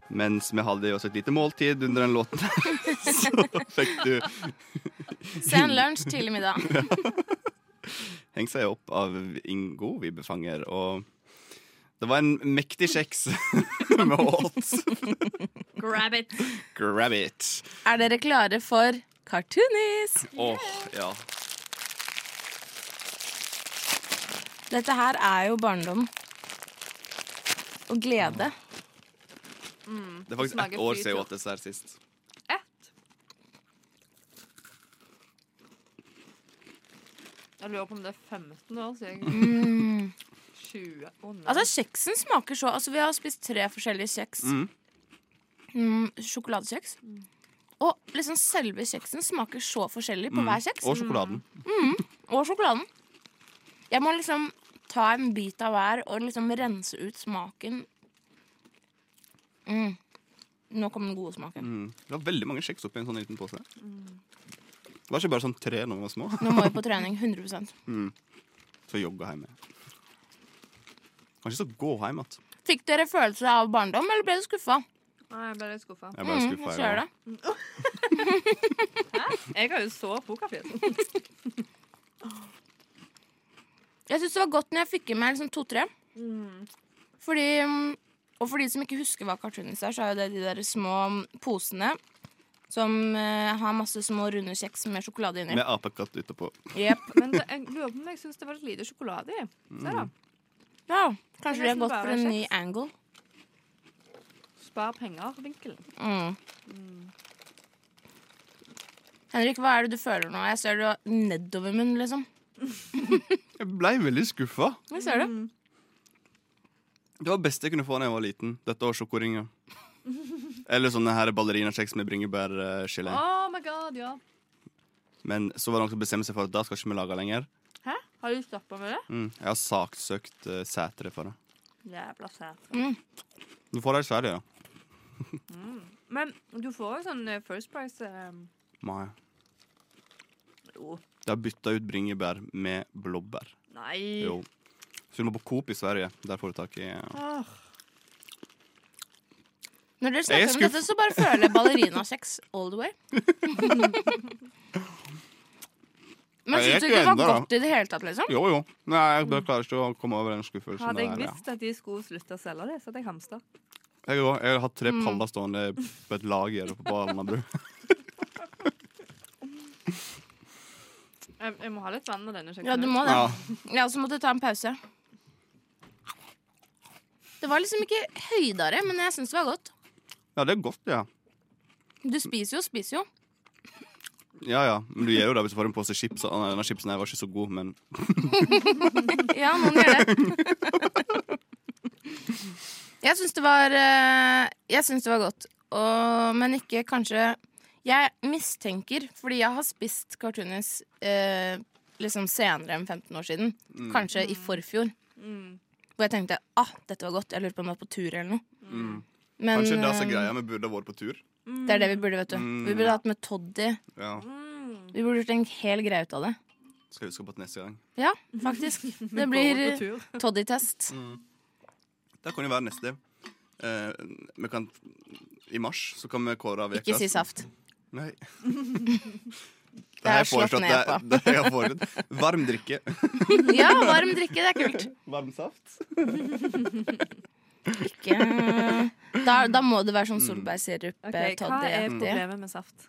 [SPEAKER 3] Mens vi hadde i oss et lite måltid under den låten, så fikk du
[SPEAKER 4] Sen lunsj, tidlig middag.
[SPEAKER 3] Heng seg opp av Ingo Vibbefanger, og det var en mektig kjeks med åt.
[SPEAKER 8] Grab it.
[SPEAKER 3] Grab it.
[SPEAKER 4] Er dere klare for Cartoonis?
[SPEAKER 3] Åh, ja.
[SPEAKER 4] Dette her er jo barndom. Og glede.
[SPEAKER 3] Det er faktisk
[SPEAKER 5] Smaker
[SPEAKER 3] ett år
[SPEAKER 5] flyt,
[SPEAKER 3] siden jeg
[SPEAKER 5] ja.
[SPEAKER 3] åt disse her sist.
[SPEAKER 5] Ett. Jeg lurer på om det er 15 år siden.
[SPEAKER 4] Mm.
[SPEAKER 5] 20 Å nei.
[SPEAKER 4] Altså, kjeksen smaker så Altså, vi har spist tre forskjellige kjeks.
[SPEAKER 3] Mm.
[SPEAKER 4] Mm, sjokoladekjeks. Og liksom selve kjeksen smaker så forskjellig på hver kjeks.
[SPEAKER 3] Mm. Og sjokoladen.
[SPEAKER 4] Og sjokoladen. Jeg må liksom ta en bit av hver og liksom rense ut smaken. Mm. Nå kom den gode smaken.
[SPEAKER 3] Mm. Det var veldig mange kjeks oppi en sånn liten pose. Det var ikke bare sånn tre når vi var små,
[SPEAKER 4] Nå må vi på trening. 100
[SPEAKER 3] så jogga hjemme. Kanskje så gå hjem igjen.
[SPEAKER 4] Fikk dere følelse av barndom, eller ble dere skuffa?
[SPEAKER 5] Nei, jeg ble litt skuffa.
[SPEAKER 3] Jeg ble
[SPEAKER 4] Mm,
[SPEAKER 3] skuffa.
[SPEAKER 4] så gjør det.
[SPEAKER 5] Jeg har jo så pokerfjes.
[SPEAKER 4] Jeg syns det var godt når jeg fikk i meg liksom to-tre. Fordi mm, Og for de som ikke husker hva cartoonis er, så er jo det de der små mm, posene som eh, har masse små runde kjeks med sjokolade inni.
[SPEAKER 3] Med apekatt utapå.
[SPEAKER 4] Jep.
[SPEAKER 5] Men det, jeg lurer på om jeg syns det var litt lite sjokolade i. Se, da.
[SPEAKER 4] Ja, kanskje de
[SPEAKER 5] nesten
[SPEAKER 4] har gått
[SPEAKER 5] bare
[SPEAKER 4] for en ny
[SPEAKER 5] kjeks.
[SPEAKER 4] angle.
[SPEAKER 5] Spar penger-vinkelen.
[SPEAKER 4] Mm. Henrik, hva er det du føler nå? Jeg ser du har nedover munnen, liksom.
[SPEAKER 3] Jeg blei veldig skuffa.
[SPEAKER 4] Jeg ser det.
[SPEAKER 3] Det var det beste jeg kunne få da jeg var liten. Dette og sjokoringer. Eller sånne her ballerinakjeks med bringebærgelé.
[SPEAKER 5] Oh my god, ja.
[SPEAKER 3] Men så var det noen som bestemte seg for at da skal ikke vi lage lenger.
[SPEAKER 5] Hæ? Har du stoppa med det?
[SPEAKER 3] Mm. Jeg har saksøkt uh, Sætre for det.
[SPEAKER 5] Jævla sært.
[SPEAKER 3] Du får det i Sverige, da.
[SPEAKER 5] Men du får jo sånn eh, First Price eh,
[SPEAKER 3] Nei.
[SPEAKER 5] Jo.
[SPEAKER 3] De har bytta ut bringebær med blåbær.
[SPEAKER 5] Nei.
[SPEAKER 3] Jo. Så du må på Coop i Sverige. Der får du tak i eh,
[SPEAKER 5] Åh,
[SPEAKER 4] Når dere
[SPEAKER 3] Jeg er
[SPEAKER 4] snakker om dette, så bare føler jeg ballerinakjeks all the way. Men
[SPEAKER 3] Jeg er
[SPEAKER 4] syns du
[SPEAKER 3] ikke
[SPEAKER 4] ikke det var
[SPEAKER 3] enda, da.
[SPEAKER 4] godt i det hele tatt, liksom?
[SPEAKER 3] Jo, jo. Nei, jeg bare klarer ikke å komme over den skuffelsen.
[SPEAKER 5] hadde jeg
[SPEAKER 3] der, ja.
[SPEAKER 5] visst at de skulle slutte å selge det, så hadde jeg hamstra.
[SPEAKER 3] Jeg, også, jeg har hatt
[SPEAKER 4] Mm.
[SPEAKER 3] tre paller stående på et lager på Alnabru.
[SPEAKER 5] Jeg, jeg må ha litt vann når denne sjekken
[SPEAKER 4] Ja, du må det.
[SPEAKER 3] Ja.
[SPEAKER 4] Jeg også måtte ta en pause. Det var liksom ikke høydere, men jeg syns det var godt.
[SPEAKER 3] ja, det er godt, ja.
[SPEAKER 4] Du spiser jo, spiser jo.
[SPEAKER 3] Ja, ja. Men du gir jo det hvis du får en pose chips. og- Nei, Denne chipsen her var ikke så god, men
[SPEAKER 4] Ja, noen gjør det. Jeg syns det var eh, Jeg syns det var godt, og, men ikke kanskje Jeg mistenker, fordi jeg har spist cartoonis eh, liksom senere enn 15 år siden.
[SPEAKER 3] Mm.
[SPEAKER 4] Kanskje i forfjor. Hvor jeg tenkte ah, dette var godt. Jeg lurte på om det var på tur eller noe. Mm. Men
[SPEAKER 3] kanskje det er så
[SPEAKER 4] eh,
[SPEAKER 3] greia vi burde vært på tur.
[SPEAKER 4] det er det vi burde, vet du.
[SPEAKER 3] Mm.
[SPEAKER 4] Vi burde hatt med Toddy.
[SPEAKER 3] Ja.
[SPEAKER 4] Vi burde gjort en hel greie ut av det.
[SPEAKER 3] Skal jeg huske på til neste gang.
[SPEAKER 4] Ja, faktisk. Det blir
[SPEAKER 5] Går på tur.
[SPEAKER 4] Toddy-test.
[SPEAKER 3] Mm, Det kan jo være neste. Eh, vi kan I mars så kan vi kåre av
[SPEAKER 4] Ikke si saft.
[SPEAKER 3] Nei.
[SPEAKER 4] Det
[SPEAKER 3] her
[SPEAKER 4] er slått
[SPEAKER 3] foreslått-
[SPEAKER 4] ned
[SPEAKER 3] det er-
[SPEAKER 4] på.
[SPEAKER 3] Det, er- jeg har foreslått. Varm drikke.
[SPEAKER 4] Ja, varm drikke, det er kult.
[SPEAKER 3] Varm saft.
[SPEAKER 4] Ikke Da, da må det være sånn solbærsirup.
[SPEAKER 5] Mm. Ok,
[SPEAKER 4] eh,
[SPEAKER 5] hva
[SPEAKER 4] toddy.
[SPEAKER 5] er problemet med saft?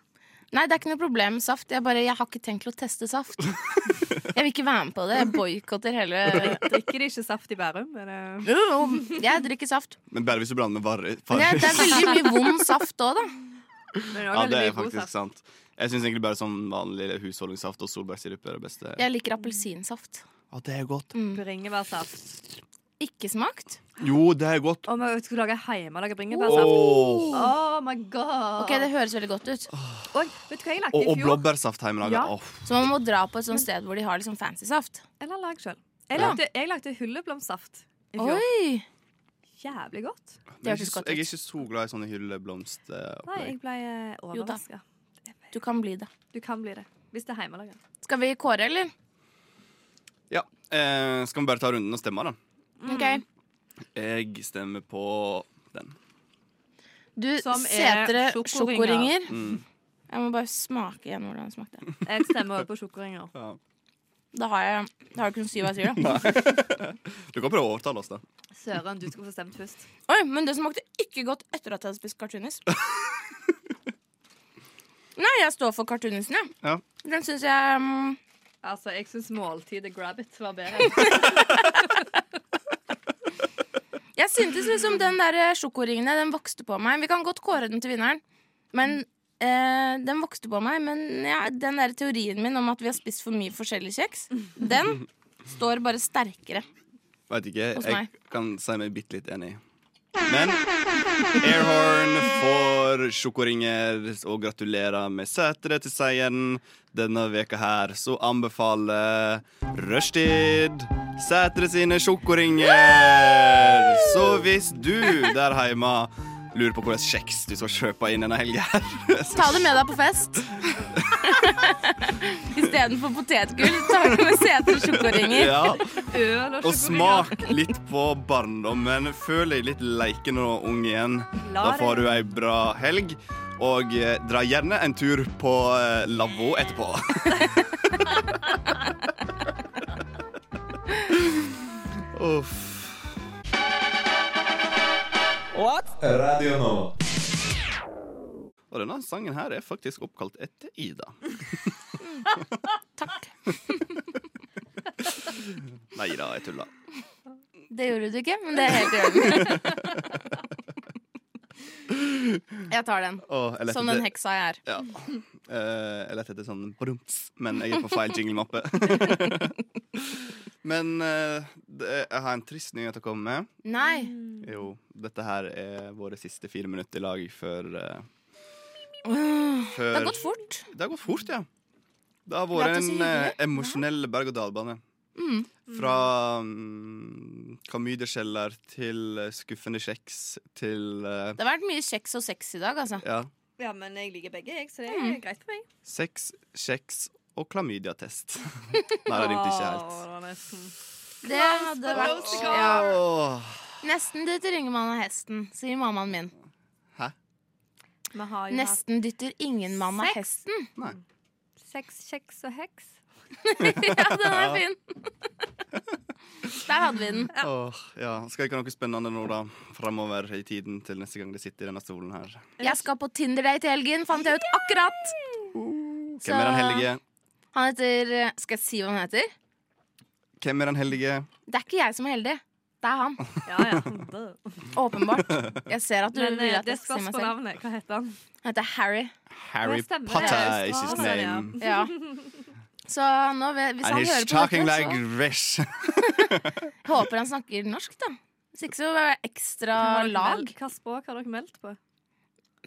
[SPEAKER 4] Nei, det er ikke noe problem med saft. Jeg, bare, jeg har ikke tenkt å teste saft. Jeg vil ikke være med på det. Jeg boikotter hele
[SPEAKER 5] Drikker de ikke saft i Bærum? Er det...
[SPEAKER 4] Jo, jo, Jeg drikker saft.
[SPEAKER 3] Men bare hvis du blander med varre.
[SPEAKER 4] Men det, det er veldig mye vond saft òg, da.
[SPEAKER 5] Men
[SPEAKER 3] Ja, det er
[SPEAKER 5] veldig god
[SPEAKER 3] faktisk
[SPEAKER 5] saft.
[SPEAKER 3] sant. Jeg syns egentlig bare sånn vanlig husholdningssaft og solbærsirup er det beste.
[SPEAKER 4] Jeg liker appelsinsaft.
[SPEAKER 3] Ja, det er godt.
[SPEAKER 5] Mm. Bringebærsaft.
[SPEAKER 4] Ikke smakt.
[SPEAKER 3] Jo, det er godt.
[SPEAKER 5] Om jeg skulle lage hjemmelaga bringebærsaft.
[SPEAKER 3] Åh.
[SPEAKER 5] Oh my god!
[SPEAKER 4] Ok, Det høres veldig godt ut.
[SPEAKER 5] Oi, vet du hva jeg lagde
[SPEAKER 3] Og,
[SPEAKER 5] i
[SPEAKER 3] og
[SPEAKER 5] fjor?
[SPEAKER 3] blåbærsaft hjemmelaga.
[SPEAKER 5] Ja.
[SPEAKER 3] Åh.
[SPEAKER 4] Så man må dra på et sånt sted hvor de har liksom fancy saft.
[SPEAKER 5] Eller lag sjøl. Jeg
[SPEAKER 4] Ja.
[SPEAKER 5] lagde, jeg lagde hulleblomstsaft i fjor.
[SPEAKER 4] Oi!
[SPEAKER 5] Jævlig godt.
[SPEAKER 3] Men jeg,
[SPEAKER 4] Det
[SPEAKER 3] er
[SPEAKER 4] hørtes
[SPEAKER 3] ikke så-
[SPEAKER 4] godt
[SPEAKER 3] jeg er
[SPEAKER 4] ut.
[SPEAKER 3] ikke så glad i sånne
[SPEAKER 5] Nei,
[SPEAKER 3] hylleblomsteropplegg.
[SPEAKER 5] jeg ble
[SPEAKER 4] Jo da.
[SPEAKER 5] overraska.
[SPEAKER 4] Du kan bli det.
[SPEAKER 5] Du kan bli det. Hvis det er hjemmelaga.
[SPEAKER 4] Skal vi kåre, eller?
[SPEAKER 3] Ja. Eh, skal vi bare ta runden og stemme, da?
[SPEAKER 5] Mm.
[SPEAKER 4] Ok.
[SPEAKER 3] Jeg stemmer på den.
[SPEAKER 4] Du,
[SPEAKER 5] Som er
[SPEAKER 4] Setre
[SPEAKER 5] sjokoringer.
[SPEAKER 4] sjokoringer. Jeg må bare smake igjen hvordan det smakte.
[SPEAKER 5] Jeg stemmer også på sjokoringer.
[SPEAKER 4] Da har jeg Da har jeg kunnet si hva jeg sier, da.
[SPEAKER 3] Du kan prøve å overtale oss, da.
[SPEAKER 5] Søren, du skal få stemt først.
[SPEAKER 4] Oi, men det smakte ikke godt etter at jeg hadde spist cartoonis. Nei, jeg står for cartoonisen, jeg.
[SPEAKER 3] Ja.
[SPEAKER 4] Den syns jeg mm,
[SPEAKER 5] Altså, Jeg syns måltidet Grabbit var bedre.
[SPEAKER 4] Jeg syntes liksom den der eh, sjokoringene Den vokste på meg. Vi kan godt kåre den til vinneren. Men eh, Den vokste på meg, men ja, den der teorien min om at vi har spist for mye forskjellig kjeks, den står bare sterkere.
[SPEAKER 3] Veit ikke.
[SPEAKER 4] Hos
[SPEAKER 3] Jeg
[SPEAKER 4] meg.
[SPEAKER 3] kan si meg bitte litt enig. Men Airhorn får sjokoringer og gratulerer med seteret til seieren. Denne veka her så anbefaler Rushtid seteret sine sjokoringer. Så hvis du der hjemme lurer på hvilken kjeks du skal kjøpe inn denne helga her
[SPEAKER 4] Ta det med deg på fest. Istedenfor potetgull tar du med seter og sjokoringer.
[SPEAKER 3] ja.
[SPEAKER 5] Øl og
[SPEAKER 3] Og smak litt på barndommen. Føl deg litt leiken og ung igjen. Da får du ei bra helg. Og eh, dra gjerne en tur på eh, lavvo etterpå. Uff.
[SPEAKER 1] Radio nå.
[SPEAKER 3] Og denne sangen her er faktisk oppkalt etter Ida.
[SPEAKER 4] Takk.
[SPEAKER 3] Nei da, jeg tulla.
[SPEAKER 4] Det gjorde du ikke, men det er helt i orden. Jeg tar den.
[SPEAKER 3] Å, jeg lette
[SPEAKER 4] Som den
[SPEAKER 3] etter-
[SPEAKER 4] heksa jeg er.
[SPEAKER 3] Ja. Eh, jeg lette etter sånn brumts, men jeg er på feil jinglemappe. men eh, det, jeg har en trist nyhet å komme med.
[SPEAKER 4] Nei.
[SPEAKER 3] Jo, dette her er våre siste fire minutter i lag før, eh,
[SPEAKER 4] Det
[SPEAKER 3] før
[SPEAKER 4] har gått fort.
[SPEAKER 3] Det har gått fort, ja. Det har
[SPEAKER 4] Det
[SPEAKER 3] vært
[SPEAKER 4] er ikke så
[SPEAKER 3] en eh, emosjonell berg-og-dal-bane.
[SPEAKER 4] Mm.
[SPEAKER 3] Fra um, klamydiakjeller til eh, skuffende kjeks til eh,
[SPEAKER 4] Det har vært mye kjeks og sex i dag, altså.
[SPEAKER 3] Ja.
[SPEAKER 5] Ja, men jeg liker begge, jeg, så det er greit for meg.
[SPEAKER 3] Sex, kjeks og klamydiatest. Nei, det rimte ikke helt.
[SPEAKER 4] Det hadde vært
[SPEAKER 5] close the
[SPEAKER 4] ja.
[SPEAKER 3] Åh.
[SPEAKER 4] Nesten dytter Ingemann av hesten, sier mammaen min.
[SPEAKER 5] Vi har jo
[SPEAKER 4] Nesten dytter ingen mann av hesten.
[SPEAKER 5] hatt sex, kjeks og heks.
[SPEAKER 4] Ja, den er fin. Der hadde vi den.
[SPEAKER 3] Åh, ja. Skal ikke ha noe spennende nå, da? Framover i tiden til neste gang de sitter i denne stolen her.
[SPEAKER 4] Jeg skal på Tinder-date i helgen, fant jeg ut akkurat. Så-
[SPEAKER 3] Hvem er den hellige?
[SPEAKER 4] Han heter eh, Skal jeg si hva han heter?
[SPEAKER 3] Hvem er den hellige?
[SPEAKER 4] Det er ikke jeg som er heldig. Det er han.
[SPEAKER 5] Ja, ja.
[SPEAKER 4] Åpenbart. Jeg ser at du
[SPEAKER 5] Men
[SPEAKER 4] vil
[SPEAKER 5] eh,
[SPEAKER 4] at
[SPEAKER 5] det
[SPEAKER 4] jeg skal
[SPEAKER 5] spørs
[SPEAKER 4] si meg
[SPEAKER 5] på
[SPEAKER 4] selv.
[SPEAKER 5] navnet. Hva heter han?
[SPEAKER 4] Han heter Harry.
[SPEAKER 3] Harry
[SPEAKER 5] Det stemmer, det er
[SPEAKER 3] Potter is his
[SPEAKER 5] Australia.
[SPEAKER 3] name.
[SPEAKER 4] Ja. Så nå, vet- hvis
[SPEAKER 3] And
[SPEAKER 4] han
[SPEAKER 3] he's
[SPEAKER 4] hører på
[SPEAKER 3] talking
[SPEAKER 4] dette,
[SPEAKER 3] like
[SPEAKER 4] så
[SPEAKER 3] this.
[SPEAKER 4] håper han snakker norsk, da. Hvis ikke så er det ekstra
[SPEAKER 5] Har dere
[SPEAKER 4] lag.
[SPEAKER 5] meldt- Hva språk har dere meldt på?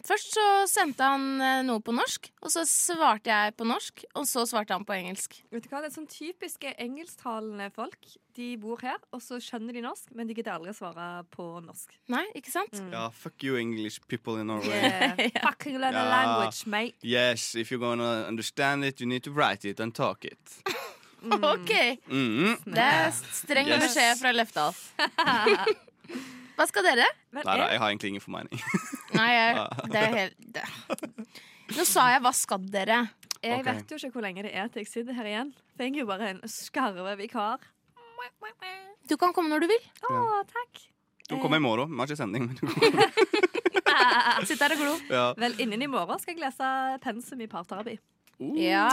[SPEAKER 4] Først så sendte han eh, noe på norsk, og så svarte jeg på norsk, og så svarte han på engelsk.
[SPEAKER 5] Vet du hva, det er sånn Typiske engelsktalende folk. De bor her, og så skjønner de norsk, men de gidder aldri å svare på norsk.
[SPEAKER 4] Nei, ikke sant?
[SPEAKER 3] Ja, fuck you English people in Norway.
[SPEAKER 5] Yeah. Fucking learn a
[SPEAKER 3] Ja.
[SPEAKER 5] language, mate.
[SPEAKER 3] Yes, if you're gonna understand it, you need to write it and talk it.
[SPEAKER 4] OK.
[SPEAKER 3] Mm.
[SPEAKER 4] Det er streng
[SPEAKER 3] Yes.
[SPEAKER 4] beskjed fra Løftdal. Hva skal dere?
[SPEAKER 5] Men
[SPEAKER 3] Nei da,
[SPEAKER 5] jeg,
[SPEAKER 3] jeg har egentlig ingen formening.
[SPEAKER 4] Nei, jeg, det er helt det. Nå sa jeg 'hva skal dere'?
[SPEAKER 5] jeg
[SPEAKER 3] Ok.
[SPEAKER 5] vet jo ikke hvor lenge det er til jeg sitter her igjen. For jeg er jo bare en skarve vikar.
[SPEAKER 4] Du kan komme når du vil.
[SPEAKER 5] Å, takk.
[SPEAKER 4] Eh.
[SPEAKER 3] Du kommer i morgen. Vi har ikke sending. Men du kommer.
[SPEAKER 4] Sitt der og glo.
[SPEAKER 3] Ja.
[SPEAKER 5] Vel, innen i morgen skal jeg lese pensum i parterapi.
[SPEAKER 3] Uh,
[SPEAKER 4] Ja.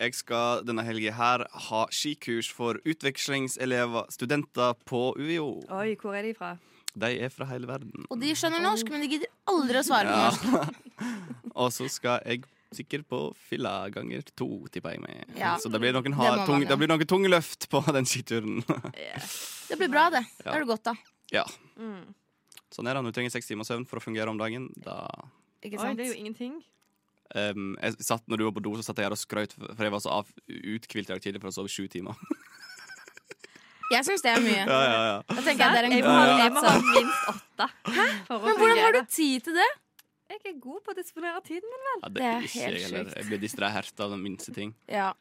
[SPEAKER 3] Jeg skal denne helga her ha skikurs for utvekslingselever, studenter på UiO.
[SPEAKER 5] Oi, hvor er de fra?
[SPEAKER 3] De er fra hele verden.
[SPEAKER 4] Og de skjønner norsk, men de gidder aldri å svare på
[SPEAKER 3] Ja.
[SPEAKER 4] norsk.
[SPEAKER 3] Og så skal jeg sikkert på fylla ganger to, tipper jeg meg.
[SPEAKER 4] Ja.
[SPEAKER 3] Så det blir noen,
[SPEAKER 4] Det må
[SPEAKER 3] hard,
[SPEAKER 4] man
[SPEAKER 3] tung,
[SPEAKER 4] jo.
[SPEAKER 3] det blir noen tunge løft på den skituren.
[SPEAKER 4] Det blir bra, det. Det har du godt av.
[SPEAKER 3] Ja. Sånn er det. Når du trenger seks timers søvn for å fungere om dagen, da
[SPEAKER 4] Ikke
[SPEAKER 5] Oi,
[SPEAKER 4] sant?
[SPEAKER 5] det er jo ingenting.
[SPEAKER 3] um, jeg satt, Når du var på do, så satt jeg her og skrøt, for jeg var så av, uthvilt i dag tidlig for å sove sju timer.
[SPEAKER 4] Jeg syns det er mye.
[SPEAKER 3] ja, ja, ja.
[SPEAKER 4] Da tenker jeg det er en
[SPEAKER 5] Jeg må
[SPEAKER 4] god
[SPEAKER 5] ha, jeg må ha
[SPEAKER 4] innsats.
[SPEAKER 5] minst åtte. for å
[SPEAKER 4] Men hvordan har du
[SPEAKER 5] fungere.
[SPEAKER 4] tid til det?
[SPEAKER 5] Jeg er god på å disponere tiden min.
[SPEAKER 3] ja
[SPEAKER 4] Det er
[SPEAKER 3] ikke
[SPEAKER 4] helt
[SPEAKER 3] jeg heller.
[SPEAKER 4] sjukt.
[SPEAKER 3] Jeg blir distrahert av den minste ting.
[SPEAKER 4] Ja.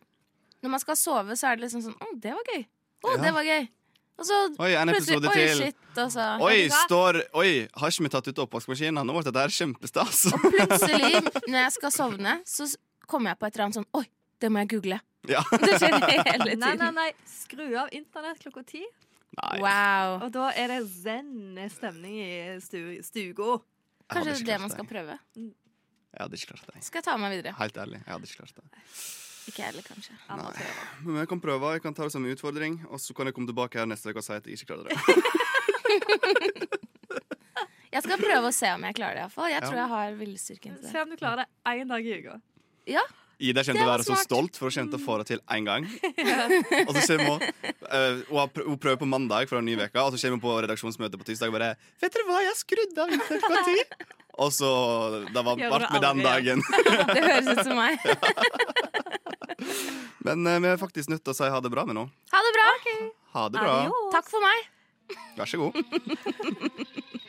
[SPEAKER 4] Når man skal sove, så er det liksom sånn Å, det var gøy. Å,
[SPEAKER 3] Ja.
[SPEAKER 4] det var gøy. Og så
[SPEAKER 3] Oi, en
[SPEAKER 4] plutselig
[SPEAKER 3] episode
[SPEAKER 4] Oi,
[SPEAKER 3] til.
[SPEAKER 4] shit, altså.
[SPEAKER 3] Oi,
[SPEAKER 4] Vet du hva?
[SPEAKER 3] står Oi, har ikke vi tatt ut oppvaskmaskinen? Nå ble dette her kjempestas.
[SPEAKER 4] Og plutselig, når jeg skal sovne, så s- kommer jeg på et eller annet sånn Oi, det må jeg google.
[SPEAKER 3] Ja.
[SPEAKER 4] Det skjer
[SPEAKER 5] Nei,
[SPEAKER 4] hele
[SPEAKER 5] nei,
[SPEAKER 4] tiden.
[SPEAKER 5] nei. Skru av internett klokka ti,
[SPEAKER 3] Nei.
[SPEAKER 4] Wow.
[SPEAKER 5] og da er det zen stemning i stu- stuga.
[SPEAKER 3] Jeg hadde
[SPEAKER 4] Kanskje
[SPEAKER 3] ikke
[SPEAKER 4] det er det
[SPEAKER 3] klart
[SPEAKER 4] man skal
[SPEAKER 3] det.
[SPEAKER 4] prøve.
[SPEAKER 3] Jeg hadde ikke klart det.
[SPEAKER 4] Skal jeg ta med meg videre?
[SPEAKER 3] Helt ærlig, jeg hadde ikke klart det.
[SPEAKER 4] Ikke jeg heller, kanskje.
[SPEAKER 5] Amatører.
[SPEAKER 3] Men jeg kan prøve, jeg kan ta det som en utfordring, og så kan jeg komme tilbake her neste uke og si at jeg ikke klarte det.
[SPEAKER 4] Jeg skal prøve å se om jeg klarer det. i hvert fall Jeg
[SPEAKER 3] Ja.
[SPEAKER 4] tror jeg har viljestyrken til det.
[SPEAKER 5] Se om du klarer det én dag i uka.
[SPEAKER 3] Ida kommer
[SPEAKER 4] Det
[SPEAKER 3] til å
[SPEAKER 4] var
[SPEAKER 3] være så
[SPEAKER 4] smart.
[SPEAKER 3] stolt, for hun kommer til å få det til én gang. Og så kommer hun eh, hun har prøv- Hun prøver på mandag for en ny uke, og så kommer hun på redaksjonsmøte på tirsdag og bare 'Vet dere hva, jeg har skrudd av internett på ti!' Og så Det var
[SPEAKER 5] Gjør
[SPEAKER 3] vart
[SPEAKER 5] det
[SPEAKER 3] med den
[SPEAKER 5] aldri
[SPEAKER 3] dagen.
[SPEAKER 4] Det høres ut som meg.
[SPEAKER 3] Men eh, vi er faktisk nødt til å si ha det bra med nå.
[SPEAKER 4] Ha det bra.
[SPEAKER 3] Ha det bra.
[SPEAKER 5] Adios.
[SPEAKER 4] Takk for meg.
[SPEAKER 3] Vær så god.